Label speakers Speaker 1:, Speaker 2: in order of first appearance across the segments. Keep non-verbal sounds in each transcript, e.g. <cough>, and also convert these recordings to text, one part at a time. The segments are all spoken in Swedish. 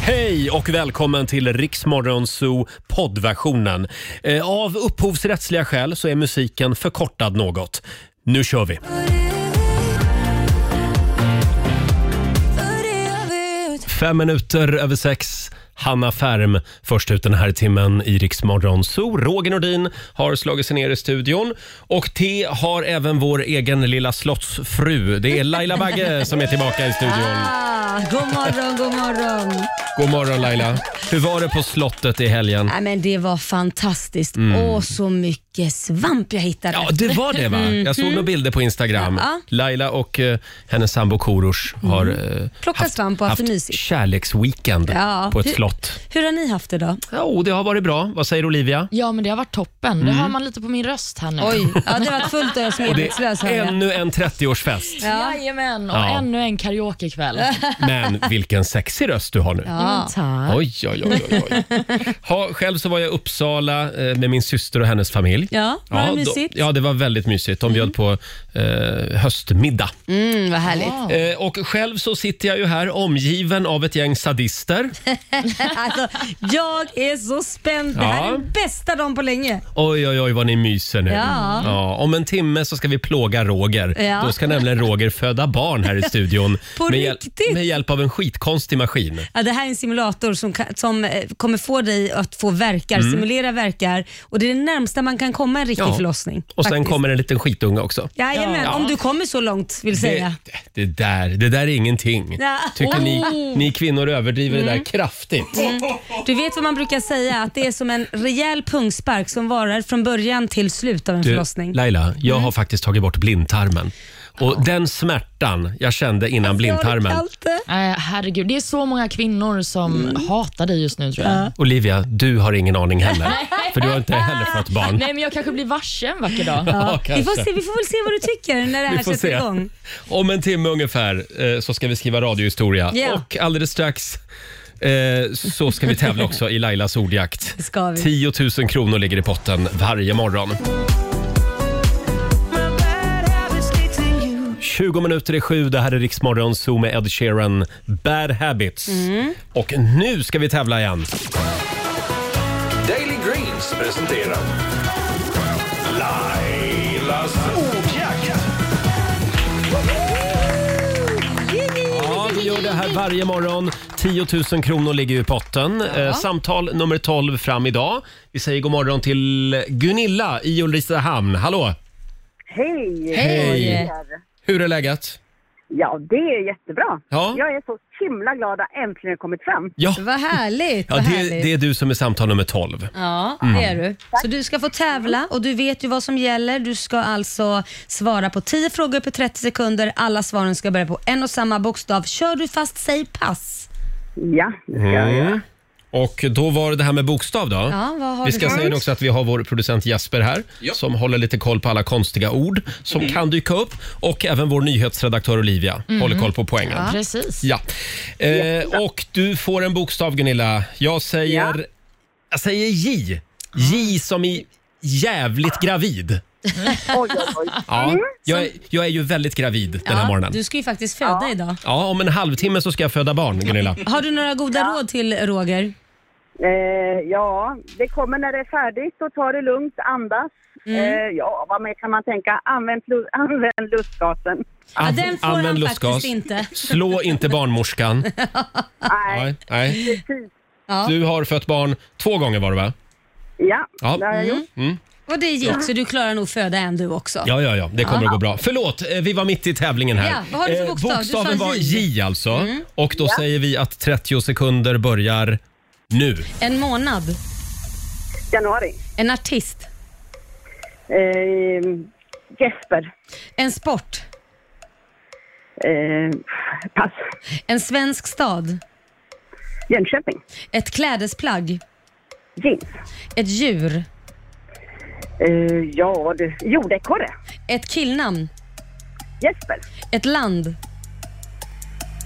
Speaker 1: Hej och välkommen till Riksmorgon Zoo poddversionen. Eh, Av upphovsrättsliga skäl så är musiken förkortad något. Nu kör vi! Fem minuter över sex. Hanna Färm först ut den här timmen i Riksmorgon Zoo. Roger Nordin har slagit sig ner i studion och T har även vår egen lilla slottsfru. Det är Laila Bagge som är tillbaka i studion.
Speaker 2: Ah, god morgon, god morgon.
Speaker 1: God morgon Laila. Hur var det på slottet i helgen?
Speaker 2: Nej, Äh, men det var fantastiskt. Åh, så mycket svamp jag hittade.
Speaker 1: Mm. Ja, det var det va? Jag såg några bilder på Instagram.
Speaker 2: Mm. Ja. Mm.
Speaker 1: Laila och eh, hennes sambo Korosh har eh,
Speaker 2: Plockat svamp och haft det mysigt.
Speaker 1: kärleksweekend
Speaker 2: Ja.
Speaker 1: på ett
Speaker 2: Hur-
Speaker 1: slott.
Speaker 2: Hur har ni haft det då?
Speaker 1: Jo, det har varit bra. Vad säger Olivia?
Speaker 3: Ja, men det har varit toppen. Det
Speaker 1: Mm.
Speaker 3: hör man lite på min röst här nu.
Speaker 2: Oj, ja, det har varit fullt ös med
Speaker 1: Det
Speaker 2: medvetslös
Speaker 1: är ännu en
Speaker 2: <laughs>
Speaker 1: 30-årsfest.
Speaker 2: Ja.
Speaker 3: Jajamän, och
Speaker 1: Ja.
Speaker 3: ännu en karaokekväll.
Speaker 1: Men vilken sexig röst du har nu.
Speaker 2: Ja.
Speaker 3: <laughs> Tack.
Speaker 1: Oj, oj, oj. oj, oj. Ha, själv så var jag i Uppsala eh, med min syster och hennes familj.
Speaker 2: Ja, var det
Speaker 1: då-
Speaker 2: mysigt?
Speaker 1: ja, det var väldigt mysigt. De bjöd på eh, höstmiddag.
Speaker 2: Mm, vad härligt.
Speaker 1: Eh, och själv så sitter jag ju här omgiven av ett gäng sadister.
Speaker 2: <laughs> Alltså, jag är så spänd. Det här
Speaker 1: Ja.
Speaker 2: är den bästa dagen på länge.
Speaker 1: Oj, oj, oj vad ni myser nu.
Speaker 2: Ja.
Speaker 1: om en timme så ska vi plåga Roger.
Speaker 2: Ja.
Speaker 1: Då ska nämligen Roger föda barn
Speaker 2: <laughs>
Speaker 1: här i studion.
Speaker 2: På
Speaker 1: med, hjäl-
Speaker 2: riktigt?
Speaker 1: med hjälp av en skitkonstig maskin.
Speaker 2: Ja, det här är en simulator som, ka- som eh, kommer få dig att få verkar, simulera verkar. Och Det är det närmsta man kan komma en riktig
Speaker 1: Mm. Ja.
Speaker 2: förlossning.
Speaker 1: Och sen
Speaker 2: faktiskt.
Speaker 1: kommer en liten skitunge också.
Speaker 2: Jajamän,
Speaker 1: Ja.
Speaker 2: om du kommer så långt vill
Speaker 1: Det,
Speaker 2: säga.
Speaker 1: det, där, det där är ingenting.
Speaker 2: Ja. Mm.
Speaker 1: Tycker ni,
Speaker 3: Oh.
Speaker 1: ni kvinnor överdriver det där kraftigt.
Speaker 2: Du vet vad man brukar säga, att det är som en rejäl pungspark som varar från början till slut av en
Speaker 1: Du,
Speaker 2: förlossning.
Speaker 1: Laila, jag
Speaker 2: Mm.
Speaker 1: har faktiskt tagit bort blindtarmen. Och den smärtan jag kände innan
Speaker 2: Alltså,
Speaker 1: blindtarmen.
Speaker 3: Eh, herregud, det är så många kvinnor som
Speaker 2: Mm.
Speaker 3: hatar dig just nu tror jag.
Speaker 1: Olivia, du har ingen aning heller. För du har inte heller fått barn.
Speaker 3: Nej, men jag kanske blir varse en vacker dag.
Speaker 1: Ja,
Speaker 2: Vi får,
Speaker 1: kanske.
Speaker 2: se, vi får väl se vad du tycker när det
Speaker 1: Vi
Speaker 2: här
Speaker 1: får
Speaker 2: sätter
Speaker 1: se.
Speaker 2: igång.
Speaker 1: Om en timme ungefär eh, så ska vi skriva radiohistoria.
Speaker 2: Ja.
Speaker 1: Och alldeles strax eh, så ska vi tävla också i Lailas ordjakt.
Speaker 2: Det ska vi.
Speaker 1: 10 000 kronor ligger i potten varje morgon. 20 minuter i sju, det här är Riksmorgon Zoo med Ed Sheeran, Bad Habits.
Speaker 2: Mm.
Speaker 1: Och nu ska vi tävla igen.
Speaker 4: Daily Greens presenterar Lailas ordjakt.
Speaker 1: Ja, vi gör det här varje morgon. 10 000 kronor ligger i potten. Eh, samtal nummer 12 fram idag. Vi säger god morgon till Gunilla i Ulricehamn. Hallå!
Speaker 5: Hej!
Speaker 1: Hej! Hur är läget?
Speaker 5: Ja, det är jättebra.
Speaker 1: Ja.
Speaker 5: Jag är så himla glad att äntligen kommit fram.
Speaker 1: Ja,
Speaker 2: Vad härligt.
Speaker 1: ja
Speaker 2: vad
Speaker 1: det,
Speaker 2: härligt.
Speaker 1: det Mm. är du som är samtal nummer 12.
Speaker 2: Ja, det är du. Så du ska få tävla och du vet ju vad som gäller. Du ska alltså svara på 10 frågor på 30 sekunder. Alla svaren ska börja på en och samma bokstav. Kör du fast, säg pass.
Speaker 5: Ja, det ska
Speaker 1: Mm.
Speaker 5: jag göra.
Speaker 1: Och då var det det här med bokstav då.
Speaker 2: Ja, vad har
Speaker 1: vi
Speaker 2: du
Speaker 1: ska
Speaker 2: för-
Speaker 1: säga också att vi har vår producent Jasper här som håller lite koll på alla konstiga ord som kan dyka upp. Och även vår nyhetsredaktör Olivia
Speaker 2: Mm.
Speaker 1: håller koll på poängen.
Speaker 3: Precis.
Speaker 1: Ja. Eh, och du får en bokstav Gunilla. Jag säger, jag säger J. J som i jävligt gravid.
Speaker 5: Oj, oj, oj.
Speaker 1: Ja, jag, är, jag är ju väldigt gravid den här morgonen.
Speaker 2: Mm. Du ska ju faktiskt föda idag.
Speaker 1: Ja, om en halvtimme så ska jag föda barn Gunilla.
Speaker 2: Har du några goda råd till Roger?
Speaker 5: Eh, ja, det kommer när det är färdigt och ta det lugnt, andas.
Speaker 1: Mm.
Speaker 5: Eh, ja, vad mer kan man tänka? Använd, lu- <laughs> använd lustgasen.
Speaker 2: Ja,
Speaker 1: An-
Speaker 2: den får
Speaker 1: använd
Speaker 2: han
Speaker 1: lustgas.
Speaker 2: faktiskt inte.
Speaker 1: Slå inte barnmorskan.
Speaker 5: Nej,
Speaker 1: Nej, nej.
Speaker 5: precis.
Speaker 1: Du har fött barn två gånger var det va?
Speaker 5: Ja,
Speaker 1: Ja. Mm.
Speaker 5: det har jag gjort.
Speaker 2: Och det gick, så du klarar nog föda en du också.
Speaker 1: Ja, ja, ja. Det kommer att gå bra. Förlåt, eh, vi var mitt i tävlingen här.
Speaker 2: Ja, vad har du för
Speaker 1: Eh,
Speaker 2: bokstav? Du
Speaker 1: Bokstaven
Speaker 2: sa
Speaker 1: var
Speaker 2: J. Mm.
Speaker 1: J alltså. Och då säger vi att 30 sekunder börjar nu.
Speaker 2: En månad,
Speaker 5: Januari.
Speaker 2: en artist,
Speaker 5: Eh, Jesper.
Speaker 2: en sport,
Speaker 5: Eh, pass.
Speaker 2: en svensk stad,
Speaker 5: Jönköping.
Speaker 2: ett klädesplagg,
Speaker 5: Jeans.
Speaker 2: ett djur,
Speaker 5: Eh, ja, du. Jordekorre.
Speaker 2: ett killnamn,
Speaker 5: Jesper.
Speaker 2: ett land,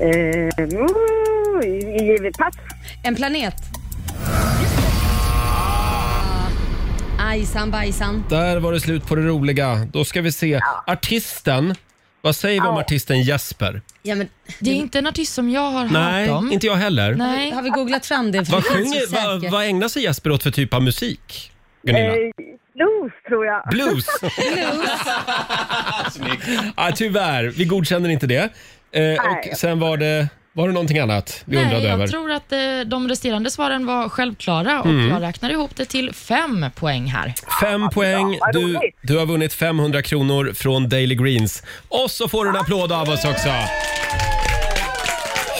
Speaker 5: Eh, mm, i- i- pass.
Speaker 2: en planet. Ah, Ajsan bajsan.
Speaker 1: Där var det slut på det roliga. Då ska vi se. Artisten, Vad säger vi om artisten Jesper?
Speaker 2: Ja, men,
Speaker 3: Det är inte en artist som jag har
Speaker 1: Nej,
Speaker 3: hört om.
Speaker 1: inte jag heller.
Speaker 3: Nej.
Speaker 2: har vi googlat fram det? För
Speaker 1: Vad,
Speaker 2: det finns ju
Speaker 1: sjunger, vad,
Speaker 2: säkert.
Speaker 1: vad ägnar sig Jesper åt för typ av musik? Gunilla?
Speaker 5: Eh, blues tror jag.
Speaker 3: <laughs>
Speaker 1: Blues? ah, tyvärr, vi godkänner inte det. Eh, och sen var det, var det någonting annat vi
Speaker 3: Nej,
Speaker 1: undrade
Speaker 3: jag
Speaker 1: över? Mm.
Speaker 3: tror att eh, de resterande svaren var självklara och jag räknar ihop det till fem poäng här.
Speaker 1: Fem poäng.
Speaker 5: vad
Speaker 1: Du,
Speaker 5: roligt.
Speaker 1: du har vunnit 500 kronor från Daily Greens. Och så får du en applåd av oss också.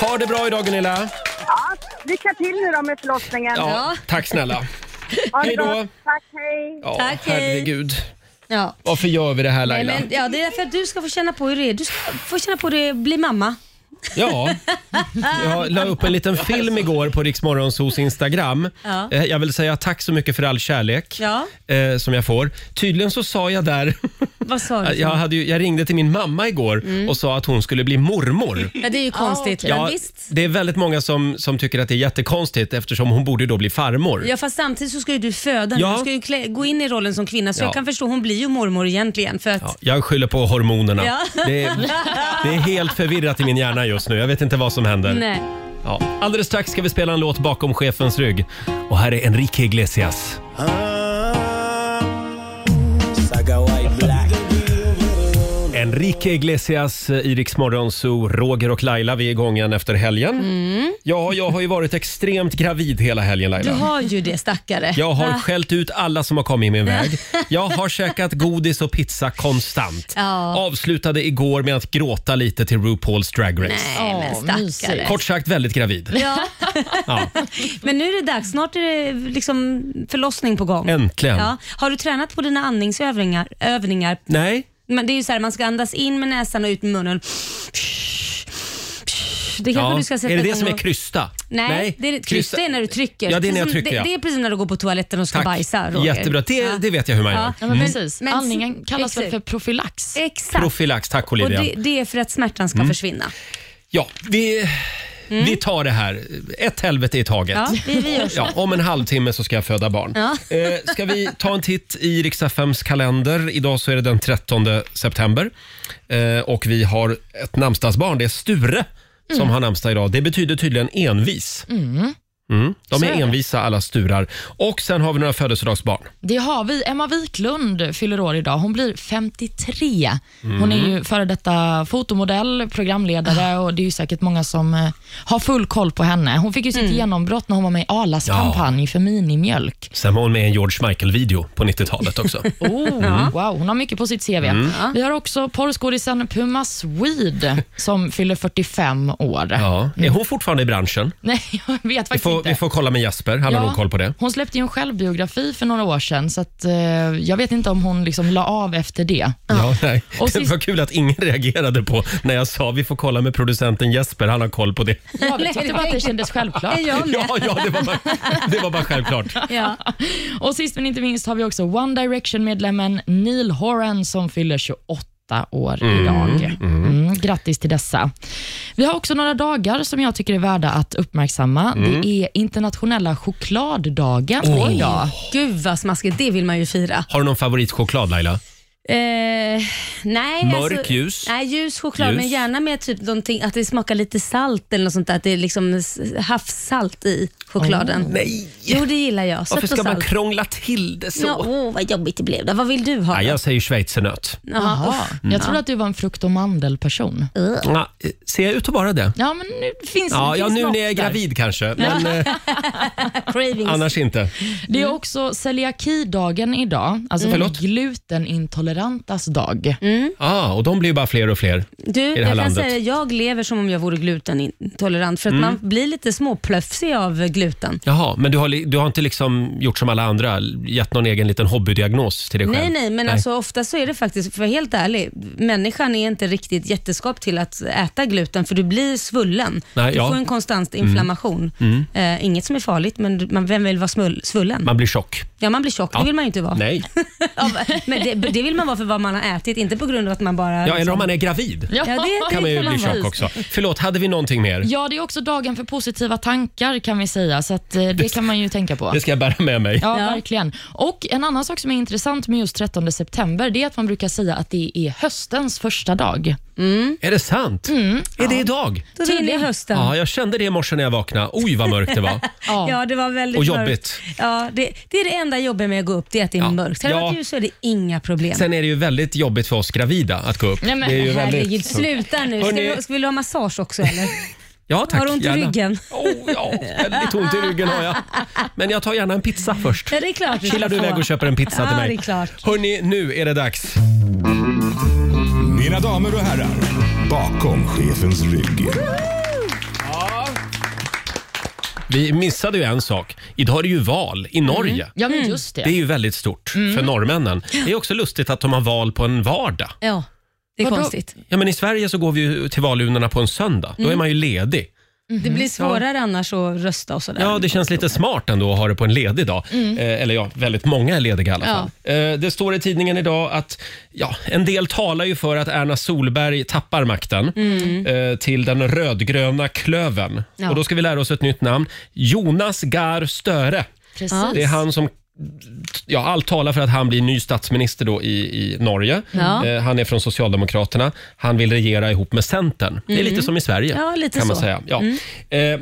Speaker 1: Ha det bra idag Gunilla.
Speaker 5: Ja, lycka till nu då med förlossningen.
Speaker 1: Ja,
Speaker 2: Ja.
Speaker 1: tack snälla.
Speaker 5: Ha det
Speaker 1: hej då.
Speaker 5: gott. Tack, hej.
Speaker 1: Ja,
Speaker 2: Tack, hej.
Speaker 1: herregud.
Speaker 2: Ja.
Speaker 1: Varför gör vi det här
Speaker 2: Nej,
Speaker 1: Laila?
Speaker 2: men, ja, det är för att du ska få känna på hur det är. Du ska få känna på hur det är att bli mamma.
Speaker 1: Ja, jag la upp en
Speaker 2: <laughs>
Speaker 1: liten film igår på Riksmorgonsos Instagram.
Speaker 2: Ja.
Speaker 1: Eh, Jag vill säga tack så mycket för all kärlek
Speaker 2: Ja.
Speaker 1: eh, som jag får. Tydligen så sa jag där,
Speaker 2: <laughs> Vad sa du?
Speaker 1: jag, hade ju, jag ringde till min mamma igår och sa att hon skulle bli mormor.
Speaker 2: Mm. <laughs> Ja, det är ju konstigt.
Speaker 1: Ja,
Speaker 2: Ja, visst.
Speaker 1: Det är väldigt många som, som tycker att det är jättekonstigt eftersom hon borde ju då bli farmor.
Speaker 2: Ja, fast samtidigt så ska ju du föda.
Speaker 1: Ja.
Speaker 2: Du ska ju klä, gå in i rollen som kvinna. Så
Speaker 1: Ja.
Speaker 2: jag kan förstå, hon blir ju mormor egentligen. För att,
Speaker 1: Ja, Jag skyller på hormonerna.
Speaker 2: Ja.
Speaker 1: Det, är, det är helt förvirrat i min hjärna just nu. Jag vet inte vad som händer.
Speaker 2: Nej.
Speaker 1: Ja. Alldeles strax ska vi spela en låt bakom chefens rygg. Och här är Enrique Iglesias. Enrique Iglesias, eh, Iriks morgonzoo, Roger och Laila. Vi är igång igen efter helgen. Ja, jag har ju varit extremt gravid hela helgen
Speaker 2: Mm. Du
Speaker 1: Laila.
Speaker 2: har ju det stackare.
Speaker 1: Jag har
Speaker 2: Ah.
Speaker 1: skällt ut alla som har kommit i min väg. Jag har käkat godis och pizza konstant.
Speaker 2: Ja.
Speaker 1: Avslutade igår med att gråta lite till RuPaul's Drag Race.
Speaker 2: Nej, men
Speaker 3: Åh,
Speaker 2: stackare.
Speaker 3: mysigt.
Speaker 1: Kort sagt väldigt gravid.
Speaker 2: Ja.
Speaker 1: Ja.
Speaker 2: Men nu är det dags. Snart är det liksom förlossning på gång.
Speaker 1: Äntligen.
Speaker 2: Ja. Har du tränat på dina andningsövningar? Övningar?
Speaker 1: Nej,
Speaker 2: Men det är ju så här, man ska andas in med näsan och ut med munnen. Det kanske
Speaker 1: ja.
Speaker 2: du ska sätta
Speaker 1: är det det
Speaker 2: igång
Speaker 1: som är
Speaker 2: och-
Speaker 1: krysta?
Speaker 2: Nej, det är, krysta är när du trycker.
Speaker 1: Ja, det är när jag
Speaker 2: Precis-
Speaker 1: trycker, ja.
Speaker 2: det, det är precis när du går på toaletten och ska
Speaker 1: Tack.
Speaker 2: bajsa, Roger.
Speaker 1: Jättebra, det,
Speaker 2: Ja.
Speaker 1: det vet jag hur man gör.
Speaker 2: Ja.
Speaker 3: Ja, men precis.
Speaker 2: Men-
Speaker 3: Andningen kallas väl
Speaker 2: exakt.
Speaker 3: för profylax?
Speaker 2: Exakt.
Speaker 1: Profylax, tack
Speaker 2: och
Speaker 1: Olivia.
Speaker 2: det, det är för att smärtan
Speaker 1: Mm.
Speaker 2: ska försvinna.
Speaker 1: Ja, vi, vi tar det här. Ett helvete i taget.
Speaker 2: Mm. Ja, vi, vi gör så.
Speaker 1: Ja, om en halvtimme så ska jag föda barn.
Speaker 2: Ja.
Speaker 1: Eh, ska vi ta en titt i Riks-FMs kalender? Idag så är det den 13 september. Eh, och vi har ett namnsdagsbarn, det är Sture som
Speaker 2: Mm.
Speaker 1: har namnsdag idag. Det betyder tydligen envis. Mm, De är,
Speaker 3: är det.
Speaker 1: envisa alla Sturar. Och sen har vi några födelsedagsbarn.
Speaker 3: Det har vi. Emma Wiklund fyller år idag. Hon blir 53. Hon är
Speaker 1: Mm.
Speaker 3: ju före detta fotomodell,
Speaker 1: Ah.
Speaker 3: programledare och det är ju säkert många som eh, har full koll på henne. Hon fick ju sitt genombrott när hon var med i Arlas
Speaker 1: Mm. Ja.
Speaker 3: kampanj för minimjölk.
Speaker 1: Sen var hon med i en George Michael-video på 90-talet
Speaker 2: <laughs>
Speaker 1: också.
Speaker 3: Oh, Wow, hon har mycket på sitt CV.
Speaker 1: Mm.
Speaker 3: Vi har också porrskådisen Puma Swede som fyller 45 år.
Speaker 1: Ja. Är hon fortfarande i branschen?
Speaker 3: <laughs> Nej, jag vet
Speaker 1: Vi
Speaker 3: Mm. faktiskt
Speaker 1: får,
Speaker 3: inte.
Speaker 1: vi får kolla med Jasper, han har
Speaker 3: Ja.
Speaker 1: nog koll på det.
Speaker 3: Hon släppte ju en självbiografi för några år sedan, så att, eh, jag vet inte om hon liksom la av efter det.
Speaker 1: Ja, nej.
Speaker 3: Och
Speaker 1: Det
Speaker 3: sist-
Speaker 1: var kul att ingen reagerade på när jag sa vi får kolla med producenten Jesper, han har koll på det.
Speaker 3: Jag tyckte bara att det kändes självklart.
Speaker 2: Är jag med?
Speaker 1: <laughs> Ja, ja det, var bara, det var bara självklart.
Speaker 2: Ja.
Speaker 3: Och sist men inte minst har vi också One Direction-medlemmen Neil Horan som fyller 28 år idag. Mm, grattis till dessa. Vi har också några dagar som jag tycker är värda att uppmärksamma.
Speaker 1: Mm.
Speaker 3: Det är internationella chokladdagen idag.
Speaker 2: Gud vad smaskigt, det vill man ju fira.
Speaker 1: Har du någon favoritchoklad Laila?
Speaker 2: Eh, nej,
Speaker 1: Mörk,
Speaker 2: alltså,
Speaker 1: ljus?
Speaker 2: Nej, ljus choklad,
Speaker 1: Ljus.
Speaker 2: men gärna med typ någonting, att det smakar lite salt eller något sånt där. Att det är liksom s- havssalt i chokladen.
Speaker 1: Nej!
Speaker 2: Jo, det gillar jag. Sött
Speaker 1: Varför ska
Speaker 2: och
Speaker 1: man
Speaker 2: salt.
Speaker 1: krångla till det så?
Speaker 2: Ja, åh, vad jobbigt det blev. Då. Vad vill du ha?
Speaker 1: Nej,
Speaker 2: då?
Speaker 1: jag säger schweizernöt.
Speaker 2: Jaha, usch.
Speaker 1: Mm.
Speaker 3: Jag tror att du var en frukt och mandelperson.
Speaker 1: Ja, eh, ser jag ut att vara det?
Speaker 3: Ja, men nu finns
Speaker 1: Ja,
Speaker 3: det
Speaker 1: ja
Speaker 3: finns
Speaker 1: nu när
Speaker 3: något
Speaker 1: jag är
Speaker 3: där.
Speaker 1: gravid kanske, men eh,
Speaker 2: <laughs> Cravings.
Speaker 1: annars
Speaker 3: Mm.
Speaker 1: inte.
Speaker 3: Det är också celiakidagen idag, alltså den
Speaker 1: Mm. Förlåt?
Speaker 3: glutenintolerantas dag.
Speaker 2: Mm.
Speaker 1: Ah, och de blir ju bara fler och fler.
Speaker 2: Du,
Speaker 1: det här
Speaker 2: jag kan
Speaker 1: landet. Mm.
Speaker 2: säga det, jag lever som om jag vore glutenintolerant för att man blir lite småplöfsig av gluten.
Speaker 1: Jaha, men du har, li- du har inte liksom gjort som alla andra, gett någon egen liten hobbydiagnos till dig själv?
Speaker 2: Nej, nej, men alltså ofta så är det faktiskt, för att vara helt ärlig, människan är inte riktigt jätteskap till att äta gluten för du blir svullen.
Speaker 1: Nej,
Speaker 2: du
Speaker 1: ja. Mm.
Speaker 2: får en konstant inflammation. Eh, inget som är farligt, men du- man, vem vill vara smull, svullen?
Speaker 1: Man blir tjock.
Speaker 2: ja, man blir tjock,
Speaker 1: Ja.
Speaker 2: det vill man ju inte vara.
Speaker 1: Nej.
Speaker 2: <laughs> Ja, men det, det vill man vara för vad man har ätit, inte på grund av att man bara...
Speaker 1: Ja, eller om man är gravid.
Speaker 2: liksom. Ja, det, det
Speaker 1: kan man ju bli
Speaker 2: vara.
Speaker 1: tjock också. Förlåt, hade vi någonting mer?
Speaker 3: Ja, det är också dagen för positiva tankar kan vi säga, så att, eh, det kan man ju tänka på.
Speaker 1: Det ska jag bära med mig.
Speaker 3: Ja,
Speaker 2: Ja.
Speaker 3: verkligen. Och En annan sak som är intressant med just 13 september, det är att man brukar säga att det är höstens första dag.
Speaker 1: Är det sant?
Speaker 2: Mm.
Speaker 1: Är det idag?
Speaker 2: Då vinner jag liksom hösten.
Speaker 1: Ja, jag kände det i morse när jag vaknade. Oj, vad mörkt det
Speaker 2: <laughs>
Speaker 1: var.
Speaker 3: Ja.
Speaker 2: Ja, det var väldigt
Speaker 1: Och
Speaker 2: mörkt.
Speaker 1: jobbigt.
Speaker 2: Ja, det, det är det enda jobbet med att gå upp, det är att det är
Speaker 1: Ja.
Speaker 2: mörkt. Hade det
Speaker 1: Ja.
Speaker 2: varit ljus så är det inga problem.
Speaker 1: Sen är det ju väldigt jobbigt för oss gravida att gå upp.
Speaker 3: Nej, men
Speaker 1: det är ju
Speaker 2: Herregud,
Speaker 1: väldigt...
Speaker 2: sluta nu. Ska,
Speaker 1: Hörrni-
Speaker 2: du, ska, vill du ha massage också eller?
Speaker 1: Ja, tack,
Speaker 2: Har du ont i
Speaker 1: gärna.
Speaker 2: ryggen?
Speaker 1: <laughs> Oh, ja, väldigt ont i ryggen har jag. Men jag tar gärna en pizza först.
Speaker 2: Ja, det är klart du
Speaker 1: Kilar
Speaker 2: ska
Speaker 1: du
Speaker 2: få.
Speaker 1: iväg och köper en pizza
Speaker 2: Ja,
Speaker 1: till mig?
Speaker 2: det är klart.
Speaker 1: Hörni, nu är det dags.
Speaker 6: Mina damer och herrar, bakom chefens rygg.
Speaker 1: Vi missade ju en sak. Idag är det ju val i Norge.
Speaker 3: Ja, men just det.
Speaker 1: Det är ju väldigt stort för norrmännen. Det är också lustigt att de har val på en vardag.
Speaker 2: Ja, det är
Speaker 3: Vadå?
Speaker 2: konstigt.
Speaker 1: Ja, men I Sverige så går vi ju till valurnorna på en söndag. Då är man ju ledig.
Speaker 2: Det blir svårare annars att rösta och sådär.
Speaker 1: Mm-hmm. Ja, det känns lite smart ändå att ha det på en ledig dag. Eh, eller ja, väldigt många är lediga i alla fall. Eh, det står i tidningen idag att ja, en del talar ju för att Erna Solberg tappar makten eh, till den rödgröna klöven.
Speaker 3: Ja.
Speaker 1: Och då ska vi lära oss ett nytt namn. Jonas Gahr Störe.
Speaker 3: Precis.
Speaker 1: Det är han som Ja, allt talar för att han blir ny statsminister då i, i Norge.
Speaker 2: Ja.
Speaker 1: Eh, han är från Socialdemokraterna. Han vill regera ihop med Centern. Det är lite som i Sverige.
Speaker 2: Mm. Ja, lite
Speaker 1: kan man
Speaker 2: så. Mm.
Speaker 1: säga. Ja. Eh,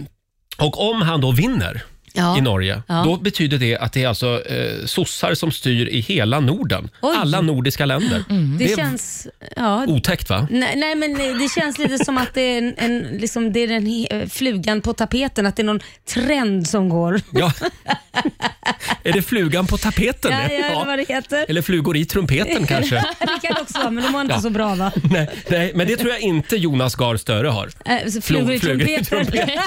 Speaker 1: och om han då vinner
Speaker 2: Ja.
Speaker 1: i Norge,
Speaker 2: Ja.
Speaker 1: då betyder det att det är alltså eh, sossar som styr i hela Norden.
Speaker 2: Oj. Mm.
Speaker 1: Alla nordiska länder.
Speaker 2: Det,
Speaker 1: Det är
Speaker 2: känns... Ja,
Speaker 1: otäckt va?
Speaker 2: Nej, nej men nej, det känns lite som att det är, en, en, liksom, det är den he- flugan på tapeten, att det är någon trend som går.
Speaker 1: Ja.
Speaker 2: <laughs>
Speaker 1: är det flugan på tapeten?
Speaker 2: Ja, ja, eller vad det heter.
Speaker 1: Eller flugor i
Speaker 2: <laughs>
Speaker 1: trumpeten kanske?
Speaker 2: Det kan det också vara, men de var inte
Speaker 1: Ja.
Speaker 2: så bra va?
Speaker 1: nej, nej, men det tror jag inte Jonas Gahr Störe har.
Speaker 2: Äh, så flugor i
Speaker 1: flugor i
Speaker 2: trumpeten.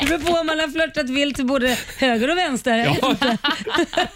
Speaker 2: Det beror på om man har flörtat vilt till både höger och vänster. <laughs>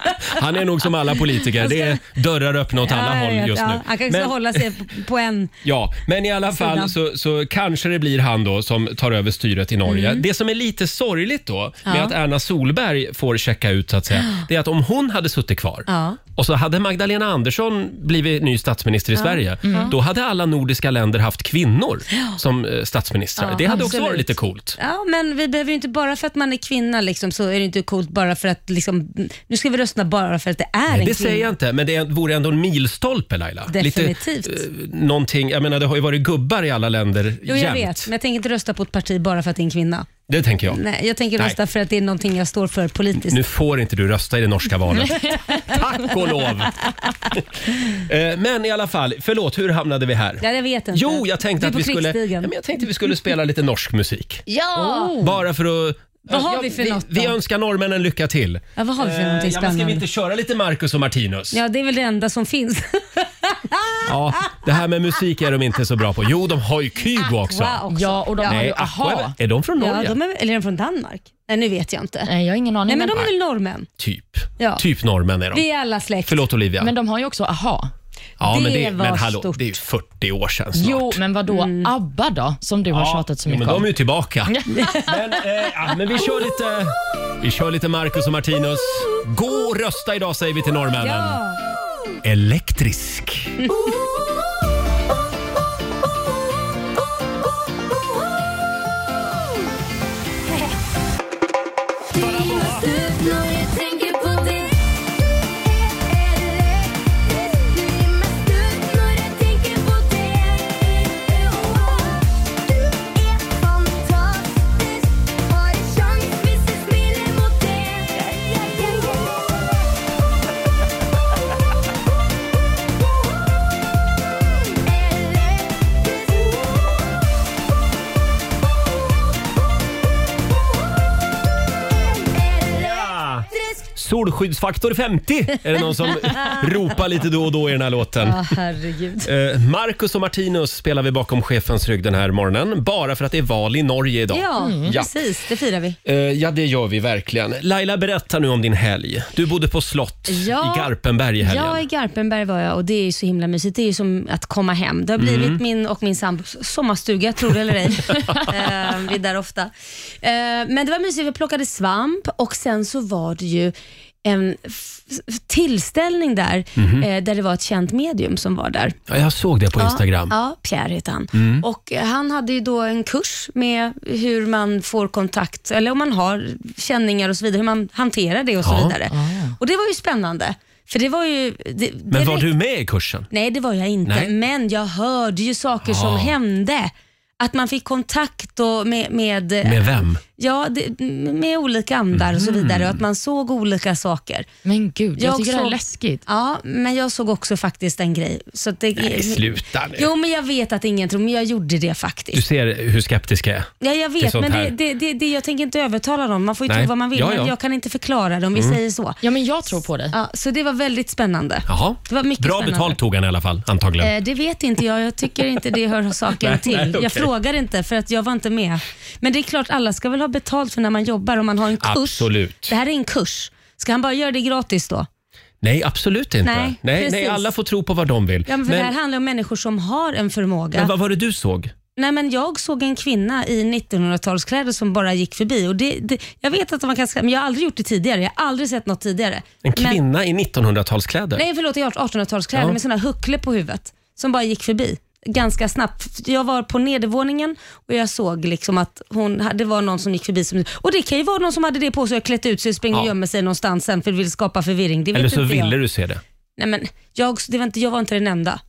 Speaker 1: Ja. Han är nog som alla politiker. Det är dörrar öppna åt alla
Speaker 2: Ja, jag
Speaker 1: håll
Speaker 2: vet.
Speaker 1: just
Speaker 2: Ja,
Speaker 1: nu.
Speaker 2: Han kanske ska
Speaker 1: Men-
Speaker 2: hålla sig på- på en.
Speaker 1: Ja, men i alla fall
Speaker 2: Sidan.
Speaker 1: så, så kanske det blir han då som tar över styret i Norge. Det som är lite sorgligt då med
Speaker 2: Mm. Ja.
Speaker 1: att Erna Solberg får checka ut så att
Speaker 2: <gasps>
Speaker 1: säga, det är att om hon hade suttit kvar
Speaker 2: Ja.
Speaker 1: och så hade Magdalena Andersson blivit ny statsminister i Sverige,
Speaker 2: Mm.
Speaker 1: då hade alla nordiska länder haft kvinnor som eh, statsministrar.
Speaker 2: Ja,
Speaker 1: det hade också varit
Speaker 2: absolut.
Speaker 1: lite coolt.
Speaker 2: Ja, men vi behöver ju inte bara för att man är kvinna liksom, så är det inte coolt bara för att liksom, nu ska vi rösta bara för att det är en
Speaker 1: Det
Speaker 2: kvinna.
Speaker 1: säger jag inte, men det vore ändå en milstolpe Laila.
Speaker 2: Definitivt.
Speaker 1: Lite, eh, någonting, jag menar, det har ju varit gubbar i alla länder
Speaker 2: Jo, jag
Speaker 1: jämt.
Speaker 2: vet, men jag tänker inte rösta på ett parti bara för att det är en kvinna.
Speaker 1: Det tänker jag.
Speaker 2: Nej, jag tänker
Speaker 1: Nej.
Speaker 2: rösta för att det är någonting jag står för politiskt.
Speaker 1: Nu får inte du rösta i det norska valet. <laughs> Tack och
Speaker 2: <laughs>
Speaker 1: lov! Eh, men i alla fall, förlåt, hur hamnade vi här?
Speaker 2: Ja, jag vet inte.
Speaker 1: Jo, jag
Speaker 2: Du
Speaker 1: tänkte,
Speaker 2: är
Speaker 1: att
Speaker 2: på
Speaker 1: vi, skulle, ja,
Speaker 2: krigsstigen.
Speaker 1: men jag tänkte vi skulle spela lite norsk musik.
Speaker 2: Ja!
Speaker 1: Bara för att...
Speaker 2: Vad har
Speaker 1: ja,
Speaker 2: vi för
Speaker 1: vi,
Speaker 2: något då?
Speaker 1: vi önskar norrmännen lycka till.
Speaker 2: ja vad har vi för
Speaker 1: Eh,
Speaker 2: någonting
Speaker 1: ja, men ska vi
Speaker 2: spännande?
Speaker 1: inte köra lite Marcus och Martinus? Ja.
Speaker 2: Ja, det är väl det enda som finns.
Speaker 1: det här med musik är de inte så bra på. Jo, de har ju Kygo också.
Speaker 2: Ah, <laughs> Wow, också.
Speaker 3: Ja, och de har
Speaker 1: Nej,
Speaker 3: ju,
Speaker 1: Aqua, är väl-
Speaker 3: aha.
Speaker 1: är de från Norge?
Speaker 2: Ja, de är, eller är de från Danmark? Nej, nu vet jag inte.
Speaker 3: Nej, Eh, jag har ingen
Speaker 2: Nej,
Speaker 3: aning.
Speaker 2: men
Speaker 3: men,
Speaker 2: de är väl norrmän?
Speaker 1: Typ.
Speaker 2: Ja.
Speaker 1: Typ norrmän är de.
Speaker 2: Vi är alla släkt.
Speaker 1: Förlåt Olivia.
Speaker 3: men de har ju också aha.
Speaker 1: ja, men
Speaker 2: det
Speaker 1: det,
Speaker 2: var
Speaker 1: men hallå,
Speaker 2: stort.
Speaker 1: det är ju 40 år sedan snart.
Speaker 3: Jo, men vad då ABBA då, som du har tjatat så
Speaker 1: jo,
Speaker 3: mycket
Speaker 1: men de
Speaker 3: om?
Speaker 1: är ju tillbaka. men, eh, ja, men vi kör lite Vi kör lite Marcus och Martinus. Gå och rösta idag säger vi till norrmännen.
Speaker 2: Ja.
Speaker 1: Elektrisk. Ja. Solskyddsfaktor 50 är det någon
Speaker 2: <laughs>
Speaker 1: som ropar lite då och då i den här låten.
Speaker 2: Ja, herregud.
Speaker 1: Eh, Marcus och Martinus spelar vi bakom chefens rygg den här morgonen. Bara för att det är val i Norge idag.
Speaker 2: Ja,
Speaker 1: Ja.
Speaker 2: precis. Det firar vi.
Speaker 1: Eh, ja, det gör vi verkligen. Laila, berätta nu om din helg. Du bodde på slott
Speaker 2: Ja.
Speaker 1: i Garpenberg i helgen.
Speaker 2: Ja, i Garpenberg var jag och det är ju så himla mysigt. Det är ju som att komma hem. Det har
Speaker 1: Mm.
Speaker 2: blivit min och min sambos sommarstuga, tror
Speaker 1: <laughs>
Speaker 2: det eller ej. Eh, vi är där ofta. Eh, men det var mysigt, vi plockade svamp och sen så var det ju en f- f- tillställning där,
Speaker 1: Mhm.
Speaker 2: eh, där det var ett känt medium som var där.
Speaker 1: Ja, jag såg det på Instagram. Mm.
Speaker 2: Ja, ja Pierre heter han. Och eh, han hade ju då en kurs med hur man får kontakt, eller om man har känningar och så vidare, hur man hanterar det och så
Speaker 1: Ja.
Speaker 2: vidare. Och det var ju spännande. För det var ju... Det,
Speaker 1: Men var
Speaker 2: direkt-
Speaker 1: du med i kursen?
Speaker 2: Nej, det var jag inte.
Speaker 1: Nej.
Speaker 2: Men jag hörde ju saker
Speaker 1: Ja.
Speaker 2: som hände. Att man fick kontakt och med, med,
Speaker 1: Med Mm. vem?
Speaker 2: Ja, det, med olika andar och så vidare. Och att man såg olika saker.
Speaker 3: Men gud, jag,
Speaker 2: Jag
Speaker 3: tycker det är
Speaker 2: såg-
Speaker 3: läskigt.
Speaker 2: Ja, men jag såg också faktiskt en grej. Så att det,
Speaker 1: Nej, sluta nu.
Speaker 2: Jo, men jag vet att ingen tror, men jag gjorde det faktiskt.
Speaker 1: Du ser hur skeptisk jag är.
Speaker 2: Ja, jag
Speaker 1: till
Speaker 2: vet,
Speaker 1: sånt
Speaker 2: men
Speaker 1: här.
Speaker 2: det, det, det, det, jag tänker inte övertala dem. Man får ju
Speaker 1: Nej.
Speaker 2: tro vad man vill,
Speaker 1: Ja, ja. Mm.
Speaker 2: men jag kan inte förklara det om vi säger så.
Speaker 3: Ja, men jag tror på dig.
Speaker 2: Ja, så det var väldigt spännande.
Speaker 1: Jaha.
Speaker 2: Det var mycket
Speaker 1: Bra
Speaker 2: spännande.
Speaker 1: betalt tog han i alla fall, antagligen.
Speaker 2: Eh, det vet inte jag. Jag tycker inte det hör saken
Speaker 1: Nej,
Speaker 2: till.
Speaker 1: nej, okej.
Speaker 2: Jag frågar inte för att jag var inte med. Men det är klart, alla ska väl ha betalt för när man jobbar om man har en kurs.
Speaker 1: Absolut.
Speaker 2: Det här är en kurs. Ska han bara göra det gratis då?
Speaker 1: Nej, absolut inte.
Speaker 2: Nej,
Speaker 1: nej, nej,
Speaker 2: precis.
Speaker 1: alla får tro på vad de vill.
Speaker 2: Ja, men för det här
Speaker 1: men,
Speaker 2: handlar om människor som har en förmåga.
Speaker 1: men vad var det du såg?
Speaker 2: Nej, men jag såg en kvinna i 1900-talskläder som bara gick förbi. Och det, det, jag vet att man kan skratta, men jag har aldrig gjort det tidigare. Jag har aldrig sett något tidigare.
Speaker 1: En
Speaker 2: Men-
Speaker 1: kvinna i 1900-talskläder?
Speaker 2: Nej, förlåt, i 1800-talskläder
Speaker 1: Ja.
Speaker 2: med sådana huckle på huvudet som bara gick förbi ganska snabbt. Jag var på nedervåningen och jag såg liksom att hon, hade- det var någon som gick förbi. Som, och det kan ju vara någon som hade det på sig och klätt ut sig och springer
Speaker 1: Ja.
Speaker 2: och gömmer sig någonstans sen för vill skapa förvirring. Det vet
Speaker 1: Eller så
Speaker 2: inte jag.
Speaker 1: ville du se det.
Speaker 2: Nej, men jag, det var inte, jag var inte den enda.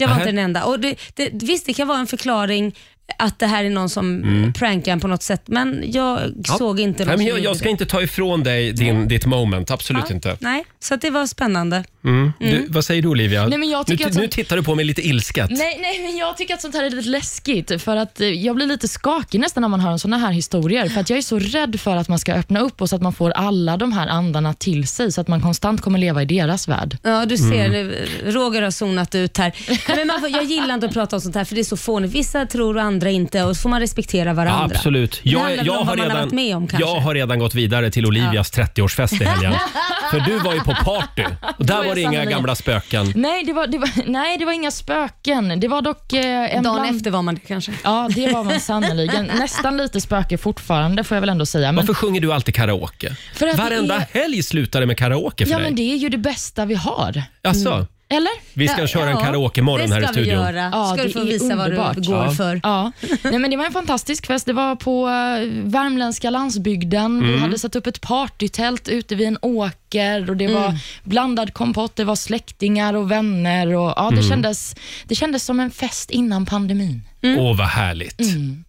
Speaker 2: Jag var
Speaker 1: Nähä.
Speaker 2: inte den enda. Och det, det, visst, det kan vara en förklaring att det här är någon som prankar en på något sätt, men jag
Speaker 1: Mm. Ja.
Speaker 2: såg inte någon
Speaker 1: Nej, men
Speaker 2: som
Speaker 1: jag,
Speaker 2: gjorde
Speaker 1: jag ska
Speaker 2: det.
Speaker 1: inte ta ifrån dig din, ditt moment, absolut
Speaker 2: Ja,
Speaker 1: inte.
Speaker 2: Nej, så att det var spännande.
Speaker 1: Mm. Du, vad säger du Olivia?
Speaker 3: Nej, men jag
Speaker 1: nu,
Speaker 3: tycker att
Speaker 1: nu
Speaker 3: hon-
Speaker 1: tittar du på mig lite ilsket.
Speaker 3: Nej, nej, men jag tycker att sånt här är lite läskigt. För att eh, Jag blir lite skakig nästan när man hör såna här historier. För att Jag är så rädd för att man ska öppna upp och så att man får alla de här andarna till sig, så att man konstant kommer leva i deras värld.
Speaker 2: Ja, du ser.
Speaker 1: Mm.
Speaker 2: eh, Roger har zonat ut här. Nej, Men man får, jag gillar inte att prata om sånt här för det är så fånigt. Vissa tror och andra inte och så får man respektera
Speaker 1: Ja,
Speaker 2: varandra.
Speaker 1: absolut.
Speaker 2: Det handlar väl om vad man har varit med om kanske.
Speaker 1: jag har redan gått vidare till Olivias 30-årsfest i
Speaker 3: <laughs>
Speaker 1: helgen. För du var ju på party och
Speaker 3: Då
Speaker 1: där
Speaker 3: är
Speaker 1: var det inga
Speaker 3: sannolikt.
Speaker 1: gamla spöken.
Speaker 3: Nej, det var, <laughs> det var, nej, det var inga spöken. Det var dock eh, en
Speaker 2: Dagen
Speaker 3: bland...
Speaker 2: efter var man det kanske.
Speaker 3: Ja, det var man <laughs> sannerligen. Nästan lite spöke fortfarande, får jag väl ändå säga. Men,
Speaker 1: Varför sjunger du alltid karaoke?
Speaker 3: För att det
Speaker 1: Varenda
Speaker 3: är-
Speaker 1: helg slutar det med karaoke för
Speaker 3: ja,
Speaker 1: dig.
Speaker 3: men Mm. det är ju det bästa vi har.
Speaker 1: Alltså,
Speaker 3: Eller?
Speaker 1: Vi ska köra en karaoke-morgon här i
Speaker 2: Det
Speaker 1: studion.
Speaker 2: ska vi göra.
Speaker 3: Ja,
Speaker 2: ska
Speaker 3: det
Speaker 2: du få
Speaker 3: är
Speaker 2: visa
Speaker 3: underbart.
Speaker 2: vad du går
Speaker 1: Ja.
Speaker 2: för.
Speaker 3: Ja. Nej, men det var en fantastisk fest. Det var på eh, värmländska landsbygden.
Speaker 1: Mm.
Speaker 3: Vi hade satt upp ett partytält ute vid en åker och det var
Speaker 1: Mm.
Speaker 3: blandad kompott, det var släktingar och vänner. Och, ja, det,
Speaker 1: Mm.
Speaker 3: kändes, det kändes som en fest innan pandemin.
Speaker 1: Åh, vad härligt.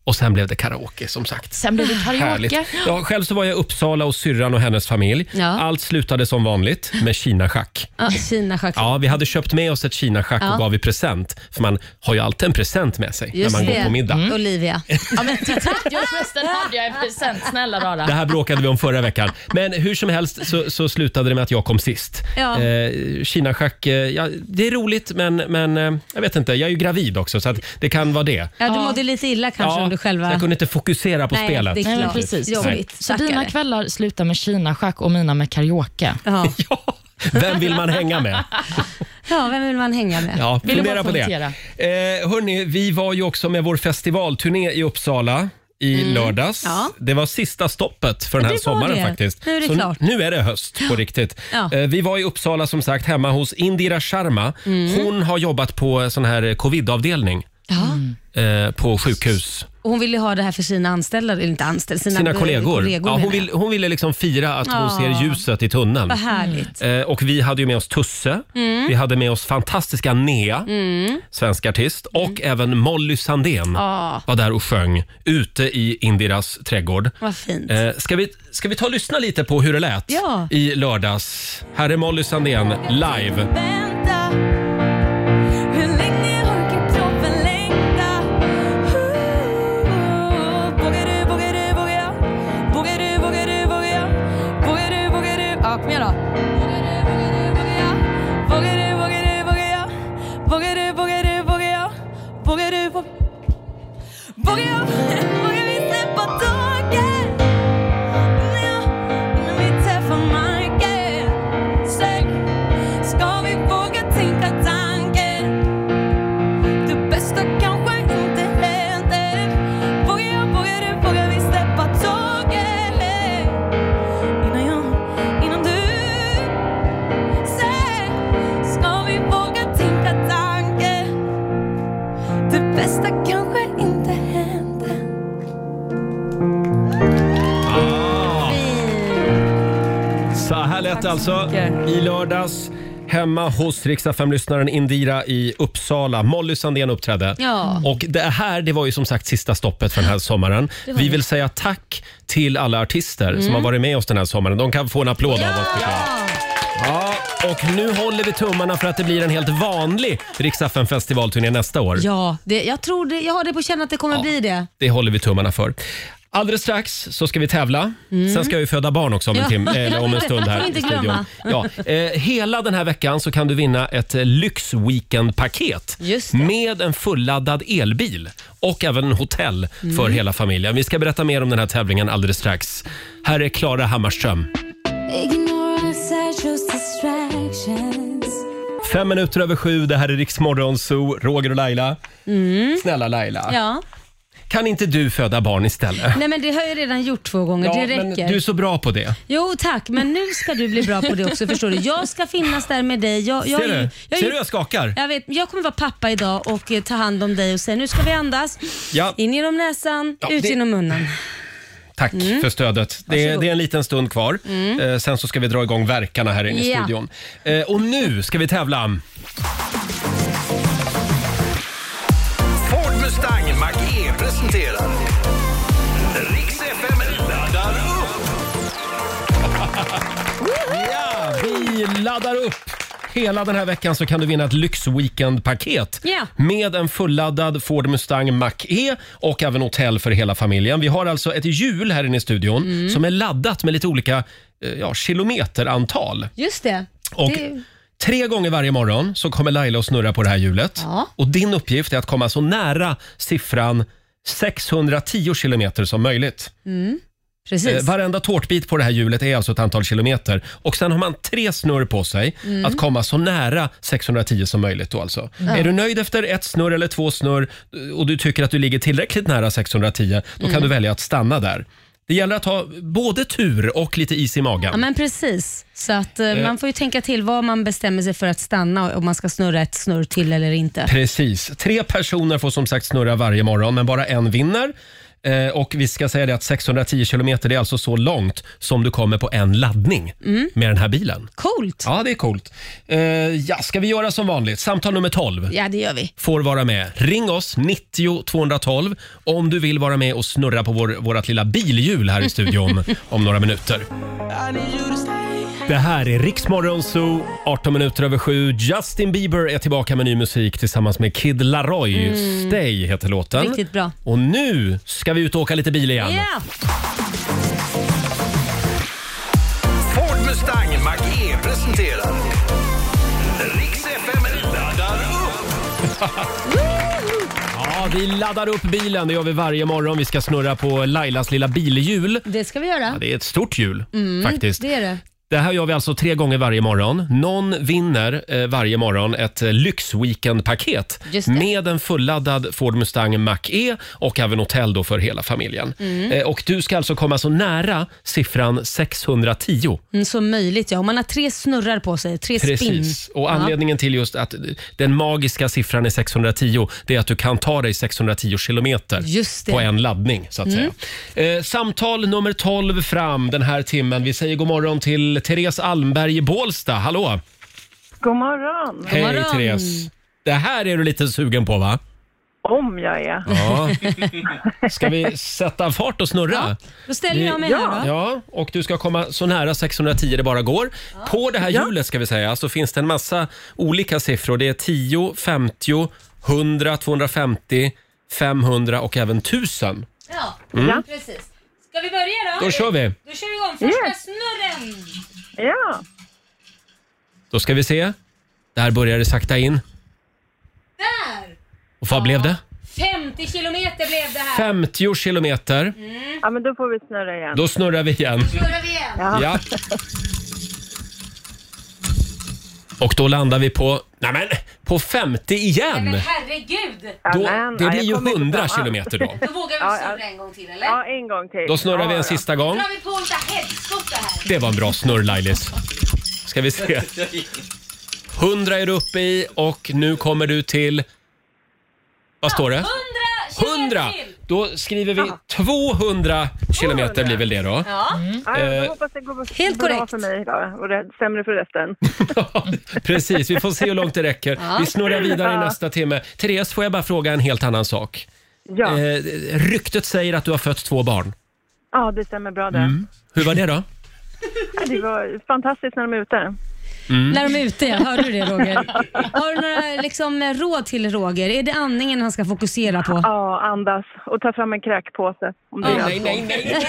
Speaker 1: Och sen blev det karaoke, som sagt.
Speaker 3: Sen blev det
Speaker 1: Ah, Härligt.
Speaker 3: Mm. karaoke.
Speaker 1: Ja, själv så var jag i Uppsala och syrran och hennes familj.
Speaker 2: Ja.
Speaker 1: Allt slutade som vanligt med kinaschack.
Speaker 2: Ja, Kina schack.
Speaker 1: Ja, vi hade köpt med oss ett kinaschack och
Speaker 2: Ja.
Speaker 1: gav i present. För man har ju alltid en present med sig
Speaker 2: Just
Speaker 1: när man
Speaker 2: det. Mm.
Speaker 1: går på middag.
Speaker 2: Olivia.
Speaker 3: Ja, men till 30-årsfesten hade jag en present, snälla
Speaker 1: Det
Speaker 3: rara.
Speaker 1: här bråkade vi om förra veckan. Men hur som helst så, så slutade det med att jag kom sist.
Speaker 2: Ja.
Speaker 1: Eh, Kinaschack, eh, ja, det är roligt men, men eh, jag vet inte, jag är ju gravid också så att det kan vara det.
Speaker 2: Ja, du mådde lite illa kanske om du själva...
Speaker 1: Jag kunde inte fokusera på
Speaker 2: Nej,
Speaker 1: spelet.
Speaker 2: det är
Speaker 3: Nej, men
Speaker 2: klart.
Speaker 3: precis.
Speaker 2: Jobbigt.
Speaker 3: Så dina
Speaker 2: Stackare.
Speaker 3: kvällar slutar med kinaschack och mina med karaoke.
Speaker 2: Ja.
Speaker 1: <laughs> Ja, vem vill man hänga med?
Speaker 2: ja, vem vill man hänga med?
Speaker 1: Ja,
Speaker 3: Vill du
Speaker 1: fundera på
Speaker 3: bara
Speaker 1: det.
Speaker 3: kommentera?
Speaker 1: Eh, hörni, vi var ju också med vår festivalturné i Uppsala i lördags.
Speaker 2: Mm. Ja.
Speaker 1: Det var sista stoppet för den
Speaker 2: Ja,
Speaker 1: här
Speaker 2: det var
Speaker 1: sommaren
Speaker 2: det.
Speaker 1: faktiskt.
Speaker 2: Nu är det
Speaker 1: Så
Speaker 2: klart.
Speaker 1: nu är det höst på riktigt.
Speaker 2: Ja.
Speaker 1: Eh, vi var i Uppsala som sagt hemma hos Indira Sharma.
Speaker 2: Mm.
Speaker 1: Hon har jobbat på sån här covidavdelning
Speaker 2: Ja.
Speaker 1: eh, på sjukhus.
Speaker 2: Mm. Och hon ville ha det här för sina anställda, eller inte anställda, sina,
Speaker 1: Sina kollegor. ja,
Speaker 2: menar
Speaker 1: hon,
Speaker 2: jag.
Speaker 1: vill, hon ville liksom fira att hon
Speaker 2: Ja.
Speaker 1: ser ljuset i tunneln.
Speaker 2: Vad härligt.
Speaker 1: Eh, och vi hade ju med oss Tusse,
Speaker 2: Mm.
Speaker 1: vi hade med oss fantastiska Nea, svensk artist, och
Speaker 2: Mm.
Speaker 1: även Molly Sandén
Speaker 2: Ja.
Speaker 1: var där och sjöng ute i Indiras trädgård.
Speaker 2: Vad fint.
Speaker 1: Eh, ska, vi, ska vi ta och lyssna lite på hur det lät
Speaker 2: Ja.
Speaker 1: i lördags? Här är Molly Sandén live.
Speaker 7: vänta Hur länge orkar kroppen längta? Ooh. Vågar du, vågar du, vågar jag? Vågar du, vågar du, vågar jag? Vågar du, vågar du? Ja, kom igen då. Vågar du, vågar du, vågar jag? Vågar du, vågar du, vågar jag? Vågar du, vågar du, vågar jag? Vågar du, vågar... Vågar jag? Vågar vi släppa taget? När när vi träffar marken? Säg Ska vi våga tänka tanken? Det bästa kanske inte händer Vågar jag, vågar du, vågar vi släppa taget? Innan jag, innan du säger Ska vi våga tänka tanken? Det bästa kanske inte händer
Speaker 1: lätt alltså.
Speaker 7: mycket.
Speaker 1: I lördags hemma hos Riksdag-5-lyssnaren Indira i Uppsala. Molly Sandén uppträdde.
Speaker 2: Ja.
Speaker 1: Och det här det var ju som sagt sista stoppet för den här sommaren. Vi vill säga tack till alla artister som
Speaker 2: Mm.
Speaker 1: har varit med oss den här sommaren. De kan få en applåd av oss. tycker jag. Ja, och nu håller vi tummarna för att det blir en helt vanlig Riksaffen festivalturné nästa år.
Speaker 2: Ja, det, jag, tror det, jag har det på känn att det kommer bli det.
Speaker 1: Det håller vi tummarna för. Alldeles strax så ska vi tävla. Sen ska jag ju föda barn också om en,
Speaker 2: Mm. Ja.
Speaker 1: tim- eh, eller om en stund
Speaker 2: Får
Speaker 1: här
Speaker 2: inte
Speaker 1: i studion.
Speaker 2: glömma.
Speaker 1: Ja, eh, hela den här veckan så kan du vinna ett eh, lyxweekendpaket
Speaker 2: Just det.
Speaker 1: med en fulladdad elbil och även en hotell
Speaker 2: Mm.
Speaker 1: för hela familjen. Vi ska berätta mer om den här tävlingen alldeles strax. Här är Klara Hammarström. Fem minuter över sju, det här är Riksmorgon Zoo, Roger och Laila.
Speaker 2: Mm.
Speaker 1: Snälla Laila,
Speaker 2: Ja.
Speaker 1: kan inte du föda barn istället?
Speaker 2: Nej men det har jag redan gjort två gånger, det
Speaker 1: men
Speaker 2: räcker.
Speaker 1: du är så bra på det.
Speaker 2: Jo tack, men nu ska du bli bra på det också förstår du. Jag ska finnas där med dig. Jag, jag,
Speaker 1: Ser du?
Speaker 2: Jag,
Speaker 1: Ser du jag skakar?
Speaker 2: jag vet, jag kommer vara pappa idag och eh, ta hand om dig och säga nu ska vi andas.
Speaker 1: Ja.
Speaker 2: In genom näsan,
Speaker 1: Ja,
Speaker 2: ut
Speaker 1: det-
Speaker 2: genom munnen.
Speaker 1: Tack för stödet. Det är,
Speaker 2: Mm. Varsågod. Mm.
Speaker 1: det är en liten stund kvar. Eh, sen så ska vi dra igång verkarna här inne i
Speaker 2: Ja.
Speaker 1: studion. Eh, och nu ska vi tävla.
Speaker 4: Ford Mustang Mach-E presenterar Riks FM laddar upp.
Speaker 1: Ja, vi laddar upp. Hela den här veckan så kan du vinna ett lyxweekendpaket
Speaker 2: Ja.
Speaker 1: med en fulladdad Ford Mustang Mach-E och även hotell för hela familjen. Vi har alltså ett hjul här inne i studion
Speaker 2: Mm.
Speaker 1: som är laddat med lite olika eh, ja, kilometerantal.
Speaker 2: Just det.
Speaker 1: Och
Speaker 2: det
Speaker 1: Tre gånger varje morgon så kommer Laila att snurra på det här hjulet.
Speaker 2: Ja.
Speaker 1: Och din uppgift är att komma så nära siffran 610 kilometer som möjligt. Eh,
Speaker 2: precis.
Speaker 1: varenda tårtbit på det här hjulet är alltså ett antal kilometer. Och Sen har man tre snurr på sig
Speaker 2: Mm.
Speaker 1: att komma så nära 610 som möjligt. Då alltså. Är du nöjd efter ett snurr eller två snurr eh, och du tycker att du ligger tillräckligt nära 610, då
Speaker 2: Mm.
Speaker 1: kan du välja att stanna där. Det gäller att ha både tur och lite is i magen.
Speaker 2: Ja men precis. Så att eh, man får ju tänka till vad man bestämmer sig för att stanna och om man ska snurra ett snurr till eller inte.
Speaker 1: Precis. Tre personer får som sagt snurra varje morgon, men bara en vinner. Eh, och vi ska säga det att 610 kilometer det är alltså så långt som du kommer på en laddning
Speaker 2: Mm.
Speaker 1: med den här bilen.
Speaker 2: Coolt. Ja,
Speaker 1: Ja, det är coolt. Eh, ja, ska vi göra som vanligt? Samtal nummer 12
Speaker 2: det gör vi.
Speaker 1: får vara med. Ring oss, 90 212, om du vill vara med och snurra på vår, vårat lilla bilhjul här i
Speaker 2: <laughs>
Speaker 1: studion om några minuter. Det här är Riksmorgon Zoo, 18 minuter över sju. Justin Bieber är tillbaka med ny musik tillsammans med Kid Laroi. Stay heter låten.
Speaker 2: Mm. Riktigt bra.
Speaker 1: Och nu ska vi ut och åka lite bil igen.
Speaker 2: Ja,
Speaker 4: Ford Mustang Mach-E presenterar Riks FM laddar upp.
Speaker 1: Ja, vi laddar upp bilen, det gör vi varje morgon. Vi ska snurra på Lailas lilla bilhjul.
Speaker 2: det ska vi göra.
Speaker 1: Ja, det är ett stort hjul faktiskt.
Speaker 2: Mm, Det är det.
Speaker 1: Det här gör vi alltså tre gånger varje morgon. Någon vinner eh, varje morgon ett eh, lyxweekendpaket
Speaker 2: Just det.
Speaker 1: med en fulladdad Ford Mustang Mach-E och även hotell då för hela familjen.
Speaker 2: Mm.
Speaker 1: Eh, och du ska alltså komma så nära siffran 610.
Speaker 2: Mm, som möjligt ja. Om man har tre snurrar på sig, tre
Speaker 1: Precis.
Speaker 2: spinn.
Speaker 1: Och anledningen till just att den magiska siffran är 610, det är att du kan ta dig 610 kilometer
Speaker 2: Just det. Mm.
Speaker 1: på en laddning så att säga. Eh, samtal nummer 12 fram den här timmen. Vi säger god morgon till Therese Almberg i Bålsta. Hallå!
Speaker 8: God morgon!
Speaker 1: Hej
Speaker 2: morgon.
Speaker 1: Therese! Det här är du lite sugen på va?
Speaker 8: Om jag är.
Speaker 1: Ja. <laughs> Ska vi sätta fart och snurra?
Speaker 2: Ja. Då ställer jag mig här då.
Speaker 1: Ja, och du ska komma så nära 610 det bara går. På det här hjulet ska vi säga så finns det en massa olika siffror. Det är 10, 50, 100, 250, 500 och även 1000.
Speaker 2: Ja, precis. Ska vi börja då?
Speaker 1: Då kör vi!
Speaker 2: Då kör vi igång första snurren.
Speaker 8: Ja,
Speaker 1: Då ska vi se. Där börjar det sakta in.
Speaker 2: Där!
Speaker 1: Och vad blev det?
Speaker 2: 50 kilometer blev det här.
Speaker 1: 50 kilometer.
Speaker 2: Mm.
Speaker 8: ja men då får vi snurra igen.
Speaker 1: Då snurrar vi igen.
Speaker 2: Snurrar vi igen.
Speaker 1: Ja. Och då landar vi på, nej men, på 50
Speaker 2: Men
Speaker 1: igen.
Speaker 2: herregud!
Speaker 1: Då,
Speaker 8: Amen.
Speaker 1: det
Speaker 8: Ja,
Speaker 1: blir
Speaker 8: jag
Speaker 1: ju
Speaker 8: kommer inte
Speaker 1: 100
Speaker 8: fram.
Speaker 1: kilometer
Speaker 8: <laughs>
Speaker 1: då.
Speaker 2: Då vågar vi
Speaker 8: Ja,
Speaker 2: snurra
Speaker 8: ja.
Speaker 2: en gång till eller?
Speaker 8: Ja, en gång till.
Speaker 1: Då snurrar vi
Speaker 8: ja,
Speaker 1: en sista gång.
Speaker 2: drar vi på lite helskotta här.
Speaker 1: Det var en bra snurr Lailis. Ska vi se. 100 är du uppe i och nu kommer du till... Vad står det?
Speaker 2: 100 kilometer
Speaker 1: 100!
Speaker 2: till!
Speaker 1: Då skriver vi 200 kilometer blir väl det då.
Speaker 8: Ja,
Speaker 1: Eh,
Speaker 8: jag hoppas det går
Speaker 2: helt
Speaker 8: bra
Speaker 2: korrekt.
Speaker 8: för mig idag och det är sämre för
Speaker 1: <laughs>
Speaker 8: resten.
Speaker 1: Precis, vi får se hur långt det räcker. Vi snurrar vidare i nästa timme. Therese, får jag bara fråga en helt annan sak?
Speaker 8: Ja,
Speaker 1: Eh, ryktet säger att du har fött två barn.
Speaker 8: ja det stämmer bra det.
Speaker 1: Hur var det <laughs> då?
Speaker 8: Ja, det var fantastiskt när de är ute.
Speaker 1: Mm.
Speaker 2: När de är ute, ja. hör du det Roger? Har du några liksom, råd till Roger? Är det andningen han ska fokusera på?
Speaker 8: Ja, andas och ta fram en kräkpåse om det är
Speaker 1: nej, nej,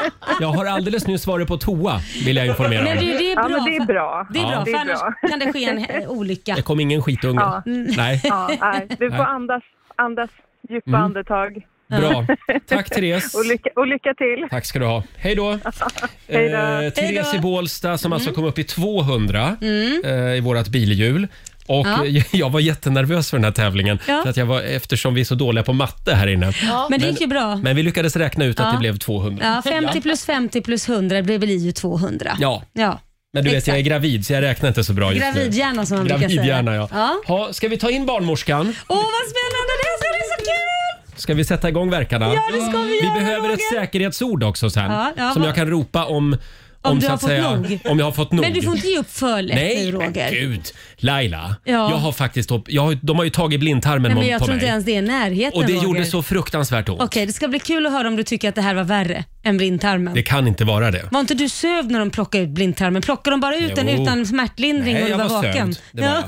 Speaker 1: <laughs> Jag har alldeles nyss varit på toa, vill jag informera
Speaker 2: Men
Speaker 1: om.
Speaker 2: du, det är bra.
Speaker 8: Ja, men det är bra.
Speaker 2: Det är bra,
Speaker 8: det
Speaker 2: för
Speaker 8: är bra.
Speaker 2: annars kan det ske en eh, olycka.
Speaker 1: Det kom ingen skitunge.
Speaker 8: Ja.
Speaker 1: Nej,
Speaker 8: Ja, nej, du får andas, andas djupa
Speaker 1: Mm.
Speaker 8: andetag <laughs>
Speaker 1: bra. Tack Therese.
Speaker 8: och lycka, och lycka till.
Speaker 1: Tack ska du ha. Hej
Speaker 2: <laughs>
Speaker 1: då!
Speaker 8: Hej då.
Speaker 1: Eh, Therese i Bålsta som
Speaker 2: Mm.
Speaker 1: alltså kom upp i 200 eh, i vårt bilhjul. Och
Speaker 2: Ja.
Speaker 1: eh, <laughs> jag var jättenervös för den här tävlingen
Speaker 2: Ja.
Speaker 1: för att jag var, eftersom vi är så dåliga på matte här inne.
Speaker 2: Men det gick ju bra.
Speaker 1: Men vi lyckades räkna ut att
Speaker 2: Ja.
Speaker 1: det blev 200.
Speaker 2: Ja, 50 plus 50 plus 100 det blir ju 200.
Speaker 1: Ja.
Speaker 2: ja.
Speaker 1: Men du vet, jag är gravid så jag räknar inte så bra just nu.
Speaker 2: Gravidhjärna som man brukar säga.
Speaker 1: Gravidhjärna, ja.
Speaker 2: ja.
Speaker 1: Ha, ska vi ta in barnmorskan?
Speaker 2: Åh, vad spännande det är! Det är så kul!
Speaker 1: Ska vi sätta igång verkarna?
Speaker 2: Ja, det ska vi göra,
Speaker 1: Vi behöver ett
Speaker 2: Roger.
Speaker 1: säkerhetsord också sen
Speaker 2: Ja, ja,
Speaker 1: som
Speaker 2: vad-
Speaker 1: jag kan ropa om... Om,
Speaker 2: du
Speaker 1: så
Speaker 2: har
Speaker 1: att
Speaker 2: fått
Speaker 1: säga,
Speaker 2: nog.
Speaker 1: Om jag har fått nog.
Speaker 2: Men du får inte ge upp för lätt
Speaker 1: Nej,
Speaker 2: nu
Speaker 1: men
Speaker 2: Roger.
Speaker 1: gud. Laila,
Speaker 2: Ja.
Speaker 1: jag har faktiskt hopp, jag har, de har ju tagit blindtarmen
Speaker 2: Nej, men jag
Speaker 1: på
Speaker 2: tror
Speaker 1: mig.
Speaker 2: inte ens det är i närheten
Speaker 1: och det
Speaker 2: Roger.
Speaker 1: gjorde så fruktansvärt ont.
Speaker 2: Okej, det ska bli kul att höra om du tycker att det här var värre än blindtarmen.
Speaker 1: Det kan inte vara det.
Speaker 2: Var inte du sövd när de plockade ut blindtarmen? Plockade de bara ut den
Speaker 1: Jo.
Speaker 2: utan smärtlindring
Speaker 1: Nej,
Speaker 2: och du
Speaker 1: jag
Speaker 2: var,
Speaker 1: var
Speaker 2: vaken?
Speaker 1: sövd. Det var jag.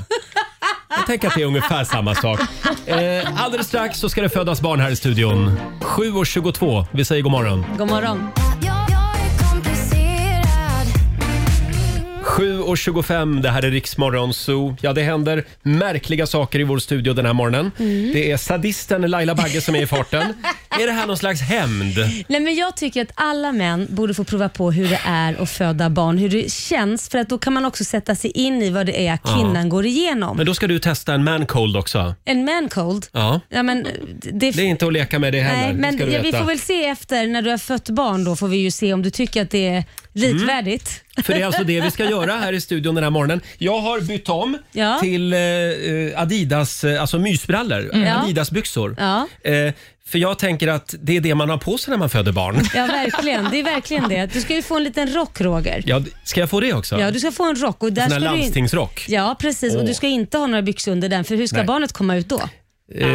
Speaker 1: Jag tänker att det är ungefär samma
Speaker 2: <laughs>
Speaker 1: sak. Eh, alldeles strax så ska det födas barn här i studion. 7.22. Vi säger god morgon.
Speaker 2: God morgon.
Speaker 6: komplicerad.
Speaker 1: 7.25, det här är Riksmorgon Zoo. Ja, det händer märkliga saker i vår studio den här morgonen.
Speaker 2: Mm.
Speaker 1: Det är sadisten Laila Bagge som är i
Speaker 2: <laughs>
Speaker 1: farten. är det här någon slags hämnd?
Speaker 2: Nej, men jag tycker att alla män borde få prova på hur det är att föda barn, hur det känns. För att då kan man också sätta sig in i vad det är kvinnan går igenom.
Speaker 1: Men då ska du testa en mancold också.
Speaker 2: en man cold.
Speaker 1: Ja.
Speaker 2: Ja, men det,
Speaker 1: Det är inte att leka med det heller.
Speaker 2: Nej,
Speaker 1: det ska
Speaker 2: men
Speaker 1: du
Speaker 2: ja, vi
Speaker 1: veta.
Speaker 2: får väl se efter när du har fött barn då får vi ju se om du tycker att det
Speaker 1: Mm.
Speaker 2: är likvärdigt.
Speaker 1: För det är alltså det vi ska göra här i studion den här morgonen. Jag har bytt om
Speaker 2: Ja.
Speaker 1: till eh, eh, Adidas, eh, alltså mysbrallor,
Speaker 2: Mm. Ja.
Speaker 1: Adidas-byxor.
Speaker 2: Ja.
Speaker 1: Eh, för jag tänker att det är det man har på sig när man föder barn.
Speaker 2: Ja, verkligen. Det är verkligen det. Du ska ju få en liten rock Roger.
Speaker 1: Ja, ska jag få det också?
Speaker 2: Ja, du ska få en rock och där
Speaker 1: Sån här
Speaker 2: ska du in...
Speaker 1: landstingsrock?
Speaker 2: Ja, precis. Och
Speaker 1: Åh.
Speaker 2: du ska inte ha några byxor under den för hur ska
Speaker 1: Nej.
Speaker 2: barnet komma ut då?
Speaker 1: Eh,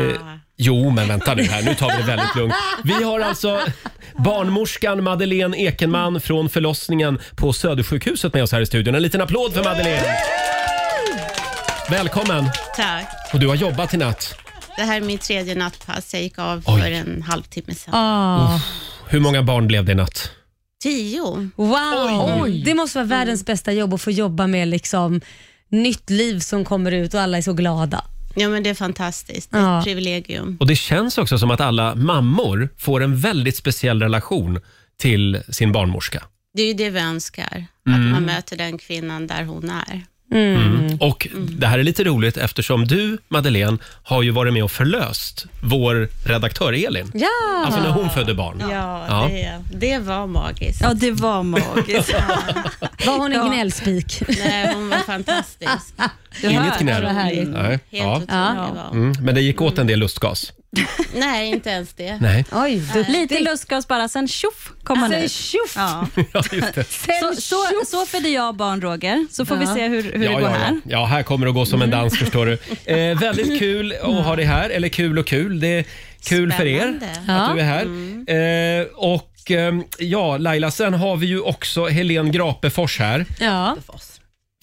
Speaker 1: jo, men vänta nu här. Nu tar vi det väldigt lugnt. Vi har alltså barnmorskan Madeleine Ekenman från förlossningen på Södersjukhuset med oss här i studion. En liten applåd för Madeleine! Välkommen!
Speaker 9: Tack.
Speaker 1: Och du har jobbat i natt.
Speaker 9: Det här är min tredje nattpass. Jag gick av
Speaker 1: Oj.
Speaker 9: för en halvtimme sedan.
Speaker 2: Ah,
Speaker 1: Hur många barn blev det i natt?
Speaker 9: Tio.
Speaker 2: wow!
Speaker 3: Oj.
Speaker 2: Det måste vara världens bästa jobb att få jobba med liksom nytt liv som kommer ut och alla är så glada.
Speaker 9: Ja, men det är fantastiskt. Det är
Speaker 2: Ja.
Speaker 9: ett privilegium.
Speaker 1: Och det känns också som att alla mammor får en väldigt speciell relation till sin barnmorska.
Speaker 9: Det är ju det vi önskar,
Speaker 1: Mm.
Speaker 9: att man möter den kvinnan där hon är. Mm.
Speaker 1: Och det här är lite roligt eftersom du, Madeleine, har ju varit med och förlöst vår redaktör Elin.
Speaker 2: Ja!
Speaker 1: Alltså när hon födde barn.
Speaker 9: Ja,
Speaker 1: Ja.
Speaker 9: Det, det var magiskt.
Speaker 10: Ja, det var magiskt.
Speaker 2: Var hon en gnällspik?
Speaker 9: Nej, hon var fantastisk.
Speaker 1: Inget gnäll.
Speaker 2: vad
Speaker 1: <laughs>
Speaker 2: härligt.
Speaker 1: Nej.
Speaker 9: Helt
Speaker 1: Ja.
Speaker 9: otrolig
Speaker 2: Ja.
Speaker 9: var hon.
Speaker 1: Mm, men det gick åt en del lustgas.
Speaker 9: Nej, inte ens det.
Speaker 1: Nej.
Speaker 2: <laughs> Oj,
Speaker 10: <laughs>
Speaker 2: duktig.
Speaker 10: Lite lustgas bara, sen tjoff kom han
Speaker 2: Sen
Speaker 10: ut.
Speaker 2: tjoff!
Speaker 11: <laughs>
Speaker 10: Ja.
Speaker 1: Ja,
Speaker 10: <laughs>
Speaker 1: just det.
Speaker 10: Så, så, så födde jag barn, Roger, så får vi se hur, hur det
Speaker 1: Ja,
Speaker 10: går
Speaker 1: ja, ja.
Speaker 10: här. Mm.
Speaker 1: ja, här kommer det att gå som en dans förstår
Speaker 10: <laughs>
Speaker 1: du. Eh, väldigt kul att ha dig här, eller kul och kul. Det är kul för
Speaker 9: Spännande.
Speaker 1: er
Speaker 2: Ja.
Speaker 1: att du är här.
Speaker 10: Mm.
Speaker 1: Eh, och ehm, ja, Laila, sen har vi ju också Helen Grapefors här.
Speaker 10: <laughs>
Speaker 2: Ja.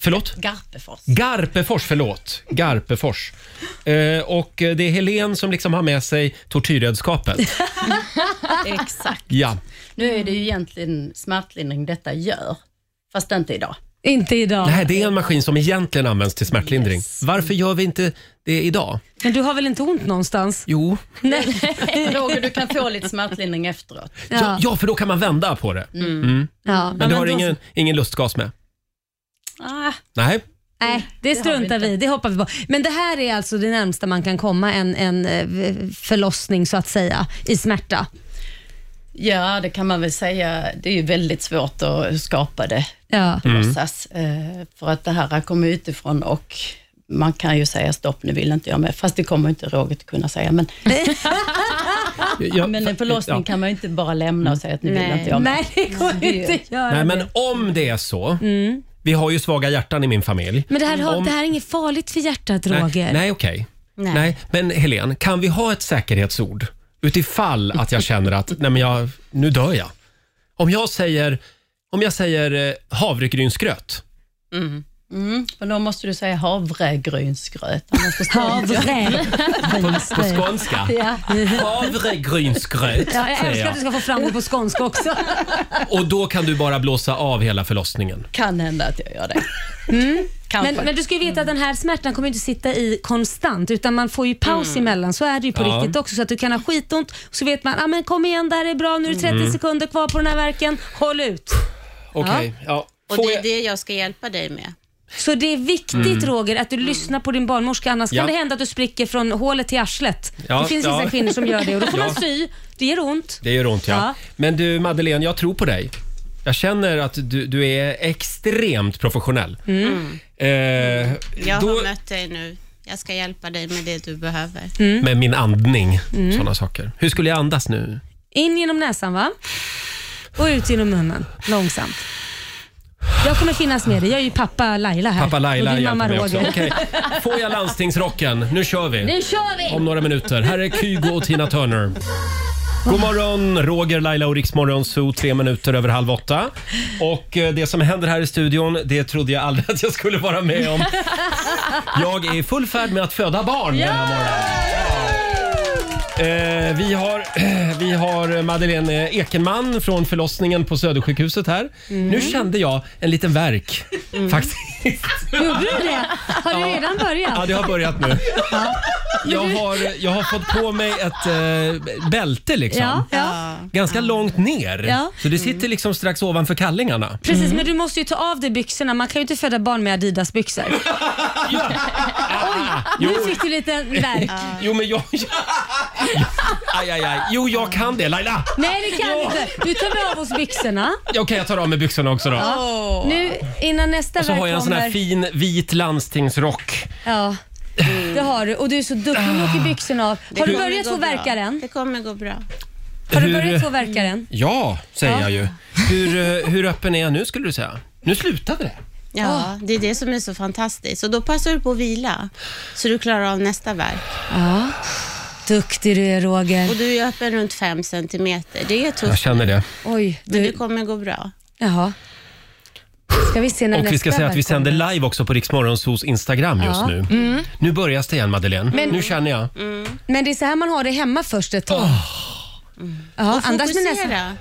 Speaker 1: Förlåt?
Speaker 9: Garpefors.
Speaker 1: Garpefors, förlåt. Garpefors. Eh, och eh, det är Helen som liksom har med sig
Speaker 10: <laughs>
Speaker 1: tortyrredskapet.
Speaker 11: Exakt.
Speaker 1: Ja.
Speaker 11: Nu är det ju egentligen smärtlindring detta gör, fast inte idag.
Speaker 2: Inte idag.
Speaker 1: Nej, det är en maskin som egentligen används till smärtlindring. Varför gör vi inte det idag?
Speaker 2: Men du har väl inte ont någonstans?
Speaker 1: Jo,
Speaker 11: Roger, du kan få lite smärtlindring efteråt.
Speaker 1: Ja. Ja, för då kan man vända på det. Mm.
Speaker 2: Ja,
Speaker 1: Men du har
Speaker 2: då-
Speaker 1: ingen, ingen lustgas med?
Speaker 10: Ah,
Speaker 1: Nej.
Speaker 2: Nej, det struntar vi i. Det hoppar vi på. Men det här är alltså det närmsta man kan komma en, en eh, förlossning så att säga, i smärta.
Speaker 11: Ja, det kan man väl säga. Det är ju väldigt svårt att skapa det,
Speaker 2: Ja.
Speaker 1: Mm.
Speaker 11: låtsas. Eh, För att det här kommer utifrån och man kan ju säga stopp, nu vill inte jag med. Fast det kommer inte Roger att kunna säga. Men
Speaker 1: Ja,
Speaker 11: men
Speaker 1: för-
Speaker 11: en förlossning
Speaker 1: ja.
Speaker 11: kan man ju inte bara lämna och säga att nu vill inte jag.
Speaker 2: Nej, det går inte att göra.
Speaker 1: Nej, men om det är så. Vi har ju svaga hjärtan i min familj.
Speaker 2: Men det här, har,
Speaker 1: Mm, Om-
Speaker 2: det här är inget farligt för hjärtat,
Speaker 1: Nej,
Speaker 2: Roger.
Speaker 1: nej okej.
Speaker 2: Nej.
Speaker 1: Nej. Men Helen, kan vi ha ett säkerhetsord utifall att jag känner att nej, men jag, nu dör jag? Om jag säger, om jag säger eh, havregrynsgröt.
Speaker 11: Mm. Mm, för då måste du säga havregrynsgröt. annars förstår inte jag.
Speaker 2: Havre.
Speaker 1: På, på skånska.
Speaker 2: Ja.
Speaker 1: Havregrynsgröt,
Speaker 2: <laughs> Ja, jag
Speaker 1: säger
Speaker 2: älskar att du ska
Speaker 1: jag.
Speaker 2: få fram det på skånska också.
Speaker 1: Och då kan du bara blåsa av hela förlossningen.
Speaker 11: Kan hända att jag gör det.
Speaker 2: Mm.
Speaker 11: Kanske.
Speaker 2: Men, men du ska ju veta att den här smärtan kommer ju inte sitta i konstant utan man får ju paus
Speaker 11: Mm.
Speaker 2: emellan. Så är det ju på
Speaker 1: Ja.
Speaker 2: riktigt också. Så att du kan ha skitont och så vet man, ah, men kom igen det här är bra, nu är det 30
Speaker 9: Mm.
Speaker 2: sekunder kvar på den här verken. håll ut.
Speaker 1: Okej, ja.
Speaker 9: Och det är det jag ska hjälpa dig med.
Speaker 2: Så det är viktigt
Speaker 1: Mm.
Speaker 2: Roger att du lyssnar på din barnmorska annars
Speaker 1: Ja.
Speaker 2: kan det hända att du spricker från hålet till arslet.
Speaker 1: Ja,
Speaker 2: det finns
Speaker 1: ja.
Speaker 2: vissa kvinnor som gör det och då får
Speaker 1: Ja.
Speaker 2: man sy. Det gör ont.
Speaker 1: Det gör ont ja.
Speaker 2: Ja.
Speaker 1: Men du Madeleine, jag tror på dig. Jag känner att du, du är extremt professionell.
Speaker 9: Mm.
Speaker 1: Eh,
Speaker 9: Jag
Speaker 1: då-
Speaker 9: har mött dig nu. Jag ska hjälpa dig med det du behöver.
Speaker 1: Med min andning,
Speaker 2: Mm.
Speaker 1: sådana saker. Hur skulle jag andas nu?
Speaker 2: In genom näsan va? Och ut genom munnen, långsamt. Jag kommer finnas med dig. Jag är ju pappa Laila här.
Speaker 1: Pappa Laila
Speaker 2: och din mamma
Speaker 1: hjälper mig också.
Speaker 2: Roger.
Speaker 1: Okej, Får jag landstingsrocken? Nu kör vi.
Speaker 2: Nu kör vi!
Speaker 1: Om några minuter. Här är Kygo och Tina Turner. God morgon, Roger, Laila och Riksmorgon Zoo, tre minuter över halv åtta. Och eh, det som händer här i studion, det trodde jag aldrig <laughs> att jag skulle vara med om. Jag är i full färd med att föda barn denna morgon. Eh, vi, har, <clears throat> vi har Madeleine Ekenman från förlossningen på Södersjukhuset här.
Speaker 2: Mm.
Speaker 1: Nu kände jag en liten verk. faktiskt.
Speaker 2: Gjorde du det? Har du redan börjat?
Speaker 1: Ja, det har börjat nu. Jag har, jag har fått på mig ett eh, bälte liksom.
Speaker 2: Ja, ja.
Speaker 1: Ganska långt ner.
Speaker 2: Ja.
Speaker 1: Så det sitter liksom strax ovanför kallingarna.
Speaker 2: Precis, men du måste ju ta av dig byxorna. Man kan ju inte föda barn med Adidas-byxor. Oj, nu
Speaker 1: Jo.
Speaker 2: fick du lite värk.
Speaker 1: Jo, men jag... Aj, aj, aj. Jo, jag kan det. Laila!
Speaker 2: Nej, det kan du inte. Du tar av oss byxorna.
Speaker 1: Okej, jag tar av mig byxorna också då.
Speaker 2: Ja. Nu, innan nästa
Speaker 1: Och så
Speaker 2: värk
Speaker 1: har jag en sån här
Speaker 2: kommer.
Speaker 1: fin vit landstingsrock.
Speaker 2: Ja, det har du. Och du är så duktig. Nu
Speaker 1: Ah.
Speaker 2: åker byxorna av. Har du börjat få värkar än?
Speaker 9: Det kommer gå bra.
Speaker 2: Har du
Speaker 1: Hur-
Speaker 2: börjat få värkar än?
Speaker 1: Ja, säger
Speaker 2: Ja.
Speaker 1: jag ju. Hur, eh, hur öppen är jag nu skulle du säga? Nu slutade det.
Speaker 9: Ja, det är det som är så fantastiskt. Och då passar du på att vila, så du klarar av nästa värk.
Speaker 2: Ja. Duktig du är Roger.
Speaker 9: Och du är öppen runt 5 centimeter. Det är tufft.
Speaker 1: Jag känner det.
Speaker 2: Oj,
Speaker 9: Men det kommer gå bra.
Speaker 2: Jaha. Ska vi se när
Speaker 1: Och vi ska
Speaker 2: nästa
Speaker 1: säga att vi
Speaker 2: värk kommer?
Speaker 1: sänder live också på Riksmorgonsos Instagram just
Speaker 2: Ja.
Speaker 1: nu.
Speaker 2: Mm.
Speaker 1: Nu börjar det igen Madeleine.
Speaker 2: Men-
Speaker 1: Nu känner jag.
Speaker 2: Men det är så här man har det hemma först ett tag. Ja,
Speaker 9: och
Speaker 2: andas med
Speaker 9: fokusera.
Speaker 2: näsan.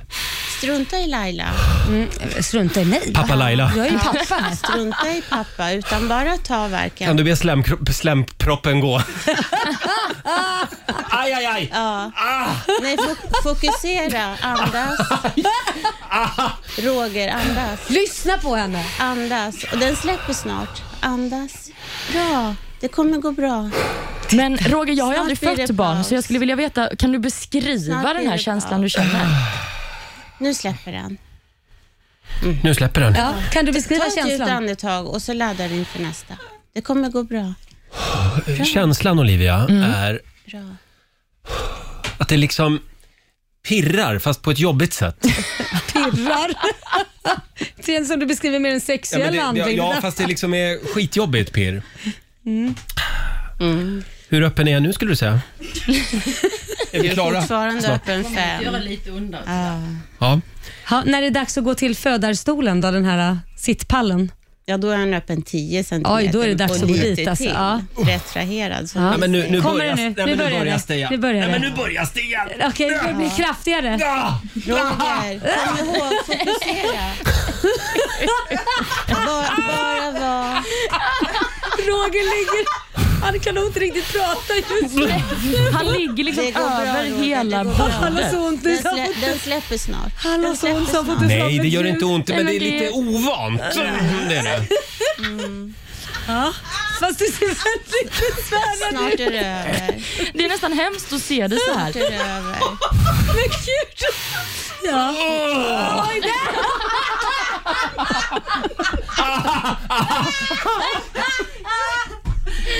Speaker 9: Strunta i Laila.
Speaker 2: Mm, strunta i mig.
Speaker 1: Pappa Laila.
Speaker 2: Jag är ju
Speaker 9: Ja,
Speaker 2: pappa. här.
Speaker 9: Strunta i pappa, utan bara ta verken.
Speaker 1: Kan du be slämkro- slämproppen gå? aj, aj, aj.
Speaker 9: Ja. Nej, fo- fokusera. Andas. Roger, andas.
Speaker 2: Lyssna på henne.
Speaker 9: Andas. Och den släpper snart. Andas. Bra. Det kommer gå bra.
Speaker 3: Men Roger, jag har ju
Speaker 9: Snart
Speaker 3: aldrig
Speaker 9: blir
Speaker 3: fött
Speaker 9: det
Speaker 3: barn
Speaker 9: paus.
Speaker 3: så jag skulle vilja veta, kan du beskriva
Speaker 9: Snart
Speaker 3: den
Speaker 9: blir
Speaker 3: här
Speaker 9: det
Speaker 3: känslan
Speaker 9: paus.
Speaker 3: du känner?
Speaker 9: Nu släpper den.
Speaker 1: Nu släpper den.
Speaker 2: Kan du beskriva
Speaker 9: Ta ett djupt
Speaker 2: känslan?
Speaker 9: andetag och så laddar du inför nästa. Det kommer gå bra.
Speaker 1: Känslan Olivia är
Speaker 9: Bra.
Speaker 1: att det liksom pirrar fast på ett jobbigt sätt.
Speaker 9: <laughs>
Speaker 2: Pirrar. Det är en som du beskriver mer en sexuell
Speaker 1: men det,
Speaker 2: andning.
Speaker 1: ja, fast det liksom är skitjobbigt pirr. Hur öppen är jag nu skulle du säga? Är vi klara?
Speaker 9: Fortfarande
Speaker 1: Snart.
Speaker 9: öppen fem.
Speaker 11: Göra lite undan.
Speaker 1: Ja.
Speaker 2: Ja, när det är dags att gå till födarstolen då, den här äh, sittpallen.
Speaker 9: Ja, då är han öppen 10 centimeter.
Speaker 2: Oj, då är det dags
Speaker 9: och
Speaker 2: att gå
Speaker 9: lite
Speaker 2: dit, alltså.
Speaker 9: till.
Speaker 2: Ja.
Speaker 9: Retraherad. som
Speaker 2: Ja.
Speaker 9: vi
Speaker 1: Nej, men nu, nu
Speaker 9: säger.
Speaker 2: Kommer
Speaker 1: börjar,
Speaker 2: det
Speaker 1: Nej, men
Speaker 2: nu? Nu
Speaker 1: nu börjar det igen.
Speaker 2: börjar det. Nu börjar
Speaker 1: Nej, men
Speaker 2: det.
Speaker 1: nu börjar det igen.
Speaker 2: Okej, det blir kraftigare.
Speaker 1: Ja.
Speaker 9: Roger, kom ihåg,
Speaker 2: <laughs>
Speaker 9: fokusera. Bara, bara vara.
Speaker 2: Roger ligger... Han kan nog inte riktigt prata
Speaker 1: <laughs>
Speaker 2: just nu.
Speaker 3: Han ligger liksom
Speaker 9: Det går bra,
Speaker 3: över
Speaker 9: Roger,
Speaker 3: hela
Speaker 9: det går bra.
Speaker 2: Han har
Speaker 3: bordet.
Speaker 2: så ont.
Speaker 9: Den,
Speaker 2: i-
Speaker 9: slä, den släpper snart.
Speaker 2: Han har
Speaker 9: Den
Speaker 2: så ont.
Speaker 9: släpper
Speaker 2: så han får
Speaker 9: snart.
Speaker 2: inte
Speaker 1: Nej,
Speaker 2: slappna
Speaker 1: det gör
Speaker 2: till.
Speaker 1: inte ont, men
Speaker 3: men
Speaker 1: det är
Speaker 3: det-
Speaker 1: lite ovant. Mm, Det är det.
Speaker 2: Ja, fast det ser väldigt besvärande ut.
Speaker 9: Snart är det över.
Speaker 3: Det är nästan hemskt att se det så här.
Speaker 9: Snart är det över.
Speaker 2: Men gud! Ja. Oj, där!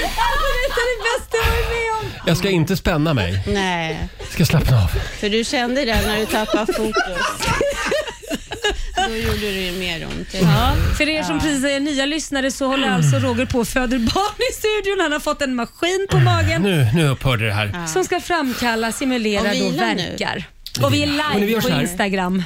Speaker 2: Alltså, detta är det bästa jag varit med om.
Speaker 1: Jag ska inte spänna mig.
Speaker 9: Nej,
Speaker 1: Jag ska slappna av.
Speaker 9: för du kände det när du tappade
Speaker 2: <laughs>
Speaker 9: fokus. Då gjorde det ju mer ont.
Speaker 2: Ja, för er som precis är nya lyssnare så
Speaker 1: Mm.
Speaker 2: håller alltså Roger på och föder barn i studion. Han har fått en maskin på magen
Speaker 1: Nu, nu upphörde det här.
Speaker 2: som ska framkalla, simulera
Speaker 9: Och
Speaker 2: då
Speaker 9: vila nu.
Speaker 2: verkar. Och vi är
Speaker 1: Men vi
Speaker 2: live
Speaker 1: gör så
Speaker 2: på
Speaker 1: här.
Speaker 2: Instagram.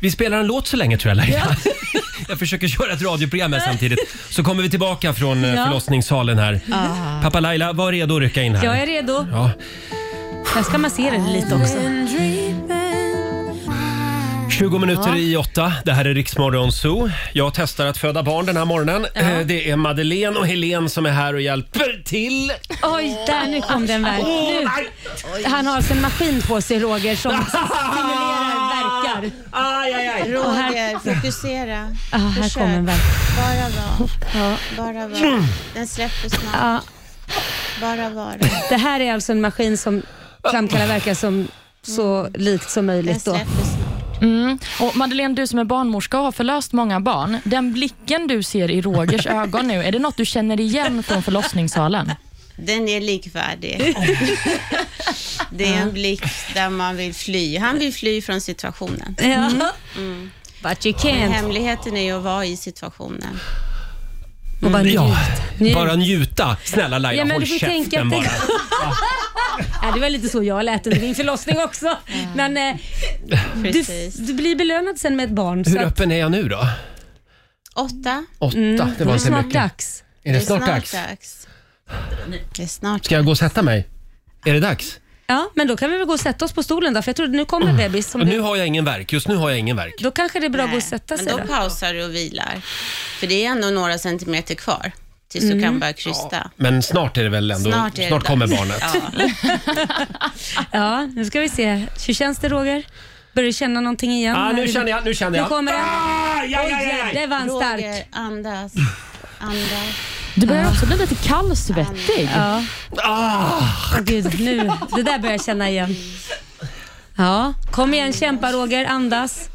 Speaker 1: Vi spelar en låt så länge tror jag Laila. <laughs> Jag försöker köra ett radioprogram här samtidigt. Så kommer vi tillbaka från eh,
Speaker 2: Ja.
Speaker 1: förlossningssalen här.
Speaker 2: Ah.
Speaker 1: Pappa Laila, var redo att rycka in här.
Speaker 2: Jag är redo.
Speaker 1: Ja.
Speaker 2: Där ska man se den lite också.
Speaker 1: Mm. 20 minuter
Speaker 2: Ja.
Speaker 1: i åtta. Det här är Riksmorgon Zoo. Jag testar att föda barn den här morgonen. Eh, Det är Madeleine och Helene som är här och hjälper till.
Speaker 2: Oj, där nu kom den verk. Nu. Han har alltså en maskin på sig
Speaker 1: <laughs>
Speaker 2: Roger som stimulerar verkar.
Speaker 9: Aj, aj, aj.
Speaker 2: Och
Speaker 9: Roger,
Speaker 2: här-
Speaker 9: fokusera.
Speaker 2: Ah, här
Speaker 9: Försök.
Speaker 2: kom en verk.
Speaker 9: Bara vara.
Speaker 2: Ja. Mm.
Speaker 9: Bara vara. Den släpper snart. Bara vara.
Speaker 2: Det här är alltså en maskin som framkallar verkar som
Speaker 9: Mm.
Speaker 2: så likt som möjligt. Då.
Speaker 3: Mm. Och Madeleine, du som är barnmorska och har förlöst många barn. Den blicken du ser i Rogers ögon nu, är det något du känner igen från förlossningssalen?
Speaker 9: Den är
Speaker 2: <laughs>
Speaker 9: likvärdig. Det är en blick där man vill fly. Han vill fly från situationen.
Speaker 2: Ja.
Speaker 9: Mm.
Speaker 2: But you
Speaker 9: Men
Speaker 2: can't.
Speaker 9: Hemligheten är ju att vara i situationen.
Speaker 2: Och bara
Speaker 1: Mm. ja,
Speaker 2: njut.
Speaker 1: bara njuta. Snälla Laila,
Speaker 2: Ja, men
Speaker 1: håll
Speaker 2: du får
Speaker 1: käften
Speaker 2: tänka att det-
Speaker 1: bara.
Speaker 2: Ja, det var lite så jag lät under min förlossning också. Men eh, du,
Speaker 9: Mm. Precis.
Speaker 2: du blir belönad sen med ett barn.
Speaker 1: Hur
Speaker 2: så att-
Speaker 1: öppen är jag nu då?
Speaker 9: Åtta.
Speaker 1: Åtta, det
Speaker 2: Mm, är
Speaker 1: var inte
Speaker 2: snart
Speaker 1: mycket.
Speaker 2: dags.
Speaker 1: Är det snart dags?
Speaker 9: Det är snart
Speaker 1: Ska jag gå och sätta mig? Är det dags?
Speaker 2: Ja, men då kan vi väl gå och sätta oss på stolen då, för jag trodde nu kommer bebis. Som
Speaker 1: Mm. Nu
Speaker 2: du,
Speaker 1: har jag ingen verk. Just nu har jag ingen verk.
Speaker 2: då kanske det är bra att gå och sätta sig
Speaker 9: Men då,
Speaker 2: då.
Speaker 9: pausar du och vilar. För det är ändå några centimeter kvar tills
Speaker 2: Mm.
Speaker 9: du kan börja krysta.
Speaker 1: Men snart är det väl ändå... Snart,
Speaker 9: Snart är det
Speaker 1: kommer
Speaker 9: dags.
Speaker 1: barnet.
Speaker 2: Ja, nu ska vi se. Hur känns det Roger? Börjar du känna någonting igen?
Speaker 1: Ah,
Speaker 2: här
Speaker 1: nu
Speaker 2: i-
Speaker 1: känner jag, nu känner
Speaker 2: Nu
Speaker 1: jag. Ah,
Speaker 2: kommer den.
Speaker 1: Aj, aj, aj, aj.
Speaker 2: Oj, det var en stark.
Speaker 9: Roger, andas. Andas.
Speaker 3: Du börjar också bli lite kallsvettig.
Speaker 2: Ja.
Speaker 1: Ah.
Speaker 2: Åh, gud, nu. Det där börjar jag känna igen. Ja, kom igen kämpa Roger, andas.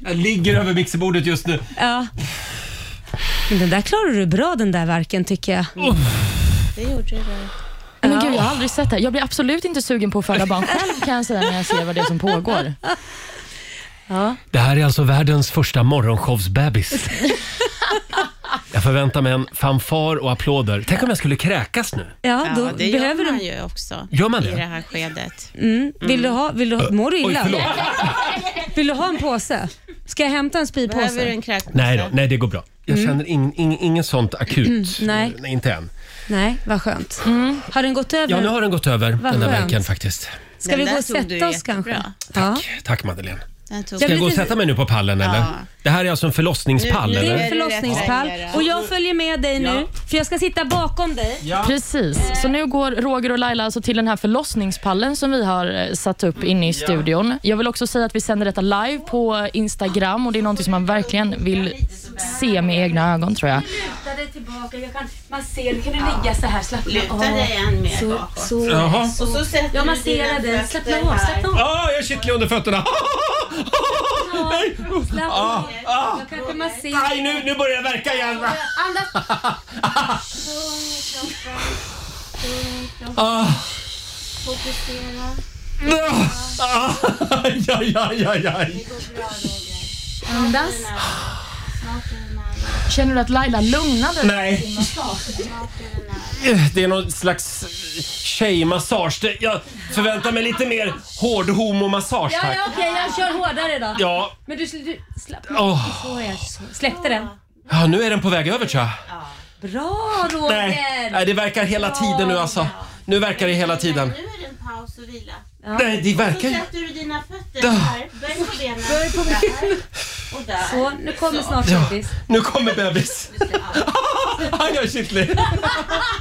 Speaker 1: Jag ligger över mixerbordet just nu.
Speaker 2: Ja. Men den där klarar du bra den där verken tycker jag.
Speaker 9: Det gjorde du.
Speaker 3: Nej, Men gud, jag har aldrig sett det här. Jag blir absolut inte sugen på att föda barn själv kan jag säga när jag ser vad det är som pågår.
Speaker 2: Ja.
Speaker 1: Det här är alltså världens första
Speaker 2: <laughs>
Speaker 1: morgonshowsbebis. Jag förväntar mig en fanfar och applåder. Tänk om jag skulle kräkas nu.
Speaker 2: Ja, då
Speaker 9: det gör
Speaker 2: behöver
Speaker 9: man
Speaker 2: du-
Speaker 9: ju också.
Speaker 1: Gör man det?
Speaker 9: I det här skedet.
Speaker 2: Mm. Vill du ha, vill du ha, mår du
Speaker 1: Oj,
Speaker 2: illa?
Speaker 1: förlåt.
Speaker 2: <laughs> vill du ha en påse? Ska jag hämta en spypåse?
Speaker 9: Behöver du en kräkpåse?
Speaker 1: Nej då, nej det går bra. Jag
Speaker 2: Mm.
Speaker 1: känner ingen, ingen, ingen sånt akut.
Speaker 2: Nej.
Speaker 1: Nej, Inte än.
Speaker 2: Nej, vad skönt.
Speaker 9: Mm.
Speaker 2: Har den gått över?
Speaker 1: Ja, nu har den gått över,
Speaker 2: Vad
Speaker 1: den där
Speaker 2: skönt.
Speaker 1: värken faktiskt.
Speaker 2: Ska
Speaker 9: Den
Speaker 2: vi
Speaker 9: där
Speaker 2: gå och
Speaker 9: tog du
Speaker 2: sätta oss
Speaker 9: jättebra.
Speaker 2: kanske? Ja.
Speaker 1: Tack Madeleine.
Speaker 9: Den tog-
Speaker 1: Ska jag gå och sätta mig nu på pallen eller?
Speaker 9: Ja.
Speaker 1: Det här är alltså en förlossningspall
Speaker 2: Det är
Speaker 1: eller?
Speaker 2: en förlossningspall
Speaker 9: Ja.
Speaker 2: och jag följer med dig nu för jag ska sitta bakom dig.
Speaker 3: Precis. Så nu går Roger och Laila alltså till den här förlossningspallen som vi har eh, satt upp inne i studion. Jag vill också säga att vi sänder detta live på Instagram och det är någonting som man verkligen vill se med egna ögon tror jag.
Speaker 2: Luta dig tillbaka, jag kan, man ser, du kan du ligga så här, slappna
Speaker 9: Luta dig än mer
Speaker 2: så,
Speaker 9: bakåt.
Speaker 2: Så,
Speaker 1: Jaha.
Speaker 2: så.
Speaker 9: Och så sätter
Speaker 2: jag
Speaker 9: du
Speaker 2: masserar
Speaker 9: dina
Speaker 2: dig,
Speaker 9: fötter
Speaker 2: slappna av,
Speaker 9: här.
Speaker 2: slappna av.
Speaker 1: Ah, jag är kittlig under fötterna! <laughs> Nej!
Speaker 2: Slappna
Speaker 1: Ah,
Speaker 2: av.
Speaker 1: ah.
Speaker 2: Jag kanske masserar.
Speaker 1: Nej, nu, nu börjar det verka igen!
Speaker 2: Andas.
Speaker 1: Ah.
Speaker 9: Fokusera.
Speaker 1: Ah. Aj, aj, aj, aj, aj.
Speaker 2: Andas.
Speaker 3: Känner du att Laila lugnade dig?
Speaker 1: Nej. Det är någon slags tjejmassage. Det- Jag förväntar mig lite mer hård homomassage
Speaker 2: Ja,
Speaker 1: tack.
Speaker 2: ja okej, jag kör hårdare då.
Speaker 1: Ja.
Speaker 2: Men du, du slappna av.
Speaker 1: Åh.
Speaker 2: Så jag så. Släppte den.
Speaker 1: ja, nu är den på väg över tror jag.
Speaker 2: Bra Roger!
Speaker 1: Nej, Nej det verkar hela tiden nu alltså. Nu verkar det hela tiden.
Speaker 9: Nu är det en paus och vila.
Speaker 1: Nej, det
Speaker 9: Så
Speaker 1: verkar ju...
Speaker 9: sätter du dina fötter
Speaker 1: Där.
Speaker 9: här. Böj på benen.
Speaker 2: Böj på
Speaker 9: Där och där.
Speaker 2: Så, nu kommer snart
Speaker 1: Ja.
Speaker 2: bebis.
Speaker 1: Nu kommer
Speaker 2: <laughs>
Speaker 1: bebis. Aj, jag är kittlig.
Speaker 9: Nej,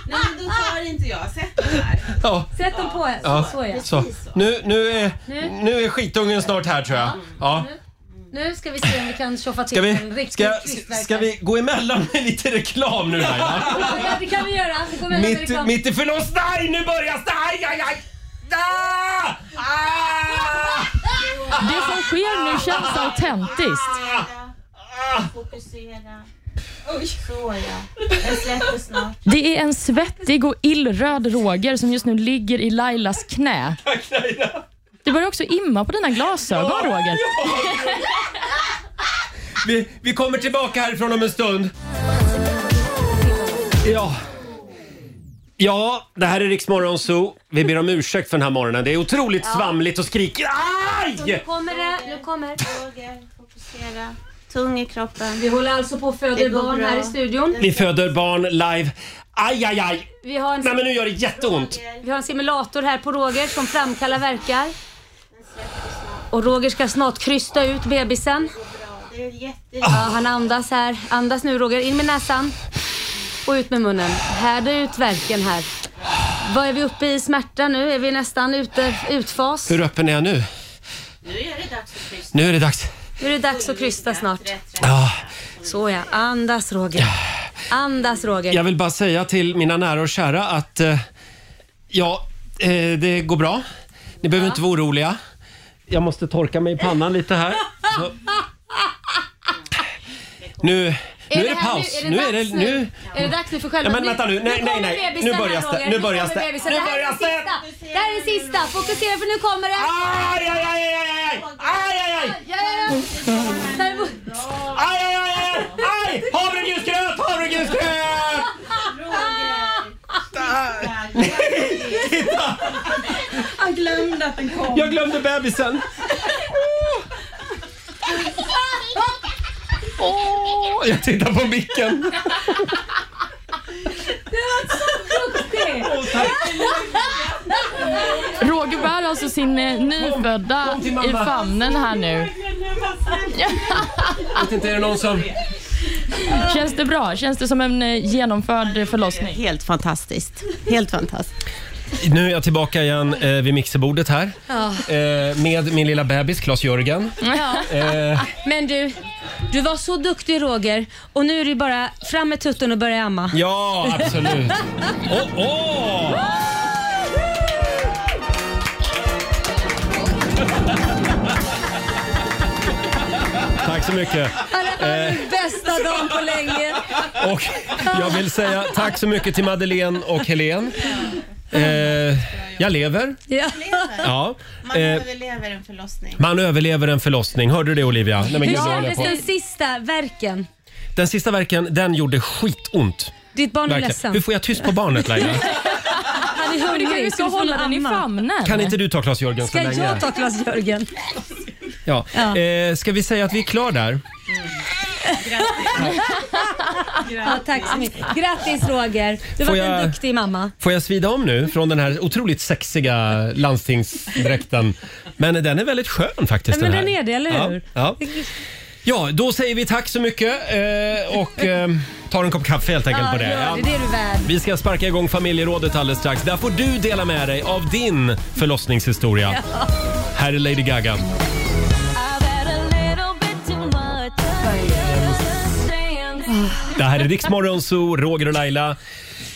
Speaker 9: men då tar inte jag. Sätt dig här.
Speaker 1: Ja.
Speaker 2: Sätt dem på. Så,
Speaker 1: Ja.
Speaker 2: så ja.
Speaker 1: Så. Nu, nu, är,
Speaker 2: Nu.
Speaker 1: nu är skitungen snart här tror jag. Ja.
Speaker 2: Nu ska vi se om vi kan tjoffa till
Speaker 1: Ska,
Speaker 2: en
Speaker 1: vi,
Speaker 2: riktig
Speaker 1: ska, ska-
Speaker 2: twistverkan.
Speaker 1: ska vi gå emellan med lite reklam nu Laila?
Speaker 2: <laughs> Ja, det kan vi göra. Vi går med en
Speaker 1: Mitt,
Speaker 2: reklam.
Speaker 1: mitt i förloss... Nej, nu börjar det! Aj, aj, aj! Ah! Ah! Ah!
Speaker 3: Det som sker nu känns autentiskt.
Speaker 9: Fokusera. Så ja. Den släpper snart.
Speaker 3: Det är en svettig och illröd Roger som just nu ligger i Lailas knä.
Speaker 4: Tack Laila!
Speaker 3: Det börjar också imma på dina glasögon, Roger.
Speaker 1: Vi, vi kommer tillbaka härifrån om en stund. Ja. Ja, det här är Rix Morgon Zoo. Vi ber om ursäkt för den här morgonen. Det är otroligt
Speaker 9: Ja.
Speaker 1: svamligt och skrikigt.
Speaker 9: Så Nu kommer det, nu kommer Roger. Fokusera. Tung i kroppen.
Speaker 2: Vi håller alltså på att föda
Speaker 9: Det går
Speaker 2: barn
Speaker 9: bra.
Speaker 2: här i studion.
Speaker 1: Vi föder barn live. Aj, aj, aj!
Speaker 2: Vi har en,
Speaker 1: Nej men nu gör det jätteont.
Speaker 2: vi har en simulator här på Roger som framkallar verkar. Och Roger ska snart krysta ut bebisen. Ja, han andas här. Andas nu Roger. In med näsan. Och ut med munnen. Härda ut verken här. Vad är vi uppe i smärta nu? Är vi nästan ute, utfas?
Speaker 1: Hur öppen är jag nu?
Speaker 9: Nu är det dags att krysta.
Speaker 1: Nu är det dags.
Speaker 2: Nu är det dags att krysta snart.
Speaker 1: Ja.
Speaker 2: Så ja, andas Roger. Andas Roger.
Speaker 1: Jag vill bara säga till mina nära och kära att eh, ja, eh, det går bra. Ni behöver inte vara oroliga. Jag måste torka mig i pannan lite här. Så. Nu, nu är det,
Speaker 2: här
Speaker 1: paus.
Speaker 2: Nu, är
Speaker 1: nu.
Speaker 2: det dags nu? Är det dags nu för själva...
Speaker 1: Ja, men vänta nu. Nej, nej, nej.
Speaker 2: kommer
Speaker 1: Nu
Speaker 2: bebisen
Speaker 1: börjar
Speaker 2: här,
Speaker 1: det.
Speaker 2: Roger.
Speaker 1: Nu börjar
Speaker 2: kommer
Speaker 1: det.
Speaker 2: bebisen.
Speaker 1: Nu
Speaker 2: Det här är
Speaker 1: börjar Ah!
Speaker 2: den sista. Det här är den sista. Fokusera för nu kommer det.
Speaker 1: Aj, aj, aj, aj, aj, aj. Aj, aj, aj. Aj, aj, aj, aj, aj. Havregrynsgröt, havregrynsgröt. Titta!
Speaker 7: Han glömde att den kom.
Speaker 1: Jag glömde bebisen. Åh, jag tittar på micken.
Speaker 7: Du var så duktig!
Speaker 3: Roger bär alltså sin eh, nyfödda
Speaker 7: kom till
Speaker 1: mamma.
Speaker 3: i famnen här nu.
Speaker 1: Jag vet inte, är det någon som...
Speaker 3: Känns det bra? Känns det som en eh, genomförd förlossning?
Speaker 9: Helt fantastiskt. Helt fantastiskt.
Speaker 1: Nu är jag tillbaka igen eh, vid mixerbordet här.
Speaker 2: Ja.
Speaker 1: Eh, med min lilla bebis Klas-Jörgen. Eh,
Speaker 2: Men du, du var så duktig Roger och nu är det bara fram med tutten och börja amma.
Speaker 1: ja, absolut. Åh, åh! Tack så mycket. Eh,
Speaker 2: <laughs> Bästa dagen på länge.
Speaker 1: Och jag vill säga tack så mycket till Madeleine och Helen. Eh, jag lever.
Speaker 2: Ja.
Speaker 1: Ja.
Speaker 9: Man
Speaker 1: Eh,
Speaker 9: överlever en förlossning.
Speaker 1: Man överlever en förlossning. Hörde du det Olivia? Nej, men gud,
Speaker 2: Hur
Speaker 1: jag håller
Speaker 2: kändes
Speaker 1: på.
Speaker 2: den sista verken?
Speaker 1: Den sista verken, den gjorde skitont.
Speaker 2: Ditt barn är
Speaker 1: Verkligen.
Speaker 2: ledsen.
Speaker 1: Hur får jag tyst på barnet
Speaker 2: <laughs>
Speaker 1: Laila?
Speaker 2: Han är
Speaker 3: Men du
Speaker 2: hungrig.
Speaker 3: kanske ska
Speaker 2: du får
Speaker 3: hålla den i
Speaker 2: amma?
Speaker 3: famnen?
Speaker 1: Kan inte du ta Klas-Jörgen så
Speaker 2: Ska
Speaker 1: länge?
Speaker 2: jag ta Klas-Jörgen?
Speaker 1: Ja.
Speaker 2: Ja.
Speaker 1: Eh, ska vi säga att vi är klara där?
Speaker 2: ja, tack så mycket. Grattis Roger. Du
Speaker 1: Får
Speaker 2: var
Speaker 1: jag-
Speaker 2: en duktig mamma.
Speaker 1: Får jag svida om nu från den här otroligt sexiga landstingsdräkten? Men den är väldigt skön faktiskt.
Speaker 2: Ja, men
Speaker 1: här.
Speaker 2: den är det, eller hur?
Speaker 1: Ja, ja. ja, då säger vi tack så mycket eh, och eh, tar en kopp kaffe helt enkelt på det.
Speaker 2: gör
Speaker 1: Ja.
Speaker 2: det. Det är du värd.
Speaker 1: Vi ska sparka igång familjerådet alldeles strax. Där får du dela med dig av din förlossningshistoria. Här är Lady Gaga. Det här är Riksmorgon Zoo, Roger och Laila.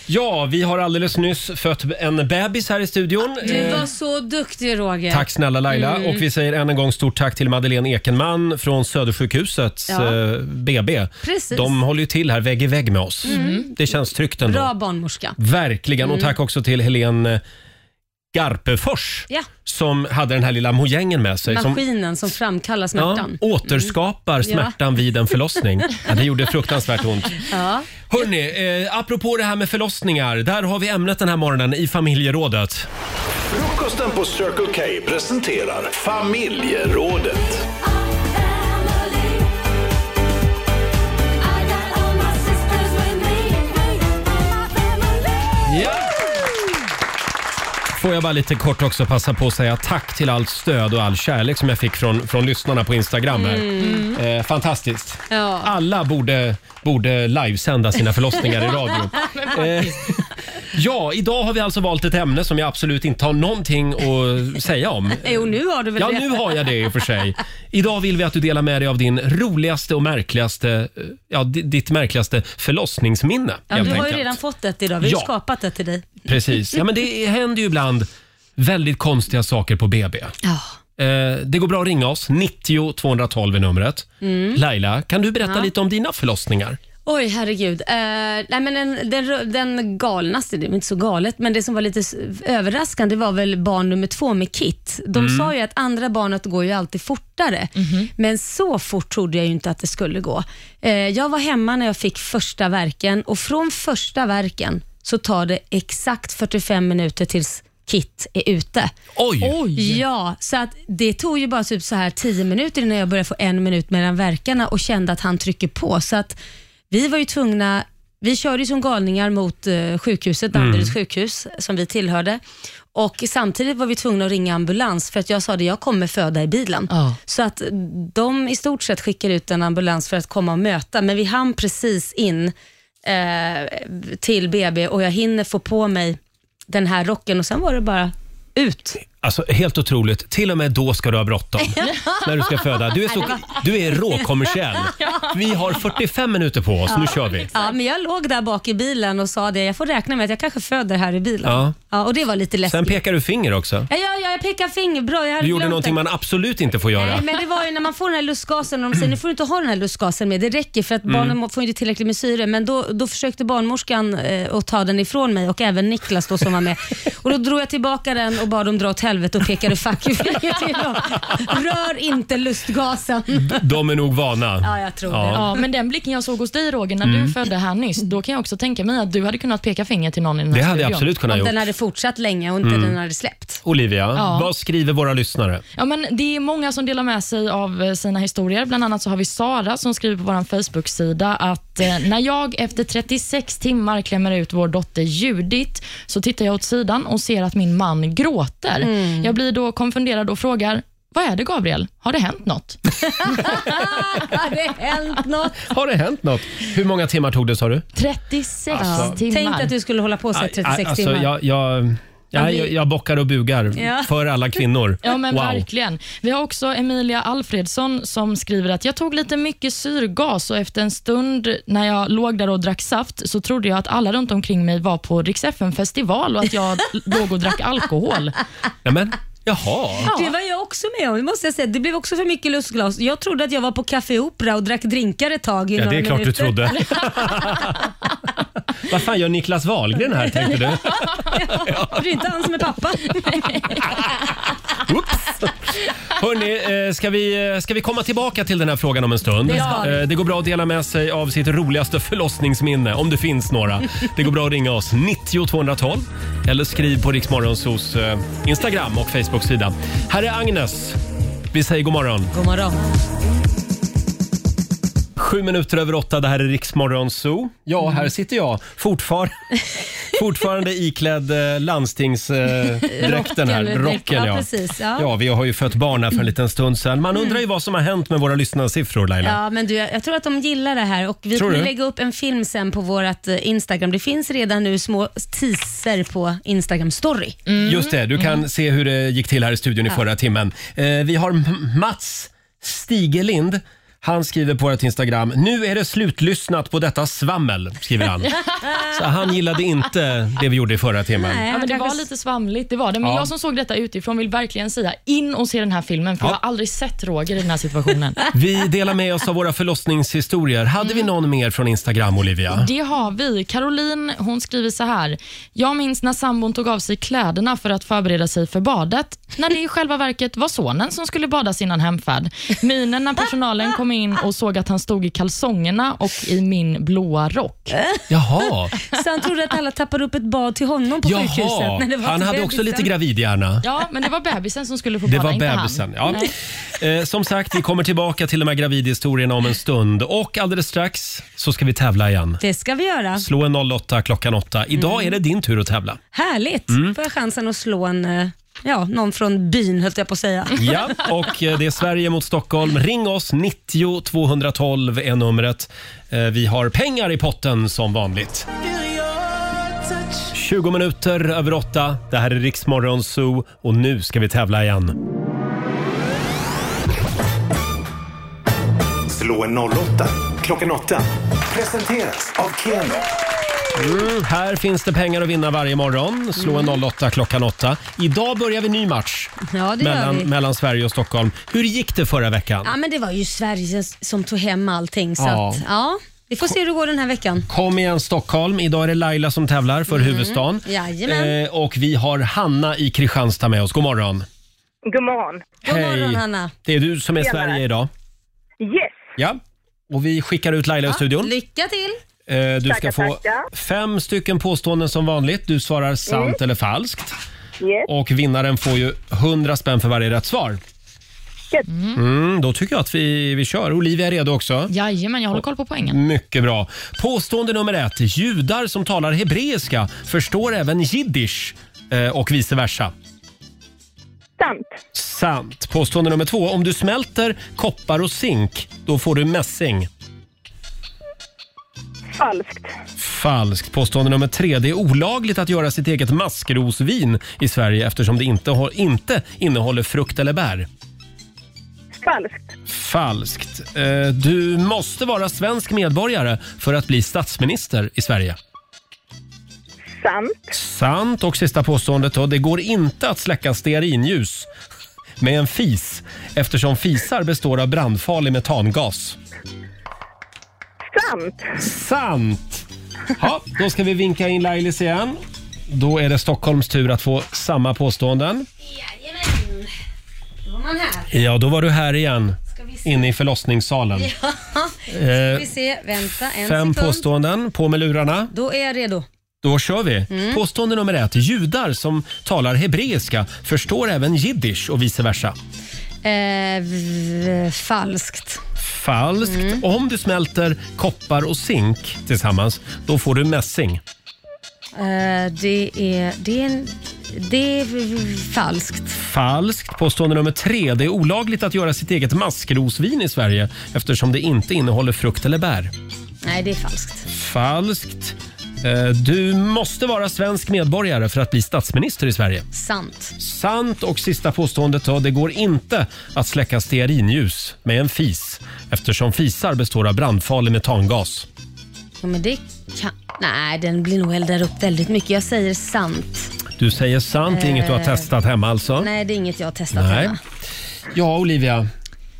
Speaker 1: Ja, vi har alldeles nyss fött en bebis här i studion.
Speaker 2: Du
Speaker 1: Eh,
Speaker 2: var så duktig Roger.
Speaker 1: Tack snälla Laila.
Speaker 2: Mm.
Speaker 1: Och vi säger än en gång stort tack till Madeleine Ekenman från Södersjukhusets
Speaker 2: Ja.
Speaker 1: eh, BB.
Speaker 2: Precis.
Speaker 1: De håller ju till här vägg i vägg med oss.
Speaker 2: Mm.
Speaker 1: Det känns tryggt ändå.
Speaker 2: Bra barnmorska.
Speaker 1: Verkligen. Och
Speaker 2: Mm.
Speaker 1: tack också till Helene Garpefors
Speaker 2: Ja.
Speaker 1: som hade den här lilla mojängen med sig. som-
Speaker 2: Maskinen som framkallar smärtan.
Speaker 1: Ja, återskapar
Speaker 2: Mm. Ja.
Speaker 1: smärtan vid en
Speaker 2: <laughs>
Speaker 1: förlossning. Ja, det gjorde fruktansvärt ont.
Speaker 2: Ja.
Speaker 1: Hörni, eh, apropå det här med förlossningar. Där har vi ämnet den här morgonen i familjerådet.
Speaker 4: Frukosten på Circle K presenterar Familjerådet.
Speaker 1: Ja. Får jag bara lite kort också passa på att säga tack till allt stöd och all kärlek som jag fick från, från lyssnarna på Instagram. här.
Speaker 2: Mm.
Speaker 1: Eh, fantastiskt.
Speaker 2: Ja.
Speaker 1: Alla borde, borde livesända sina förlossningar i
Speaker 2: <laughs>
Speaker 1: radio. Eh, ja, idag har vi alltså valt ett ämne som jag absolut inte har någonting att säga om.
Speaker 2: Jo, nu har du väl
Speaker 1: Ja,
Speaker 2: det?
Speaker 1: nu har jag det i och för sig. Idag vill vi att du delar med dig av din roligaste och märkligaste, eh, ja, di- ditt märkligaste förlossningsminne.
Speaker 2: Ja,
Speaker 1: helt
Speaker 2: du har ju
Speaker 1: enkelt.
Speaker 2: redan fått ett idag. Vi har
Speaker 1: Ja.
Speaker 2: ju skapat ett till dig.
Speaker 1: Precis. Ja, men det händer ju ibland väldigt konstiga saker på BB.
Speaker 2: Ja.
Speaker 1: Eh, det går bra att ringa oss. 90 212 är numret.
Speaker 2: Mm.
Speaker 1: Laila, kan du berätta
Speaker 2: Ja.
Speaker 1: lite om dina förlossningar?
Speaker 2: Oj, herregud. Eh, nej, men den, den, rö- den galnaste, det är inte så galet, men det som var lite s- överraskande var väl barn nummer två med Kit. De
Speaker 12: Mm.
Speaker 2: sa ju att andra barnet går ju alltid fortare, men så fort trodde jag ju inte att det skulle gå. Eh, jag var hemma när jag fick första verken och från första verken så tar det exakt 45 minuter tills Kit är ute.
Speaker 12: Oj!
Speaker 2: Ja, så att det tog ju bara typ så här 10 minuter innan jag började få en minut mellan verkarna och kände att han trycker på. Så att vi var ju tvungna, vi körde ju som galningar mot eh, sjukhuset,
Speaker 12: Mm.
Speaker 2: Danderyds sjukhus, som vi tillhörde. Och samtidigt var vi tvungna att ringa ambulans för att jag sa det, jag kommer föda i bilen. Så att de i stort sett skickar ut en ambulans för att komma och möta, men vi hann precis in eh, till BB och jag hinner få på mig den här rocken och sen var det bara ut.
Speaker 1: Alltså helt otroligt. Till och med då ska du ha
Speaker 2: <laughs>
Speaker 1: bråttom. När du ska föda. Du är, så, du är
Speaker 2: <laughs>
Speaker 1: råkommersiell. Vi har 45 minuter på oss. Nu kör vi.
Speaker 2: Ja, men jag låg där bak i bilen och sa det, jag får räkna med att jag kanske föder här i bilen.
Speaker 1: Ja.
Speaker 2: Ja. och det var lite läskigt.
Speaker 1: Sen pekar du finger också.
Speaker 2: Ja, ja, ja, jag pekar finger. Bra, jag hade
Speaker 1: Du gjorde
Speaker 2: glömt
Speaker 1: någonting
Speaker 2: det.
Speaker 1: man absolut inte får göra.
Speaker 2: Nej, men det var ju när man får den här lustgasen och de säger nu får du inte ha den här lustgasen med, det räcker för att
Speaker 1: Mm.
Speaker 2: barnen må- får inte tillräckligt med syre. Men då, då försökte barnmorskan eh, att ta den ifrån mig och även Niklas då som var med. Och då drog jag tillbaka den och bad dem dra åt helvete och pekade fuck you till dem. Rör inte lustgasen.
Speaker 1: De är nog vana.
Speaker 2: Ja, jag tror
Speaker 3: Ja.
Speaker 1: Ja.
Speaker 3: men den blicken jag såg hos dig Roger när
Speaker 1: Mm.
Speaker 3: du födde här nyss, då kan jag också tänka mig att du hade kunnat peka finger till någon i den här
Speaker 1: Det hade jag
Speaker 3: studion.
Speaker 1: absolut kunnat Om den gjort.
Speaker 2: hade fortsatt länge och inte
Speaker 1: Mm.
Speaker 2: den hade släppt. <laughs>
Speaker 1: Olivia,
Speaker 3: Ja.
Speaker 1: vad skriver våra lyssnare?
Speaker 3: Ja, men det är många som delar med sig av eh, sina historier. Bland annat så har vi Sara som skriver på vår Facebook-sida att eh, när jag efter 36 timmar klämmer ut vår dotter Judith så tittar jag åt sidan och ser att min man gråter.
Speaker 12: Mm.
Speaker 3: Jag blir då konfunderad och frågar vad är det Gabriel? Har det hänt något?
Speaker 2: Har det hänt något?
Speaker 1: Har det hänt något? Hur många timmar tog det sa du?
Speaker 3: 36
Speaker 1: Alltså-
Speaker 3: timmar.
Speaker 2: Tänk att du skulle hålla på så här 36
Speaker 1: alltså,
Speaker 2: timmar.
Speaker 1: Jag, jag, jag, jag, jag bockar och bugar
Speaker 3: Ja.
Speaker 1: för alla kvinnor.
Speaker 3: Ja, men
Speaker 1: wow.
Speaker 3: verkligen. Vi har också Emilia Alfredsson som skriver att jag tog lite mycket syrgas och efter en stund när jag låg där och drack saft så trodde jag att alla runt omkring mig var på Rix festival och
Speaker 1: <laughs>
Speaker 3: att jag låg och drack alkohol.
Speaker 1: Ja, men, jaha.
Speaker 2: Det var jag också med om, det måste jag säga. Det blev också för mycket lustglas. Jag trodde att jag var på Café Opera och drack drinkar ett tag i
Speaker 1: Ja,
Speaker 2: några
Speaker 1: det är klart du
Speaker 2: minuter. <laughs>
Speaker 3: <laughs>
Speaker 1: trodde. Vad fan gör Niklas Wahlgren här tänkte du?
Speaker 2: Det är inte han som är pappa.
Speaker 1: Hörrni, eh, ska vi, eh, ska vi komma tillbaka till den här frågan om en stund?
Speaker 12: Det ska vi.
Speaker 1: Eh, det går bra att dela med sig av sitt roligaste förlossningsminne, om det finns några. Det går bra att ringa oss, 90 212 eller skriv på Riksmorgonsos eh, Instagram och Facebook-sida. Här är Agnes. Vi säger god morgon.
Speaker 2: God morgon.
Speaker 1: Sju minuter över åtta, det här är Riksmorgon Zoo. Ja,
Speaker 2: Mm.
Speaker 1: här sitter jag
Speaker 2: <laughs>
Speaker 1: fortfar fortfarande iklädd eh, landstingsdräkten här.
Speaker 2: Rocken,
Speaker 1: Rocken,
Speaker 2: ja,
Speaker 1: ja.
Speaker 2: precis, ja.
Speaker 1: ja, vi har ju fött barn här för en liten stund sedan.
Speaker 2: Mm.
Speaker 1: Man undrar ju vad som har hänt med våra lyssnarsiffror, Laila.
Speaker 2: <laughs> Ja, men du, jag jag tror att de gillar det här och vi
Speaker 1: Tror
Speaker 2: kommer
Speaker 1: du?
Speaker 2: lägga upp en film sen på vårt eh, Instagram. Det finns redan nu små teaser på Instagram story.
Speaker 1: Mm. Just det, du kan se hur det gick till här i studion i
Speaker 2: Mm. Ja.
Speaker 1: förra timmen. Eh, vi har M- Mats Stigelind. Han skriver på vårt Instagram, nu är det slutlyssnat på detta svammel, skriver
Speaker 2: <laughs>
Speaker 1: han. Så han gillade inte det vi gjorde i förra timmen.
Speaker 3: Ja, men det var lite svamligt, det var det. Men
Speaker 1: Ja.
Speaker 3: jag som såg detta utifrån vill verkligen säga in och se den här filmen, för
Speaker 1: Ja.
Speaker 3: jag har aldrig sett Roger i den
Speaker 1: <laughs>
Speaker 3: här situationen.
Speaker 1: Vi delar med oss av våra förlossningshistorier. Hade
Speaker 2: Mm.
Speaker 1: vi någon mer från Instagram, Olivia?
Speaker 3: Det har vi. Caroline hon skriver så här. Jag minns när sambon tog av sig kläderna för att förbereda sig för badet, när det i själva verket var sonen som skulle badas innan hemfärd. Minen när personalen kom in och såg att han stod i kalsongerna och i min blåa rock.
Speaker 1: Jaha.
Speaker 2: Så han trodde att alla tappade upp ett bad till honom på sjukhuset.
Speaker 1: Jaha,
Speaker 2: Men det var
Speaker 1: han
Speaker 2: till
Speaker 1: hade också
Speaker 2: bebisen.
Speaker 1: lite gravidhjärna.
Speaker 3: Ja, men det var bebisen som skulle få
Speaker 1: Det
Speaker 3: bada,
Speaker 1: var
Speaker 3: inte han.
Speaker 1: bebisen. Ja.
Speaker 3: Nej.
Speaker 1: Eh, som sagt, vi kommer tillbaka till de här gravidhistorierna om en stund. Och alldeles strax så ska vi tävla igen.
Speaker 2: Det ska vi göra.
Speaker 1: Slå en 08 klockan 8.
Speaker 3: Mm.
Speaker 1: Idag är det din tur att tävla.
Speaker 2: Härligt.
Speaker 1: Mm.
Speaker 2: Får jag chansen att slå en, eh, ja, någon från byn höll jag på att säga.
Speaker 1: Ja, och eh, det är Sverige mot Stockholm. Ring oss, 90 212 är numret. Eh, Vi har pengar i potten som vanligt. 20 minuter över åtta. Det här är Riksmorgon Zoo och nu ska vi tävla igen.
Speaker 4: Slå en 08 klockan 8. Presenteras av Keno.
Speaker 1: Mm, här finns det pengar att vinna varje morgon. Slå en 08 klockan 8. Idag börjar vi ny match
Speaker 2: Ja, det
Speaker 1: mellan,
Speaker 2: gör vi.
Speaker 1: mellan Sverige och Stockholm. Hur gick det förra veckan?
Speaker 2: Ja, men det var ju Sverige som tog hem allting. Så
Speaker 1: Ja.
Speaker 2: ja. Att, ja. Vi får se hur det går den här veckan.
Speaker 1: Kom igen Stockholm. Idag är det Laila som tävlar för huvudstaden.
Speaker 2: Mm. Jajamän.
Speaker 1: Eh, och vi har Hanna i Kristianstad med oss. God morgon.
Speaker 8: God morgon.
Speaker 2: God morgon Hanna.
Speaker 1: Det är du som är
Speaker 2: Tjenare.
Speaker 1: Sverige idag.
Speaker 8: Yes.
Speaker 1: Ja. Och vi skickar ut Laila i studion.
Speaker 2: Lycka till.
Speaker 1: Eh, Du ska
Speaker 2: Tackar,
Speaker 1: få
Speaker 2: tackar.
Speaker 1: fem stycken påståenden som vanligt. Du svarar sant
Speaker 2: Mm.
Speaker 1: eller falskt. Och vinnaren får ju 100 spänn för varje rätt svar. Mm, då tycker jag att vi, vi kör. Olivia är redo också.
Speaker 3: Jajamän, jag håller koll på poängen.
Speaker 1: Mycket bra. Påstående nummer ett. Judar som talar hebreiska förstår även jiddisch eh, och vice versa.
Speaker 8: Sant.
Speaker 1: Sant. Påstående nummer två. Om du smälter koppar och zink, då får du mässing.
Speaker 8: Falskt.
Speaker 1: Falskt. Påstående nummer tre. Det är olagligt att göra sitt eget maskrosvin i Sverige eftersom det inte, har, inte innehåller frukt eller bär.
Speaker 8: Falskt.
Speaker 1: Falskt. Eh, Du måste vara svensk medborgare för att bli statsminister i Sverige.
Speaker 8: Sant.
Speaker 1: Sant. Och sista påståendet då. Det går inte att släcka stearinljus med en fis eftersom fisar består av brandfarlig metangas.
Speaker 8: Sant.
Speaker 1: Sant! Ja, då ska vi vinka in Lailis igen. Då är det Stockholms tur att få samma påståenden.
Speaker 2: Jajamän. Då var man här. <laughs>
Speaker 1: Ja, då var du här igen.
Speaker 2: vi se?
Speaker 1: Inne i förlossningssalen.
Speaker 2: Ja. Ska
Speaker 1: Eh,
Speaker 2: vi se. Vänta en
Speaker 1: Fem
Speaker 2: sekund.
Speaker 1: påståenden. På med lurarna.
Speaker 2: Då är jag redo.
Speaker 1: Då kör vi.
Speaker 2: Mm.
Speaker 1: Påstående nummer ett. Judar som talar hebreiska förstår även jiddisch och vice versa.
Speaker 2: Eh, v- falskt.
Speaker 1: Falskt. Om du smälter koppar och zink tillsammans, då får du mässing.
Speaker 2: Eh, det är... Det är, en, det är v- v- falskt.
Speaker 1: Falskt. Påstående nummer tre. Det är olagligt att göra sitt eget maskrosvin i Sverige eftersom det inte innehåller frukt eller bär.
Speaker 2: Nej, det är falskt.
Speaker 1: Falskt. Eh, Du måste vara svensk medborgare för att bli statsminister i Sverige.
Speaker 2: Sant.
Speaker 1: Sant. Och sista påståendet då. Det går inte att släcka stearinljus med en fis eftersom fisar består av brandfarlig metangas.
Speaker 2: Ja, men det kan... Nej, den blir nog eldad upp väldigt mycket. Jag säger sant.
Speaker 1: Du säger sant. Det är inget du har
Speaker 2: Eh,
Speaker 1: testat hemma alltså?
Speaker 2: Nej, det är inget jag har testat.
Speaker 1: Nej.
Speaker 2: hemma.
Speaker 1: Ja, Olivia.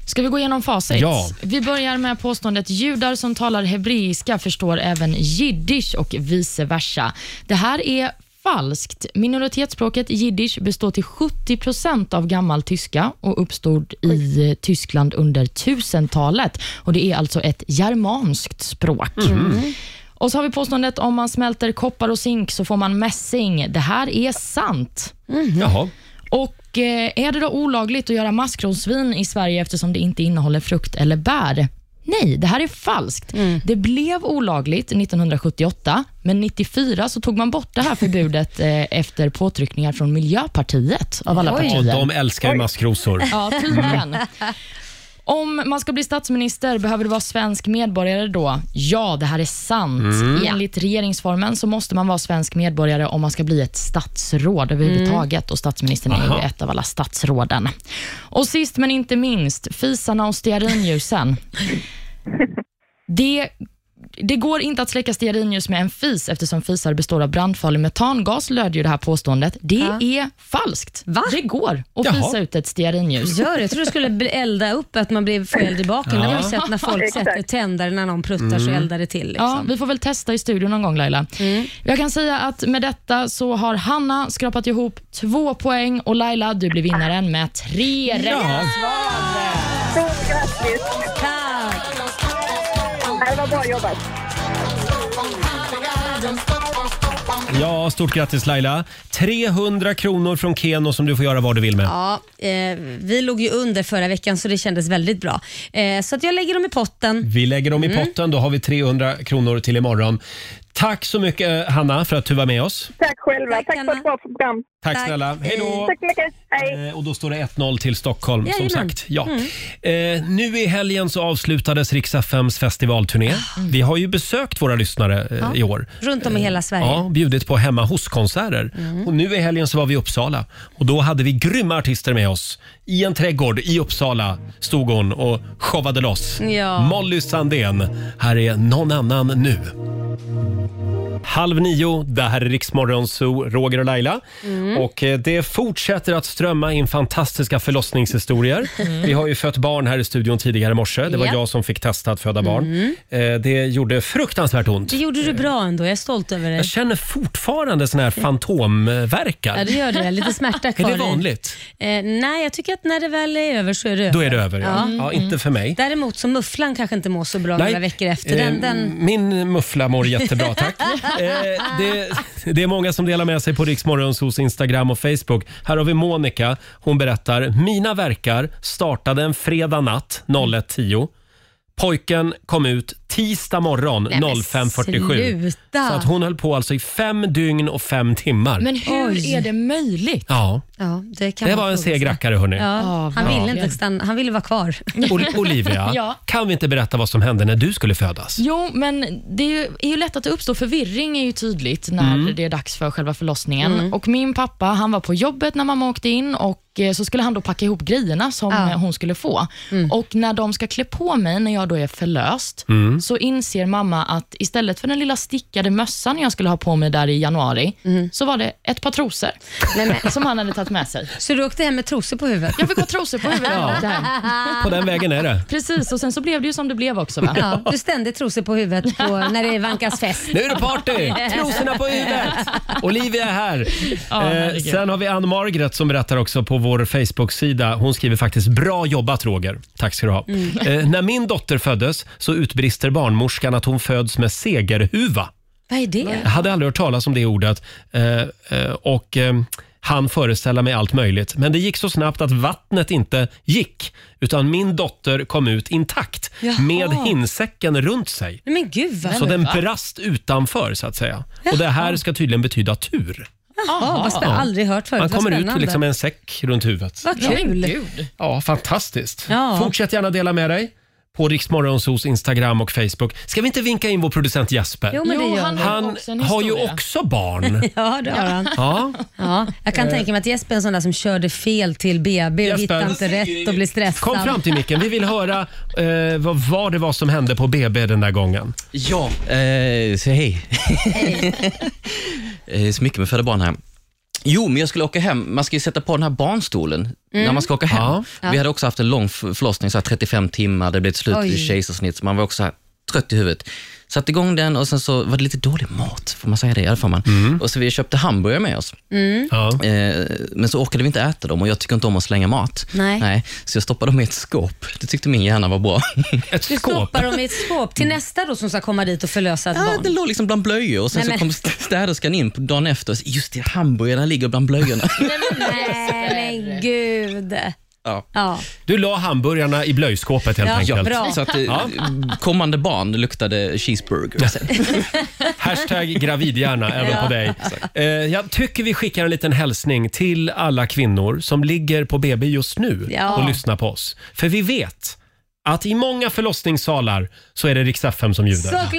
Speaker 3: Ska vi gå igenom facit?
Speaker 1: Ja.
Speaker 3: Vi börjar med påståendet judar som talar hebreiska förstår även jiddisch och vice versa. Det här är falskt. Minoritetsspråket jiddisch består till 70 procent av gammal tyska och uppstod i Tyskland under 1000-talet. Och Det är alltså ett germanskt språk.
Speaker 7: Mhm.
Speaker 3: Och så har vi påståendet om man smälter koppar och zink så får man mässing. Det här är sant.
Speaker 1: Jaha.
Speaker 3: Och eh, är det då olagligt att göra maskrosvin i Sverige eftersom det inte innehåller frukt eller bär? Nej, det här är falskt. Det blev olagligt 1978, men 94 så tog man bort det här förbudet <laughs> eh, efter påtryckningar från Miljöpartiet av alla
Speaker 1: Ja,
Speaker 3: partier.
Speaker 1: de älskar ju maskrosor.
Speaker 3: Ja, tydligen. Om man ska bli statsminister, behöver du vara svensk medborgare då? Ja, det här är sant.
Speaker 7: Mm.
Speaker 3: Enligt regeringsformen så måste man vara svensk medborgare om man ska bli ett statsråd överhuvudtaget och statsministern är
Speaker 7: Aha.
Speaker 3: ju ett av alla statsråden. Och sist men inte minst, fisarna och stearinljusen. Det, det går inte att släcka stearinljus med en fis eftersom fisar består av brandfarlig metangas, löd ju det här påståendet. Det är falskt. Det går att
Speaker 2: Jaha.
Speaker 3: fisa ut ett stearinljus.
Speaker 2: Gör det? Jag trodde du skulle bli- elda upp, att man blev får eld i baken. Det har man ju sett när folk sätter tändare när någon pruttar så
Speaker 3: Mm.
Speaker 2: eldar det till. Liksom.
Speaker 3: Ja, vi får väl testa i studion någon gång Laila. Jag kan säga att med detta så har Hanna skrapat ihop två poäng och Laila, du blir vinnaren med tre rätt.
Speaker 8: Stort grattis!
Speaker 2: Tack!
Speaker 8: Det var bra jobbat.
Speaker 1: Ja, stort grattis Laila. 300 kronor från Keno som du får göra vad du vill med.
Speaker 2: Ja, eh, vi låg ju under förra veckan så det kändes väldigt bra. Eh, så att jag lägger dem i potten.
Speaker 1: Vi lägger dem i
Speaker 2: Mm.
Speaker 1: potten, då har vi 300 kronor till imorgon. Tack så mycket eh, Hanna för att du var med oss.
Speaker 8: Tack själva. Tack, för ett bra program.
Speaker 1: Tack, snälla. Hej då.
Speaker 8: Tack så mycket. Hej.
Speaker 1: Eh, Och då står det 1-0 till Stockholm som
Speaker 8: Jajamän.
Speaker 1: sagt. Ja. Eh, nu i helgen så avslutades Rix FMs festivalturné. Vi har ju besökt våra lyssnare eh,
Speaker 2: Ja.
Speaker 1: i år.
Speaker 2: Runt om i hela Sverige. Mm.
Speaker 1: Ja, bjudit på hemma hos-konserter. Och nu i helgen så var vi i Uppsala och då hade vi grymma artister med oss. i en trädgård i Uppsala stod hon och showade loss.
Speaker 2: Ja.
Speaker 1: Molly Sandén. Här är någon annan nu. Halv nio, det här är Riksmorgon Zoo, Roger och Laila.
Speaker 12: Mm.
Speaker 1: Och eh, det fortsätter att strömma in fantastiska förlossningshistorier.
Speaker 12: Mm.
Speaker 1: Vi har ju fött barn här i studion tidigare i morse. Det var
Speaker 2: Ja.
Speaker 1: jag som fick testa att föda barn.
Speaker 2: Mm.
Speaker 1: Eh, Det gjorde fruktansvärt ont.
Speaker 2: Det gjorde du bra ändå. Jag är stolt över dig.
Speaker 1: Jag känner fortfarande sån här fantomverkar.
Speaker 2: Ja, det gör det. Lite smärta
Speaker 1: <laughs>
Speaker 2: kvar
Speaker 1: Är det
Speaker 2: i.
Speaker 1: vanligt?
Speaker 2: Eh, nej, jag tycker att när det väl är över så är det över.
Speaker 1: Då är det över, ja.
Speaker 2: Ja.
Speaker 1: Ja, inte för mig.
Speaker 2: Däremot så mufflan kanske inte mår så bra några veckor efter.
Speaker 1: eh,
Speaker 2: Den, den...
Speaker 1: Min muffla mår jättebra,
Speaker 2: <laughs>
Speaker 1: tack. Eh, det, det är många som delar med sig på Riksmorgonsos Instagram och Facebook. Här har vi Monica. Hon berättar. Mina verkar startade en fredag natt 01.10. Pojken kom ut tisdag morgon
Speaker 3: Nej, men
Speaker 1: 05.47. Så
Speaker 3: sluta.
Speaker 1: att hon höll på alltså i fem dygn och fem timmar.
Speaker 3: Men hur
Speaker 2: Oj.
Speaker 3: är det möjligt?
Speaker 1: Ja,
Speaker 2: Ja, det kan
Speaker 1: det
Speaker 2: man
Speaker 1: var en
Speaker 2: fråga sig.
Speaker 1: segrackare hörni.
Speaker 2: Ja, han ville
Speaker 1: Ja.
Speaker 2: inte stanna, han ville vara kvar.
Speaker 1: Ol-
Speaker 2: <laughs>
Speaker 1: Olivia, kan vi inte berätta vad som hände när du skulle födas?
Speaker 3: Jo, men det är ju, är ju lätt att det uppstår förvirring är ju tydligt när
Speaker 1: Mm.
Speaker 3: det är dags för själva förlossningen.
Speaker 1: Mm.
Speaker 3: Och Min pappa han var på jobbet när mamma åkte in och eh, så skulle han då packa ihop grejerna som
Speaker 2: Ja.
Speaker 3: eh, hon skulle få.
Speaker 1: Mm.
Speaker 3: Och När de ska klä på mig när jag då är förlöst,
Speaker 13: Mm.
Speaker 3: så inser mamma att istället för den lilla stickade mössan jag skulle ha på mig där i januari,
Speaker 1: Mm.
Speaker 3: så var det ett par trosor som han hade tagit med sig.
Speaker 2: Så du åkte hem med trosor på huvudet?
Speaker 3: Jag fick ha trosor på huvudet.
Speaker 1: Ja.
Speaker 3: Åkte hem.
Speaker 1: På den vägen är det.
Speaker 3: Precis, och sen så blev det ju som det blev också. Va?
Speaker 2: Ja, du ständigt trosor på huvudet på, när det vankas fest.
Speaker 1: Nu är det
Speaker 2: <laughs>
Speaker 1: party! Trosorna på huvudet! Olivia är här.
Speaker 2: Ja,
Speaker 1: eh,
Speaker 2: herregud.
Speaker 1: sen har vi Ann Margret som berättar också på vår Facebook-sida. Hon skriver faktiskt “Bra jobbat Roger”. Tack ska du ha.
Speaker 12: Mm.
Speaker 1: Eh, när min dotter föddes så utbrister barnmorskan att hon föds med segerhuva.
Speaker 2: Vad är det?
Speaker 1: Jag hade aldrig hört talas om det ordet. Eh, eh, och... Eh, han föreställa mig allt möjligt, men det gick så snabbt att vattnet inte gick, utan min dotter kom ut intakt med
Speaker 2: Jaha.
Speaker 1: hinsäcken runt sig.
Speaker 2: Nej, Men gud vad
Speaker 1: Så den brast utanför så att säga. Och det här ska tydligen betyda tur.
Speaker 2: Jaha, vad spä-
Speaker 1: Ja.
Speaker 2: aldrig hört förut.
Speaker 1: Man
Speaker 2: Vad
Speaker 1: kommer ut
Speaker 2: spännande.
Speaker 1: liksom med en säck runt huvudet.
Speaker 2: Vad kul.
Speaker 1: Ja, fantastiskt.
Speaker 2: Ja.
Speaker 1: Fortsätt gärna dela med dig på Riksmorgonsos Instagram och Facebook. Ska vi inte vinka in vår producent Jesper?
Speaker 2: Jo, men det Jo, gör han vi. har
Speaker 1: han
Speaker 2: också en
Speaker 1: har ju
Speaker 2: historia.
Speaker 1: också barn.
Speaker 2: <laughs> Ja, det har han.
Speaker 1: Ja.
Speaker 2: Ja, jag kan
Speaker 1: Eh.
Speaker 2: tänka mig att Jesper är en sån där som körde fel till BB och
Speaker 1: Jesper.
Speaker 2: hittade inte rätt och blev stressad.
Speaker 1: Kom fram till micken. Vi vill höra eh, vad, vad det var som hände på BB den där gången.
Speaker 14: Ja, eh, så hej.
Speaker 15: <laughs>
Speaker 14: Eh, så mycket med föda barn här. Jo, men jag skulle åka hem. Man ska ju sätta på den här barnstolen
Speaker 15: Mm.
Speaker 14: när man ska åka hem.
Speaker 15: Ja.
Speaker 14: Vi hade också haft en lång f- förlossning, så här 35 timmar. Det blev ett slut
Speaker 15: Oj.
Speaker 14: i kejsarsnitt, så man var också så här trött i huvudet. Satte igång den och sen så var det lite dålig mat, får man säga det? Ja, det får man.
Speaker 15: Mm.
Speaker 14: Och så vi köpte hamburgare med oss.
Speaker 2: Mm.
Speaker 14: Eh, Men så orkade vi inte äta dem och jag tycker inte om att slänga mat.
Speaker 2: Nej.
Speaker 14: så jag stoppade dem i ett skåp. Det tyckte min hjärna var bra.
Speaker 1: Ett
Speaker 2: Du stoppar dem i ett skåp
Speaker 1: Mm.
Speaker 2: till nästa då som ska komma dit och förlösa ett
Speaker 14: Ja,
Speaker 2: barn.
Speaker 14: den låg liksom bland blöjor och sen
Speaker 2: Nej, men-
Speaker 14: så kom st- städerskan in på dagen efter och sa, just det, hamburgarna ligger bland blöjorna.
Speaker 2: Nej, men gud.
Speaker 14: ja.
Speaker 2: Ja.
Speaker 1: Du la hamburgarna i blöjskåpet helt
Speaker 2: Ja,
Speaker 1: enkelt.
Speaker 2: bra.
Speaker 14: Så att eh,
Speaker 1: Ja.
Speaker 14: kommande barn luktade cheeseburger.
Speaker 1: Hashtag gravidhjärna även
Speaker 14: Ja.
Speaker 1: på dig. Eh, jag tycker vi skickar en liten hälsning till alla kvinnor som ligger på BB just nu
Speaker 12: Ja.
Speaker 1: och lyssnar på oss. För vi vet att i många förlossningssalar så är det Rix FM som ljuder.
Speaker 12: Såklart!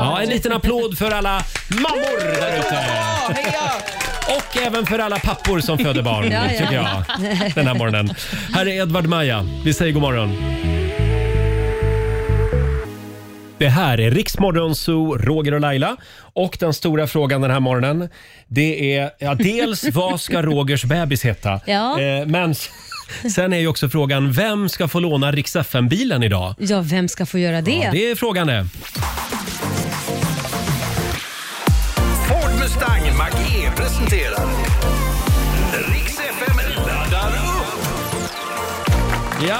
Speaker 1: Ja, en liten applåd för alla mammor där ute. Och även för alla pappor som föder barn,
Speaker 12: Ja, ja.
Speaker 1: tycker jag, den här morgonen. Här är Edvard Maja. Vi säger god morgon. Det här är Riksmorgon Zoo, Roger och Laila. Och den stora frågan den här morgonen, det är ja, dels vad ska Rogers bebis heta?
Speaker 2: Ja.
Speaker 1: Eh, men s- sen är ju också frågan, vem ska få låna Rix bilen idag?
Speaker 2: Ja, vem ska få göra det?
Speaker 1: Ja, det är frågan det.
Speaker 12: Ford Mustang Mach-E presenterar Riks FM laddar upp.
Speaker 1: Ja.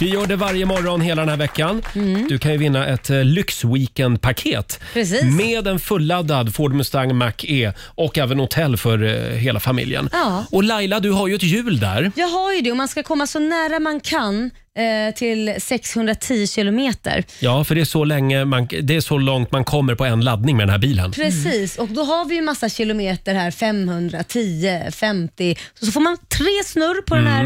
Speaker 1: Vi gör det varje morgon hela den här veckan. Du kan ju vinna ett eh, lyxweekendpaket
Speaker 2: Mm. Precis.
Speaker 1: med en fulladdad Ford Mustang Mach-E och även hotell för eh, hela familjen.
Speaker 2: Ja.
Speaker 1: Och Laila, du har ju ett hjul där.
Speaker 2: Jag har ju det och man ska komma så nära man kan eh, till 610 kilometer.
Speaker 1: Ja, för det är, så länge man, det är så långt man kommer på en laddning med den här bilen.
Speaker 2: Precis, och då har vi ju massa kilometer här, 500, 10, 50. Så, så får man tre snurr på
Speaker 1: Mm.
Speaker 2: den här,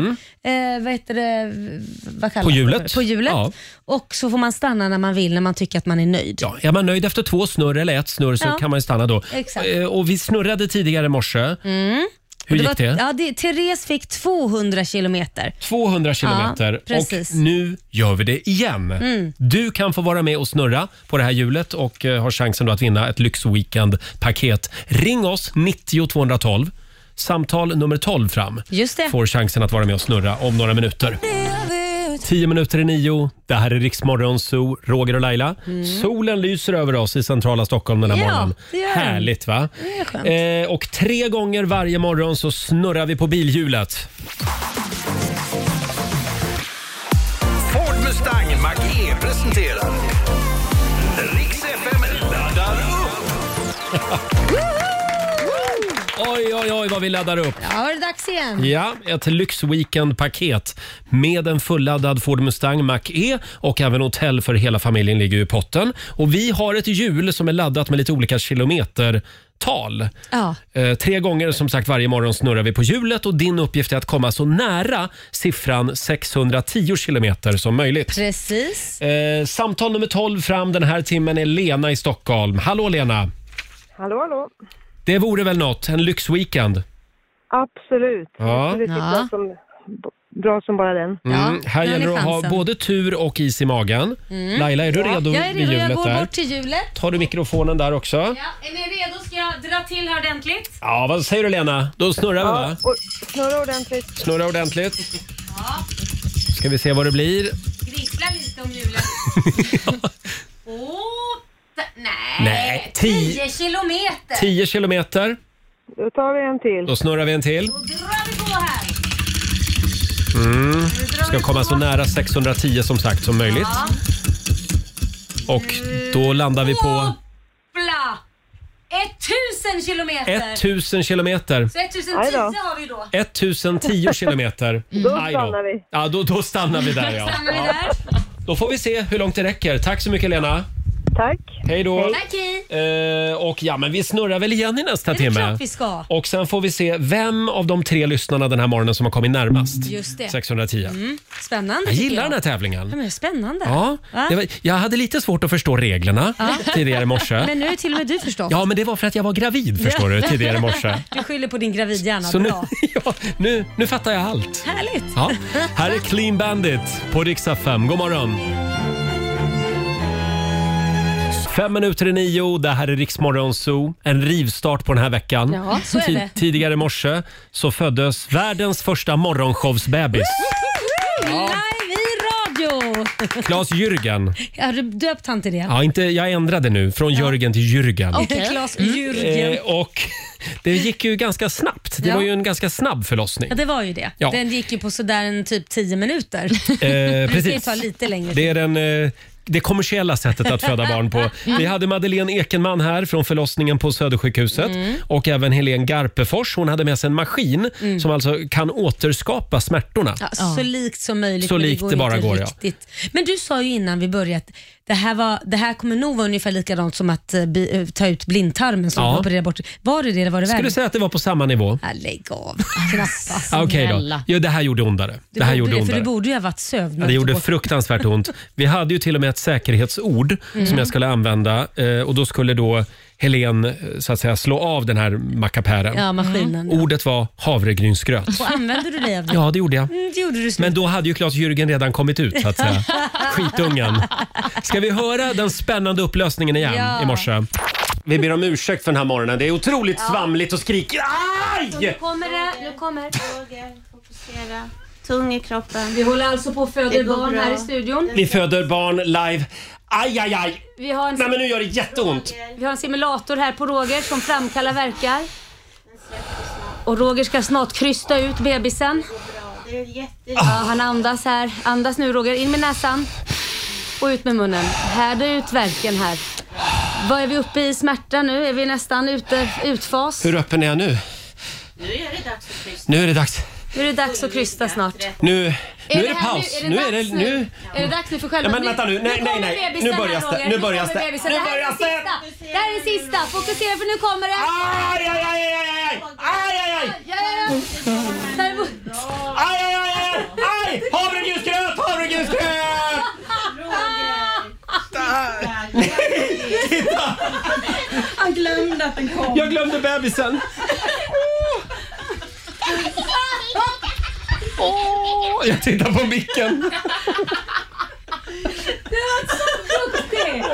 Speaker 2: eh, vad heter det, v- vad kallas
Speaker 1: På
Speaker 2: det för?
Speaker 1: hjulet.
Speaker 2: På hjulet.
Speaker 1: Ja.
Speaker 2: Och så får man stanna när man vill, när man tycker att man är nöjd.
Speaker 1: Ja, är man nöjd efter två snurr eller ett snurr så
Speaker 2: Ja.
Speaker 1: kan man ju stanna då.
Speaker 2: Exakt.
Speaker 1: Eh, Och vi snurrade tidigare i morse.
Speaker 2: Mm.
Speaker 1: Hur
Speaker 2: Och
Speaker 1: gick det?
Speaker 2: Ja, det? Therese fick 200 kilometer.
Speaker 1: 200 kilometer
Speaker 2: Ja, precis.
Speaker 1: och nu gör vi det igen.
Speaker 2: Mm.
Speaker 1: Du kan få vara med och snurra på det här hjulet och eh, har chansen då att vinna ett Lyxweekend-paket. Ring oss, 90 212. Samtal nummer 12 fram
Speaker 2: Just det.
Speaker 1: får chansen att vara med och snurra om några minuter. 10 minuter i nio. Det här är Riksmorgon Zoo, Roger och Laila. Solen lyser över oss i centrala Stockholm den här
Speaker 2: Mm. Ja,
Speaker 1: morgonen.
Speaker 2: det gör den.
Speaker 1: Härligt va? Eh, och tre gånger varje morgon så snurrar vi på bilhjulet.
Speaker 12: Ford Mustang Mach-E presenterar Riks FM laddar upp.
Speaker 1: Oj, oj, oj vad vi laddar upp.
Speaker 2: Ja, var det dags igen?
Speaker 1: Ja, ett lyxweekendpaket med en fulladdad Ford Mustang Mach-E och även hotell för hela familjen ligger ju i potten. Och vi har ett hjul som är laddat med lite olika kilometertal.
Speaker 2: Ja.
Speaker 1: Eh, tre gånger som sagt varje morgon snurrar vi på hjulet och din uppgift är att komma så nära siffran 610 kilometer som möjligt.
Speaker 2: Precis.
Speaker 1: Eh, samtal nummer 12 fram den här timmen är Lena i Stockholm. Hallå Lena!
Speaker 8: Hallå, hallå.
Speaker 1: Det vore väl något, en lyxweekend?
Speaker 8: Absolut.
Speaker 1: Ja.
Speaker 8: Absolut, det är
Speaker 1: Ja.
Speaker 8: Bra, som, bra som bara den.
Speaker 1: Mm. här
Speaker 2: nu har
Speaker 1: gäller
Speaker 2: ni
Speaker 1: det att ha
Speaker 2: chansen.
Speaker 1: både tur och is i magen.
Speaker 2: Mm.
Speaker 1: Laila, är du
Speaker 2: Ja,
Speaker 1: redo
Speaker 2: Jag är
Speaker 1: vid
Speaker 2: redo.
Speaker 1: hjulet
Speaker 2: Jag går
Speaker 1: där?
Speaker 2: bort till hjulet.
Speaker 1: Tar du mikrofonen där också? Ja.
Speaker 2: Är ni redo? Ska jag dra till här ordentligt?
Speaker 1: vad säger du Lena? Då snurrar vi va?
Speaker 8: Och snurra ordentligt.
Speaker 1: Snurra ordentligt. Ska vi se vad det blir.
Speaker 2: Grissla lite om hjulet. Åh, nej.
Speaker 1: Nej, tio-
Speaker 2: 10 kilometer.
Speaker 1: 10 kilometer.
Speaker 8: Då tar vi en till.
Speaker 1: Då snurrar vi en till.
Speaker 2: Då drar vi på här.
Speaker 1: Mm. Ska komma så nära 610 som sagt som möjligt.
Speaker 2: Ja.
Speaker 1: Och då landar vi på
Speaker 2: Bla. 1000 kilometer.
Speaker 1: 1000 kilometer.
Speaker 2: Så 1010
Speaker 8: Aj då.
Speaker 2: har vi då.
Speaker 1: 1010 kilometer.
Speaker 8: <laughs> Då
Speaker 1: Aj då.
Speaker 8: stannar vi.
Speaker 1: Ja, då, då stannar vi där ja.
Speaker 2: Stannar vi där?
Speaker 1: Då får vi se hur långt det räcker. Tack så mycket Lena.
Speaker 8: Tack.
Speaker 1: Hej då.
Speaker 2: Tack, hej.
Speaker 1: Eh, och ja, men vi snurrar väl igen i nästa
Speaker 2: Det är
Speaker 1: timme.
Speaker 2: klart vi ska.
Speaker 1: Och sen får vi se vem av de tre lyssnarna den här morgonen som har kommit närmast.
Speaker 2: Just det.
Speaker 1: 610.
Speaker 2: Mm. Spännande
Speaker 1: Jag
Speaker 2: tycker
Speaker 1: gillar den här tävlingen.
Speaker 2: Ja, men spännande.
Speaker 1: Ja,
Speaker 2: Va?
Speaker 1: det var, jag hade lite svårt att förstå reglerna
Speaker 2: Ja.
Speaker 1: tidigare i morse.
Speaker 2: Men nu är till och med du förstått.
Speaker 1: Ja, men det var för att jag var gravid förstår du, tidigare i morse.
Speaker 2: Du skyller på din gravidhjärna.
Speaker 1: Så nu- <laughs>
Speaker 2: Bra.
Speaker 1: Nu, nu fattar jag allt.
Speaker 2: Härligt.
Speaker 1: Ja. Här är Clean Bandit på riksdag 5. God morgon! Fem minuter i nio, det här är Riksmorgon Zoo. En rivstart på den här veckan.
Speaker 2: Ja, så är det.
Speaker 1: tidigare i morse så föddes världens första morgonshowsbebis.
Speaker 2: Live i radio!
Speaker 1: Claes Jürgen.
Speaker 2: Har du döpt han till det?
Speaker 1: Ja, inte, jag ändrade nu från Jörgen till Jürgen.
Speaker 2: Okej. Claes Jürgen.
Speaker 1: Eh, och <laughs> det gick ju ganska snabbt. Det
Speaker 2: Ja.
Speaker 1: var ju en ganska snabb förlossning.
Speaker 2: Ja, det var ju det.
Speaker 1: Ja.
Speaker 2: Den gick ju på sådär en typ 10 minuter.
Speaker 1: Eh,
Speaker 2: <laughs> Det ska ju
Speaker 1: precis.
Speaker 2: ta lite längre
Speaker 1: Det
Speaker 2: tid.
Speaker 1: är den, eh, det kommersiella sättet att föda barn
Speaker 2: <laughs>
Speaker 1: på. Vi hade Madeleine Ekenman här från förlossningen på Södersjukhuset
Speaker 12: Mm.
Speaker 1: och även Helene Garpefors. Hon hade med sig en maskin
Speaker 2: Mm.
Speaker 1: som alltså kan återskapa smärtorna.
Speaker 2: Ja, så likt som möjligt.
Speaker 1: Så
Speaker 2: men
Speaker 1: likt det bara
Speaker 2: inte
Speaker 1: går, ja.
Speaker 2: riktigt. Men du sa ju innan vi började att det här, var, det här kommer nog vara ungefär likadant som att eh, bi, eh, ta ut blindtarmen som
Speaker 1: Ja.
Speaker 2: ja. operera bort. Var det det eller var det
Speaker 1: Skulle
Speaker 2: värre?
Speaker 1: du säga att det var på samma nivå?
Speaker 2: Ja, lägg av. Knappast.
Speaker 1: Ah, Okej då.
Speaker 2: Snälla.
Speaker 1: Ja, det här gjorde ondare.
Speaker 2: Du
Speaker 1: Det här gjorde
Speaker 2: borde det, för du
Speaker 1: ondare.
Speaker 2: borde ju ha varit
Speaker 1: Ja,
Speaker 2: sövd.
Speaker 1: det gjorde fruktansvärt ont. Vi hade ju till och med ett säkerhetsord
Speaker 2: Mm.
Speaker 1: som jag skulle använda eh, och då skulle då Helene eh, så att säga, slå av den här mackapären.
Speaker 2: Ja, maskinen.
Speaker 1: Ordet var havregrynsgröt.
Speaker 2: Och använde du dig av det?
Speaker 1: Mm. Ja, det gjorde jag.
Speaker 2: Mm, det gjorde du snyggt.
Speaker 1: Men då hade ju Claes Jürgen redan kommit ut så att säga. Skitungen. Ska vi höra den spännande upplösningen igen
Speaker 12: Ja.
Speaker 1: i morse? Vi ber om ursäkt för den här morgonen. Det är otroligt
Speaker 9: Ja.
Speaker 1: svamligt och skrikigt.
Speaker 9: Så
Speaker 1: Aj!
Speaker 9: Nu kommer det. Nu kommer Roger, fokusera. Tung i kroppen.
Speaker 2: Vi håller alltså på att föda
Speaker 9: Det går
Speaker 2: barn
Speaker 9: bra.
Speaker 2: här i studion.
Speaker 1: Ni föder barn live. Aj, aj, aj!
Speaker 2: Vi har en,
Speaker 1: Nej men nu gör det jätteont.
Speaker 2: vi har en simulator här på Roger som framkallar verkar. Och Roger ska snart krysta ut bebisen.
Speaker 9: Det är jätte...
Speaker 1: Ah.
Speaker 2: Ja, han andas här. Andas nu Roger. In med näsan och ut med munnen. Härda ut verken här. Vad är vi uppe i smärta nu? Är vi nästan ute utfas?
Speaker 1: Hur öppen är jag nu?
Speaker 9: Nu är det dags att krysta.
Speaker 1: Nu är det dags.
Speaker 2: Nu är det dags att krysta snart.
Speaker 1: Nu, nu är det
Speaker 2: här
Speaker 1: paus.
Speaker 2: Nu,
Speaker 1: Nu är
Speaker 2: är
Speaker 1: det
Speaker 2: dags nu?
Speaker 1: nu.
Speaker 2: Är det dags nu för själva...
Speaker 1: Ja, men vänta nu. Nej, nej,
Speaker 2: kommer
Speaker 1: nej.
Speaker 2: bebisen
Speaker 1: Nu börjar
Speaker 2: här,
Speaker 1: det.
Speaker 2: Roger.
Speaker 1: Nu börjar
Speaker 2: kommer
Speaker 1: det.
Speaker 2: bebisen.
Speaker 1: Nu
Speaker 2: det. här är
Speaker 1: börjar
Speaker 2: den sista. Det här är den sista. Fokusera för nu kommer det.
Speaker 1: Aj, aj, aj, aj, aj. Aj, aj, aj.
Speaker 2: Ta emot.
Speaker 1: Aj, aj, aj, aj. Aj! Havregrynsgröt, havregrynsgröt! Titta!
Speaker 9: Han glömde att den kom.
Speaker 1: Jag glömde bebisen. Åh, jag tittar på micken.
Speaker 7: Du var så duktig!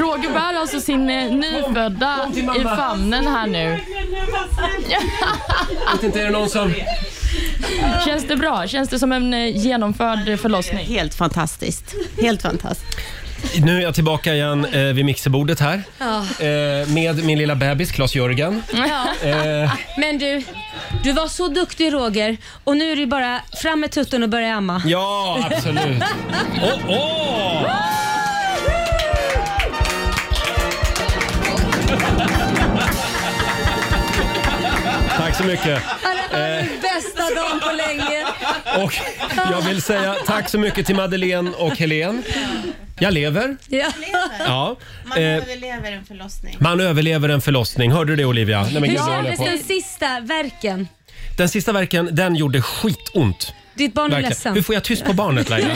Speaker 3: Roger bär alltså sin eh, nyfödda
Speaker 7: kom till mamma.
Speaker 3: i famnen här nu.
Speaker 1: Jag vet inte, är det någon som...
Speaker 3: Känns det bra? Känns det som en eh, genomförd eh, förlossning?
Speaker 9: Helt fantastiskt. Helt fantastiskt.
Speaker 1: Nu är jag tillbaka igen eh, vid mixerbordet här.
Speaker 2: Ja.
Speaker 1: Eh, med min lilla bebis Klas-Jörgen.
Speaker 2: Ja.
Speaker 1: Eh,
Speaker 2: Men du, du var så duktig Roger och nu är det bara fram med tutten och börja amma.
Speaker 1: ja, absolut. Åh, åh! Tack så mycket. Eh,
Speaker 2: Bästa dagen på länge.
Speaker 1: och jag vill säga tack så mycket till Madeleine och Helen. Jag lever.
Speaker 2: Ja.
Speaker 1: Ja.
Speaker 9: Man
Speaker 1: Eh,
Speaker 9: överlever en förlossning.
Speaker 1: Man överlever en förlossning. Hörde du det Olivia? Nej, men
Speaker 2: Hur
Speaker 1: gud, vad håller jag
Speaker 2: kändes
Speaker 1: på.
Speaker 2: den sista verken?
Speaker 1: Den sista verken, den gjorde skitont.
Speaker 2: Ditt barn är
Speaker 1: Verkligen.
Speaker 2: ledsen.
Speaker 1: Hur får jag tyst på barnet Laila?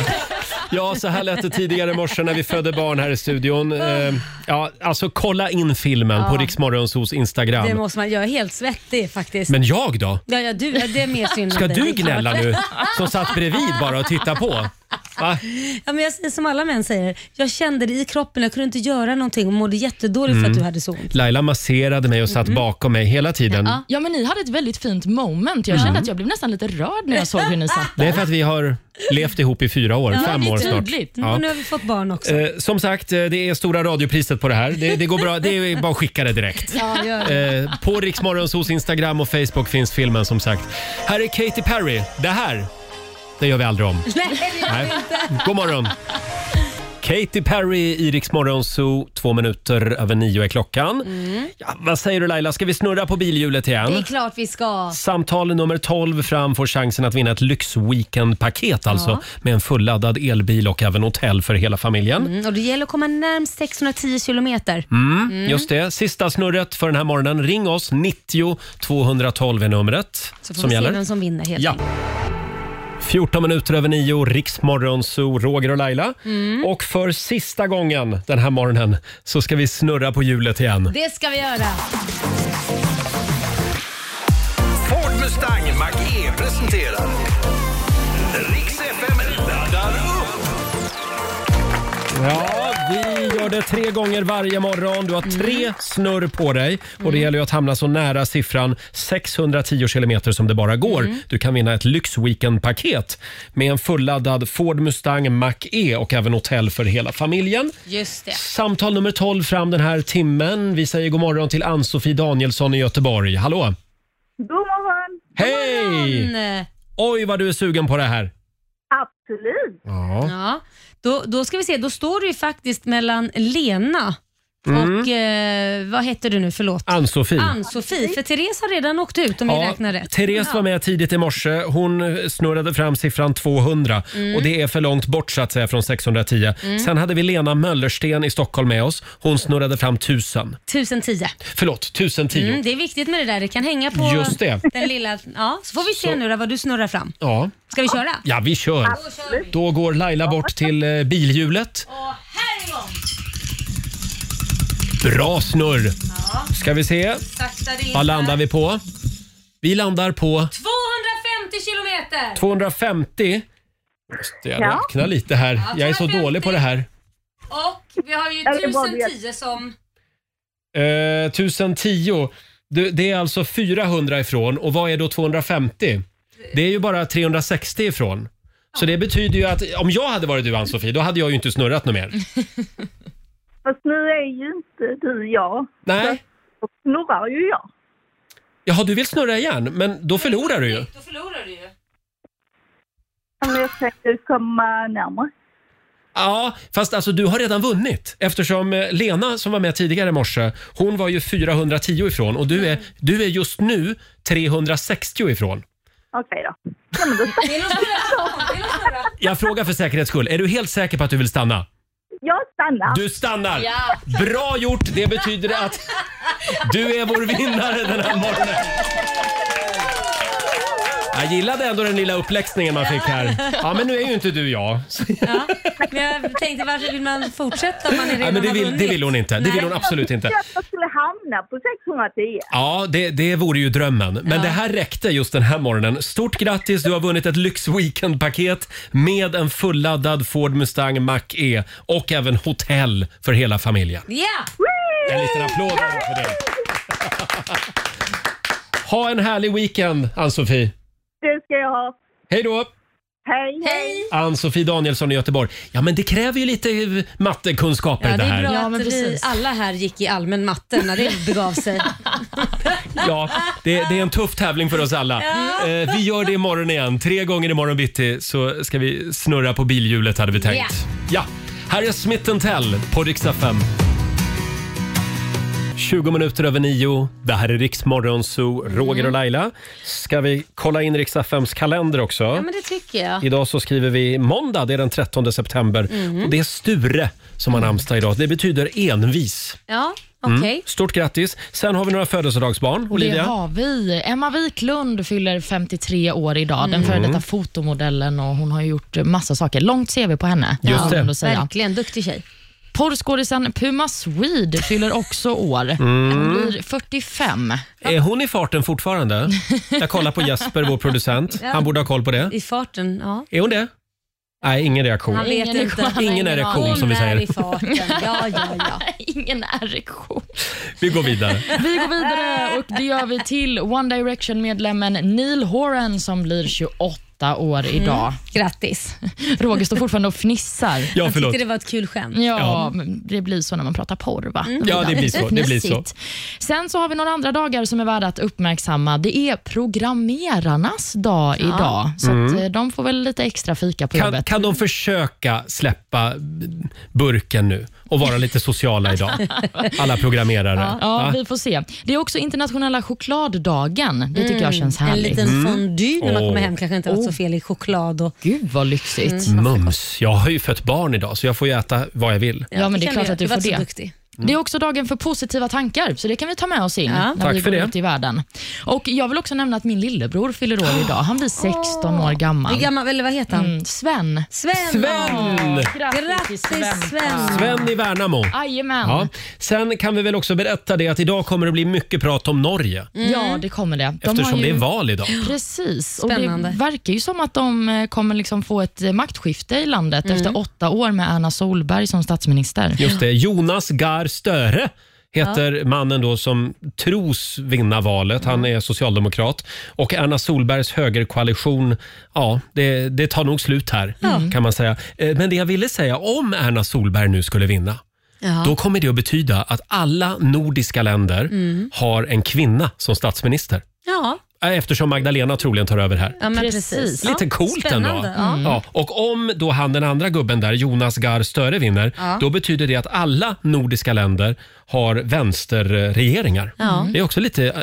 Speaker 1: Ja, så här lät det tidigare i morse när vi födde barn här i studion.
Speaker 2: Ah.
Speaker 1: Eh, Ja, alltså kolla in filmen på
Speaker 2: Ja.
Speaker 1: Riksmorgonsos
Speaker 2: Ah. Det
Speaker 1: Instagram.
Speaker 2: måste man, jag är helt svettig faktiskt.
Speaker 1: Men jag då?
Speaker 2: Ja, ja, du, ja, det är mer synd om
Speaker 1: Ska
Speaker 2: dig, det
Speaker 1: du
Speaker 2: är klart.
Speaker 1: gnälla nu? Som satt bredvid bara och tittade på. Va?
Speaker 2: Ja, men jag säger som alla män säger, jag kände det i kroppen, jag kunde inte göra någonting och mådde jättedåligt för
Speaker 1: Mm.
Speaker 2: att du hade så ont.
Speaker 1: Laila masserade mig och
Speaker 2: Mm-hmm.
Speaker 1: satt bakom mig hela tiden.
Speaker 3: Ja, men ni hade ett väldigt fint moment. Jag kände att jag blev nästan lite rörd när jag såg hur ni satt.
Speaker 1: Det är för att vi har levt ihop i fyra år,
Speaker 3: Ja,
Speaker 1: fem
Speaker 3: det är
Speaker 1: år snart.
Speaker 3: tydligt.
Speaker 1: Ja.
Speaker 2: Och nu har vi fått barn också.
Speaker 1: Eh, som sagt, eh, det är stora radiopriset på det här. Det, det går bra, det är bara att skicka det direkt.
Speaker 2: Ja, gör det.
Speaker 1: Eh, på Riksmorgonsos Instagram och Facebook finns filmen som sagt. Här är Katy Perry. Det här, det gör vi aldrig om.
Speaker 2: <laughs> Nej, det gör vi inte.
Speaker 1: God morgon. Katy Perry i Rix Morgonzoo, två minuter över nio är klockan.
Speaker 2: Mm.
Speaker 1: Ja, vad säger du Laila, ska vi snurra på bilhjulet igen?
Speaker 2: Det är klart vi ska.
Speaker 1: Samtal nummer 12 fram får chansen att vinna ett lyxweekendpaket alltså
Speaker 2: Ja.
Speaker 1: med en fulladdad elbil och även hotell för hela familjen. Mm.
Speaker 2: Mm, och det gäller att komma närmst 610 kilometer. Mm.
Speaker 1: Just det. Sista snurret för den här morgonen. Ring oss. 90 212 är numret
Speaker 2: Så får
Speaker 1: som
Speaker 2: vi se
Speaker 1: gäller.
Speaker 2: vem som vinner helt
Speaker 1: Ja. 14 minuter över nio, Riksmorgonzoo, Roger och Laila. Och för sista gången den här morgonen så ska vi snurra på hjulet igen.
Speaker 2: Det ska vi göra.
Speaker 12: Ford Mustang Mach-E presenterar Riks FM laddar upp.
Speaker 1: Ja, Mm. vi gör det tre gånger varje morgon. Du har tre snurr på dig och det gäller ju att hamna så nära siffran 610 kilometer som det bara går. Du kan vinna ett lyxweekendpaket med en fulladdad Ford Mustang Mach-E och även hotell för hela familjen.
Speaker 2: Just det.
Speaker 1: Samtal nummer 12 fram den här timmen. Vi säger god morgon till Ann-Sofie Danielsson i Göteborg. Hallå!
Speaker 5: God morgon!
Speaker 1: Hej!
Speaker 2: eh,
Speaker 1: Oj, vad du är sugen på det här.
Speaker 5: Absolut!
Speaker 1: Ja.
Speaker 2: Ja. Då, då ska vi se, då står det ju faktiskt mellan Lena
Speaker 1: Mm.
Speaker 2: och eh, vad heter du nu, förlåt?
Speaker 1: Ann-Sofie.
Speaker 2: Ann-Sofie, för Therese har redan åkt ut om jag räknar rätt.
Speaker 1: Therese var med tidigt i morse. Hon snurrade fram siffran 200
Speaker 2: Mm.
Speaker 1: och det är för långt bort så att säga från 610.
Speaker 2: Mm.
Speaker 1: Sen hade vi Lena Möllersten i Stockholm med oss. Hon snurrade fram 1000.
Speaker 2: 1010.
Speaker 1: Förlåt, 1010.
Speaker 2: Mm, det är viktigt med det där, det kan hänga på
Speaker 1: Just det.
Speaker 2: den lilla... Ja, så får vi se
Speaker 1: Så-
Speaker 2: nu då vad du snurrar fram.
Speaker 1: Ja.
Speaker 2: Ska vi köra?
Speaker 1: ja, vi kör. Då går Laila bort till eh, bilhjulet. Bra snurr! Ska vi se.
Speaker 2: Sakta in
Speaker 1: Vad landar
Speaker 2: här.
Speaker 1: vi på? Vi landar på
Speaker 2: 250 kilometer!
Speaker 1: 250. Måste jag
Speaker 2: Ja.
Speaker 1: räkna lite här.
Speaker 2: Ja,
Speaker 1: Jag är så
Speaker 2: 250.
Speaker 1: dålig på det här.
Speaker 2: Och vi har ju
Speaker 5: Eller vad vet-
Speaker 2: 1010 som...
Speaker 1: Eh, 1010. Det, det är alltså 400 ifrån och vad är då 250? Det är ju bara 360 ifrån. Så det betyder ju att om jag hade varit du Ann-Sofie, då hade jag ju inte snurrat något
Speaker 2: Mm.
Speaker 1: mer.
Speaker 5: Fast nu är ju inte du jag.
Speaker 1: Nej.
Speaker 5: Och snurrar ju jag.
Speaker 1: Jaha, du vill snurra igen, men då förlorar du ju.
Speaker 2: Då förlorar du ju.
Speaker 5: Men jag försöker komma närmare.
Speaker 1: Ja, fast alltså du har redan vunnit eftersom eh, Lena som var med tidigare i morse, hon var ju 410 ifrån och du är, du är just nu 360 ifrån.
Speaker 5: Okej då. Ja, men då
Speaker 1: Jag frågar för säkerhets skull, är du helt säker på att du vill stanna?
Speaker 5: jag stannar.
Speaker 1: Du stannar! Bra gjort! Det betyder att du är vår vinnare den här morgonen. Jag gillade ändå den lilla uppläxningen man fick här. Ja, men nu är ju inte du jag. Så,
Speaker 2: Men jag tänkte, varför vill man fortsätta om man är redan
Speaker 1: nej, men det,
Speaker 2: har
Speaker 1: vill, det
Speaker 2: vunnit?
Speaker 1: vill hon inte. Det vill hon absolut inte.
Speaker 5: Jag trodde att jag skulle hamna på 610.
Speaker 1: Ja, det, det vore ju drömmen. Men det här räckte just den här morgonen. Stort grattis, du har vunnit ett lyxweekendpaket med en fulladdad Ford Mustang Mach-E och även hotell för hela familjen.
Speaker 2: Ja!
Speaker 1: En liten applåd för det. <laughs> Ha en härlig weekend, Ann-Sofie.
Speaker 5: Det ska jag ha.
Speaker 1: Hej då!
Speaker 5: Hej, hej!
Speaker 1: Ann-Sofie Danielsson i Göteborg. Ja, men det kräver ju lite eh, mattekunskaper
Speaker 2: Ja, det
Speaker 1: det här.
Speaker 2: är bra att vi alla här gick i allmän matte när det begav sig.
Speaker 1: Ja, det, det är en tuff tävling för oss alla.
Speaker 2: Ja.
Speaker 1: Eh, vi gör det imorgon igen. Tre gånger imorgon bitti så ska vi snurra på bilhjulet hade vi tänkt. Ja, här är Smith Tell på riksdag 5. 20 minuter över nio. Det här är Riksmorgon Zoo, Roger
Speaker 2: Mm.
Speaker 1: och Laila. Ska vi kolla in riksdag 5s kalender också?
Speaker 2: Ja, men det tycker jag.
Speaker 1: Idag så skriver vi måndag, det är den 13 september.
Speaker 2: Mm.
Speaker 1: Och det är Sture som har namnsdag idag. Det betyder envis.
Speaker 2: Ja,
Speaker 1: Mm.
Speaker 2: okej.
Speaker 1: Stort grattis. Sen har vi några födelsedagsbarn. Olivia?
Speaker 3: Det har vi. Emma Wiklund fyller 53 år idag. Den före
Speaker 1: Mm.
Speaker 3: detta fotomodellen och hon har gjort massa saker. Långt CV på henne.
Speaker 1: Just
Speaker 3: kan man
Speaker 1: det.
Speaker 3: ändå säga.
Speaker 2: Verkligen, duktig tjej.
Speaker 3: Porrskådisen Puma Swede fyller också år.
Speaker 1: Mm.
Speaker 3: Hon blir 45.
Speaker 1: Är hon i farten fortfarande? Jag kollar på Jesper, vår producent.
Speaker 2: Ja.
Speaker 1: Han borde ha koll på det.
Speaker 2: I farten, ja.
Speaker 1: Är hon det? Nej, ingen reaktion.
Speaker 2: Han vet inte. Han har
Speaker 1: Ingen
Speaker 2: ingen
Speaker 1: erektion
Speaker 2: aning.
Speaker 1: som vi
Speaker 2: Hon är
Speaker 1: säger.
Speaker 2: i farten. Ja, ja, ja.
Speaker 3: Ingen erektion.
Speaker 1: Vi går vidare.
Speaker 3: Vi går vidare och det gör vi till One Direction-medlemmen Neil Horan som blir 28 år idag.
Speaker 2: Mm. Grattis.
Speaker 3: Roger står fortfarande och fnissar.
Speaker 2: Jag tyckte det var ett kul skämt.
Speaker 3: Ja, men det blir så när man pratar porr va?
Speaker 2: Mm. Ja, det blir så, det blir så.
Speaker 3: Fnissigt. Sen så har vi några andra dagar som är värda att uppmärksamma. Det är programmerarnas dag
Speaker 1: Ja.
Speaker 3: idag, så
Speaker 1: Mm.
Speaker 3: att, eh, de får väl lite extra fika på
Speaker 1: Kan,
Speaker 3: jobbet.
Speaker 1: kan de försöka släppa burken nu och vara lite sociala idag? Alla programmerare.
Speaker 3: Ja,
Speaker 1: Va?
Speaker 3: vi får se. Det är också internationella chokladdagen. Det tycker
Speaker 2: Mm,
Speaker 3: jag känns härligt.
Speaker 2: En liten fondue när man
Speaker 1: Åh.
Speaker 2: kommer hem kanske inte varit så fel i choklad. Och...
Speaker 3: Gud vad lyxigt. Mm.
Speaker 1: Mums. Jag har ju fött barn idag så jag får ju äta vad jag vill.
Speaker 3: Ja, men det är
Speaker 2: kan
Speaker 3: klart
Speaker 2: du
Speaker 3: att du
Speaker 2: göra.
Speaker 3: får
Speaker 2: Du var
Speaker 3: det.
Speaker 2: så duktig.
Speaker 3: Det är också dagen för positiva tankar, så det kan vi ta med oss in när
Speaker 1: Tack
Speaker 3: vi
Speaker 1: för
Speaker 3: går
Speaker 1: det.
Speaker 3: ut i världen. Och Jag vill också nämna att min lillebror fyller år idag. Han blir 16 år gammal.
Speaker 2: Hur gammal, eller vad heter han?
Speaker 3: Mm, Sven.
Speaker 2: Sven!
Speaker 1: Sven!
Speaker 2: Grattis Sven!
Speaker 1: Sven i Värnamo.
Speaker 3: Jajamän.
Speaker 1: Ja. Sen kan vi väl också berätta det att idag kommer det bli mycket prat om Norge.
Speaker 3: Mm. Ja, det kommer det. De
Speaker 1: Eftersom
Speaker 3: har
Speaker 1: det är val idag.
Speaker 3: Precis.
Speaker 2: Spännande.
Speaker 3: Och det verkar ju som att de eh, kommer liksom få ett eh, maktskifte i landet
Speaker 1: Mm.
Speaker 3: efter åtta år med Erna Solberg som statsminister.
Speaker 1: Just det, Jonas Gahr Störe heter mannen då som tros vinna valet. Han
Speaker 2: Mm.
Speaker 1: är socialdemokrat. Och Erna Solbergs högerkoalition, ja, det, det tar nog slut här
Speaker 2: Ja.
Speaker 1: kan man säga. Eh, Men det jag ville säga, om Erna Solberg nu skulle vinna,
Speaker 2: Ja.
Speaker 1: då kommer det att betyda att alla nordiska länder
Speaker 2: Mm.
Speaker 1: har en kvinna som statsminister.
Speaker 2: Ja,
Speaker 1: Eh, Eftersom Magdalena troligen tar över här.
Speaker 2: ja men precis.
Speaker 1: Lite
Speaker 2: ja.
Speaker 1: coolt
Speaker 2: Spännande,
Speaker 1: ändå. Mm.
Speaker 2: Ja.
Speaker 1: Ja, och om då han den andra gubben där, Jonas Gahr Störe vinner,
Speaker 2: Ja.
Speaker 1: då betyder det att alla nordiska länder har vänsterregeringar.
Speaker 2: Ja.
Speaker 1: Det är också lite eh,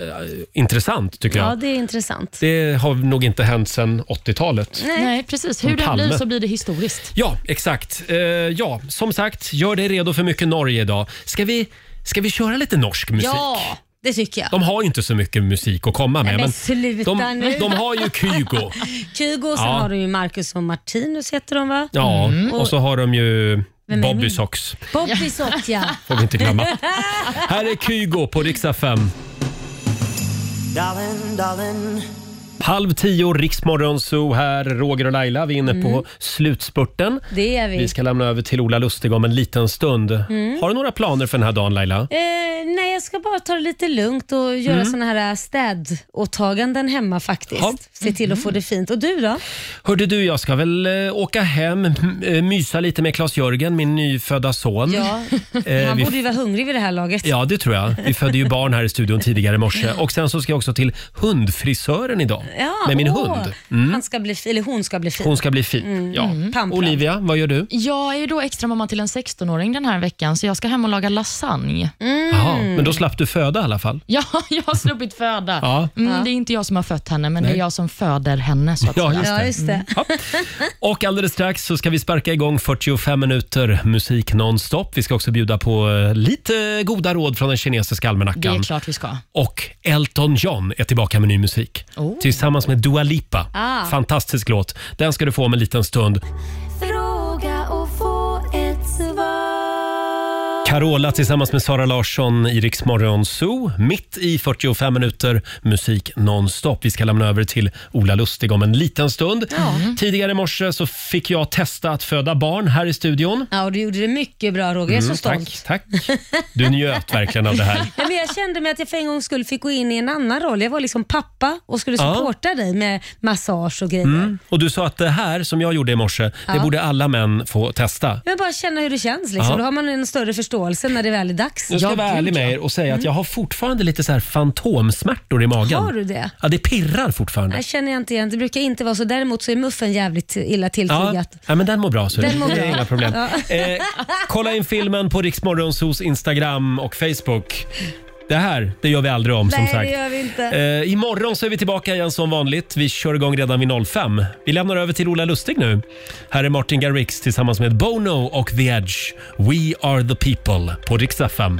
Speaker 1: intressant tycker
Speaker 2: Ja,
Speaker 1: jag.
Speaker 2: det är intressant.
Speaker 1: Det har nog inte hänt sedan 80-talet.
Speaker 3: Nej. precis. Hur
Speaker 1: Som
Speaker 3: det blir
Speaker 1: Palme.
Speaker 3: så blir det historiskt.
Speaker 1: Ja, exakt. Eh, ja, som sagt, gör dig redo för mycket Norge idag. Ska vi, ska vi köra lite norsk musik?
Speaker 2: Ja, det tycker jag.
Speaker 1: De har ju inte så mycket musik att komma med.
Speaker 2: Nej, men
Speaker 1: men
Speaker 2: sluta
Speaker 1: de,
Speaker 2: nu.
Speaker 1: de har ju
Speaker 2: <laughs>
Speaker 1: Kygo.
Speaker 2: Kygo och sen
Speaker 1: Ja.
Speaker 2: har du ju Marcus och Martinus heter de va?
Speaker 1: Ja, och
Speaker 2: Och
Speaker 1: så har de ju
Speaker 2: Mm. Vem är
Speaker 1: Bobby
Speaker 2: min?
Speaker 1: Socks.
Speaker 2: Bobby Sock ja.
Speaker 1: Får vi inte glömma. Här är Kygo på riksdag 5.
Speaker 13: Darling, darling.
Speaker 1: Halv tio, Riksmorgon Zoo här. Roger och Laila, vi är inne på
Speaker 2: Mm.
Speaker 1: slutspurten.
Speaker 2: Det är vi.
Speaker 1: Vi ska lämna över till Ola Lustig om en liten stund.
Speaker 2: Mm.
Speaker 1: Har du några planer för den här dagen Laila?
Speaker 2: Eh, nej, jag ska bara ta det lite lugnt och göra
Speaker 1: Mm.
Speaker 2: såna här eh, städåtaganden hemma faktiskt.
Speaker 1: Ja. Mm. Eh,
Speaker 2: Se till att få det fint. Och du då?
Speaker 1: Hörde du, jag ska väl eh, åka hem, m- eh, mysa lite med Claes-Jörgen, min nyfödda son.
Speaker 2: Ja,
Speaker 1: <laughs> Eh,
Speaker 2: han
Speaker 1: vi-
Speaker 2: borde ju vara hungrig vid det här laget.
Speaker 1: Ja, det tror jag. Vi födde ju barn här i studion tidigare i morse. Och sen så ska jag också till hundfrisören idag.
Speaker 2: Ja,
Speaker 1: med min
Speaker 2: åh.
Speaker 1: hund. Mm.
Speaker 2: Han ska bli, fi- eller hon ska bli fin.
Speaker 1: Hon ska bli fin.
Speaker 2: Mm.
Speaker 1: Ja.
Speaker 2: Mm. Pamplad.
Speaker 1: Olivia, vad gör du?
Speaker 3: Jag är ju då extra mamma till en 16-åring den här veckan, så jag ska hem och laga lasagne.
Speaker 1: Jaha, men då slapp du föda i alla fall.
Speaker 3: <laughs> Ja, jag har sluppit föda.
Speaker 1: Ja.
Speaker 3: Mm, det är inte jag som har fött henne, men det
Speaker 1: Nej.
Speaker 3: är jag som föder henne. Så att
Speaker 1: Ja,
Speaker 3: säga.
Speaker 1: just det. Ja, just det. Och alldeles strax så ska vi sparka igång 45 minuter musik nonstop. Vi ska också bjuda på eh, lite goda råd från den kinesiska
Speaker 3: Det är
Speaker 1: almanackan.
Speaker 3: klart vi ska.
Speaker 1: Och Elton John är tillbaka med ny musik.
Speaker 3: Oh.
Speaker 1: tillsammans med Dua Lipa.
Speaker 13: Ah.
Speaker 1: Fantastisk låt. Den ska du få om en liten stund.
Speaker 13: Fråga och få ett svar.
Speaker 1: Carola tillsammans med Sara Larsson i Rix Morgon Zoo. Mitt i 45 minuter musik nonstop. Vi ska lämna över till Ola Lustig om en liten stund. Mm. Tidigare i morse så fick jag testa att föda barn här i studion.
Speaker 2: Ja, och du gjorde det mycket bra Roger. Jag är
Speaker 1: Mm,
Speaker 2: så stolt.
Speaker 1: Tack, tack. Du njöt verkligen av det
Speaker 2: <laughs>
Speaker 1: här.
Speaker 2: Nej, men jag kände mig att jag för en gångs skull fick gå in i en annan roll. Jag var liksom pappa och skulle
Speaker 1: Ja.
Speaker 2: supporta dig med massage och grejer.
Speaker 1: Mm. Och du sa att det här som jag gjorde i morse, det
Speaker 2: Ja.
Speaker 1: borde alla män få testa.
Speaker 2: Jag vill bara känna hur det känns. Liksom.
Speaker 1: Ja.
Speaker 2: Då har man en större förståelse när det väl är dags.
Speaker 1: Jag ska vara ärlig med er och säga att jag har fortfarande lite så här fantomsmärtor i magen.
Speaker 2: Mm. Har du det?
Speaker 1: Ja, det pirrar fortfarande.
Speaker 2: Nej, känner jag inte igen. Det brukar inte vara så. Däremot så är muffen jävligt illa tilltygad.
Speaker 1: Ja, ja, men den mår bra. Så
Speaker 2: Den mår
Speaker 1: det är
Speaker 2: bra.
Speaker 1: inga problem.
Speaker 2: Ja.
Speaker 1: Eh, kolla in filmen på Riksmorgonsos Instagram och Facebook. Det här, det gör vi aldrig om som
Speaker 2: Nej,
Speaker 1: sagt.
Speaker 2: det gör vi inte.
Speaker 1: Eh, imorgon så är vi tillbaka igen som vanligt. Vi kör igång redan vid 05. Vi lämnar över till Ola Lustig nu. Här är Martin Garrix tillsammans med Bono och The Edge. We are the people på Rix FM.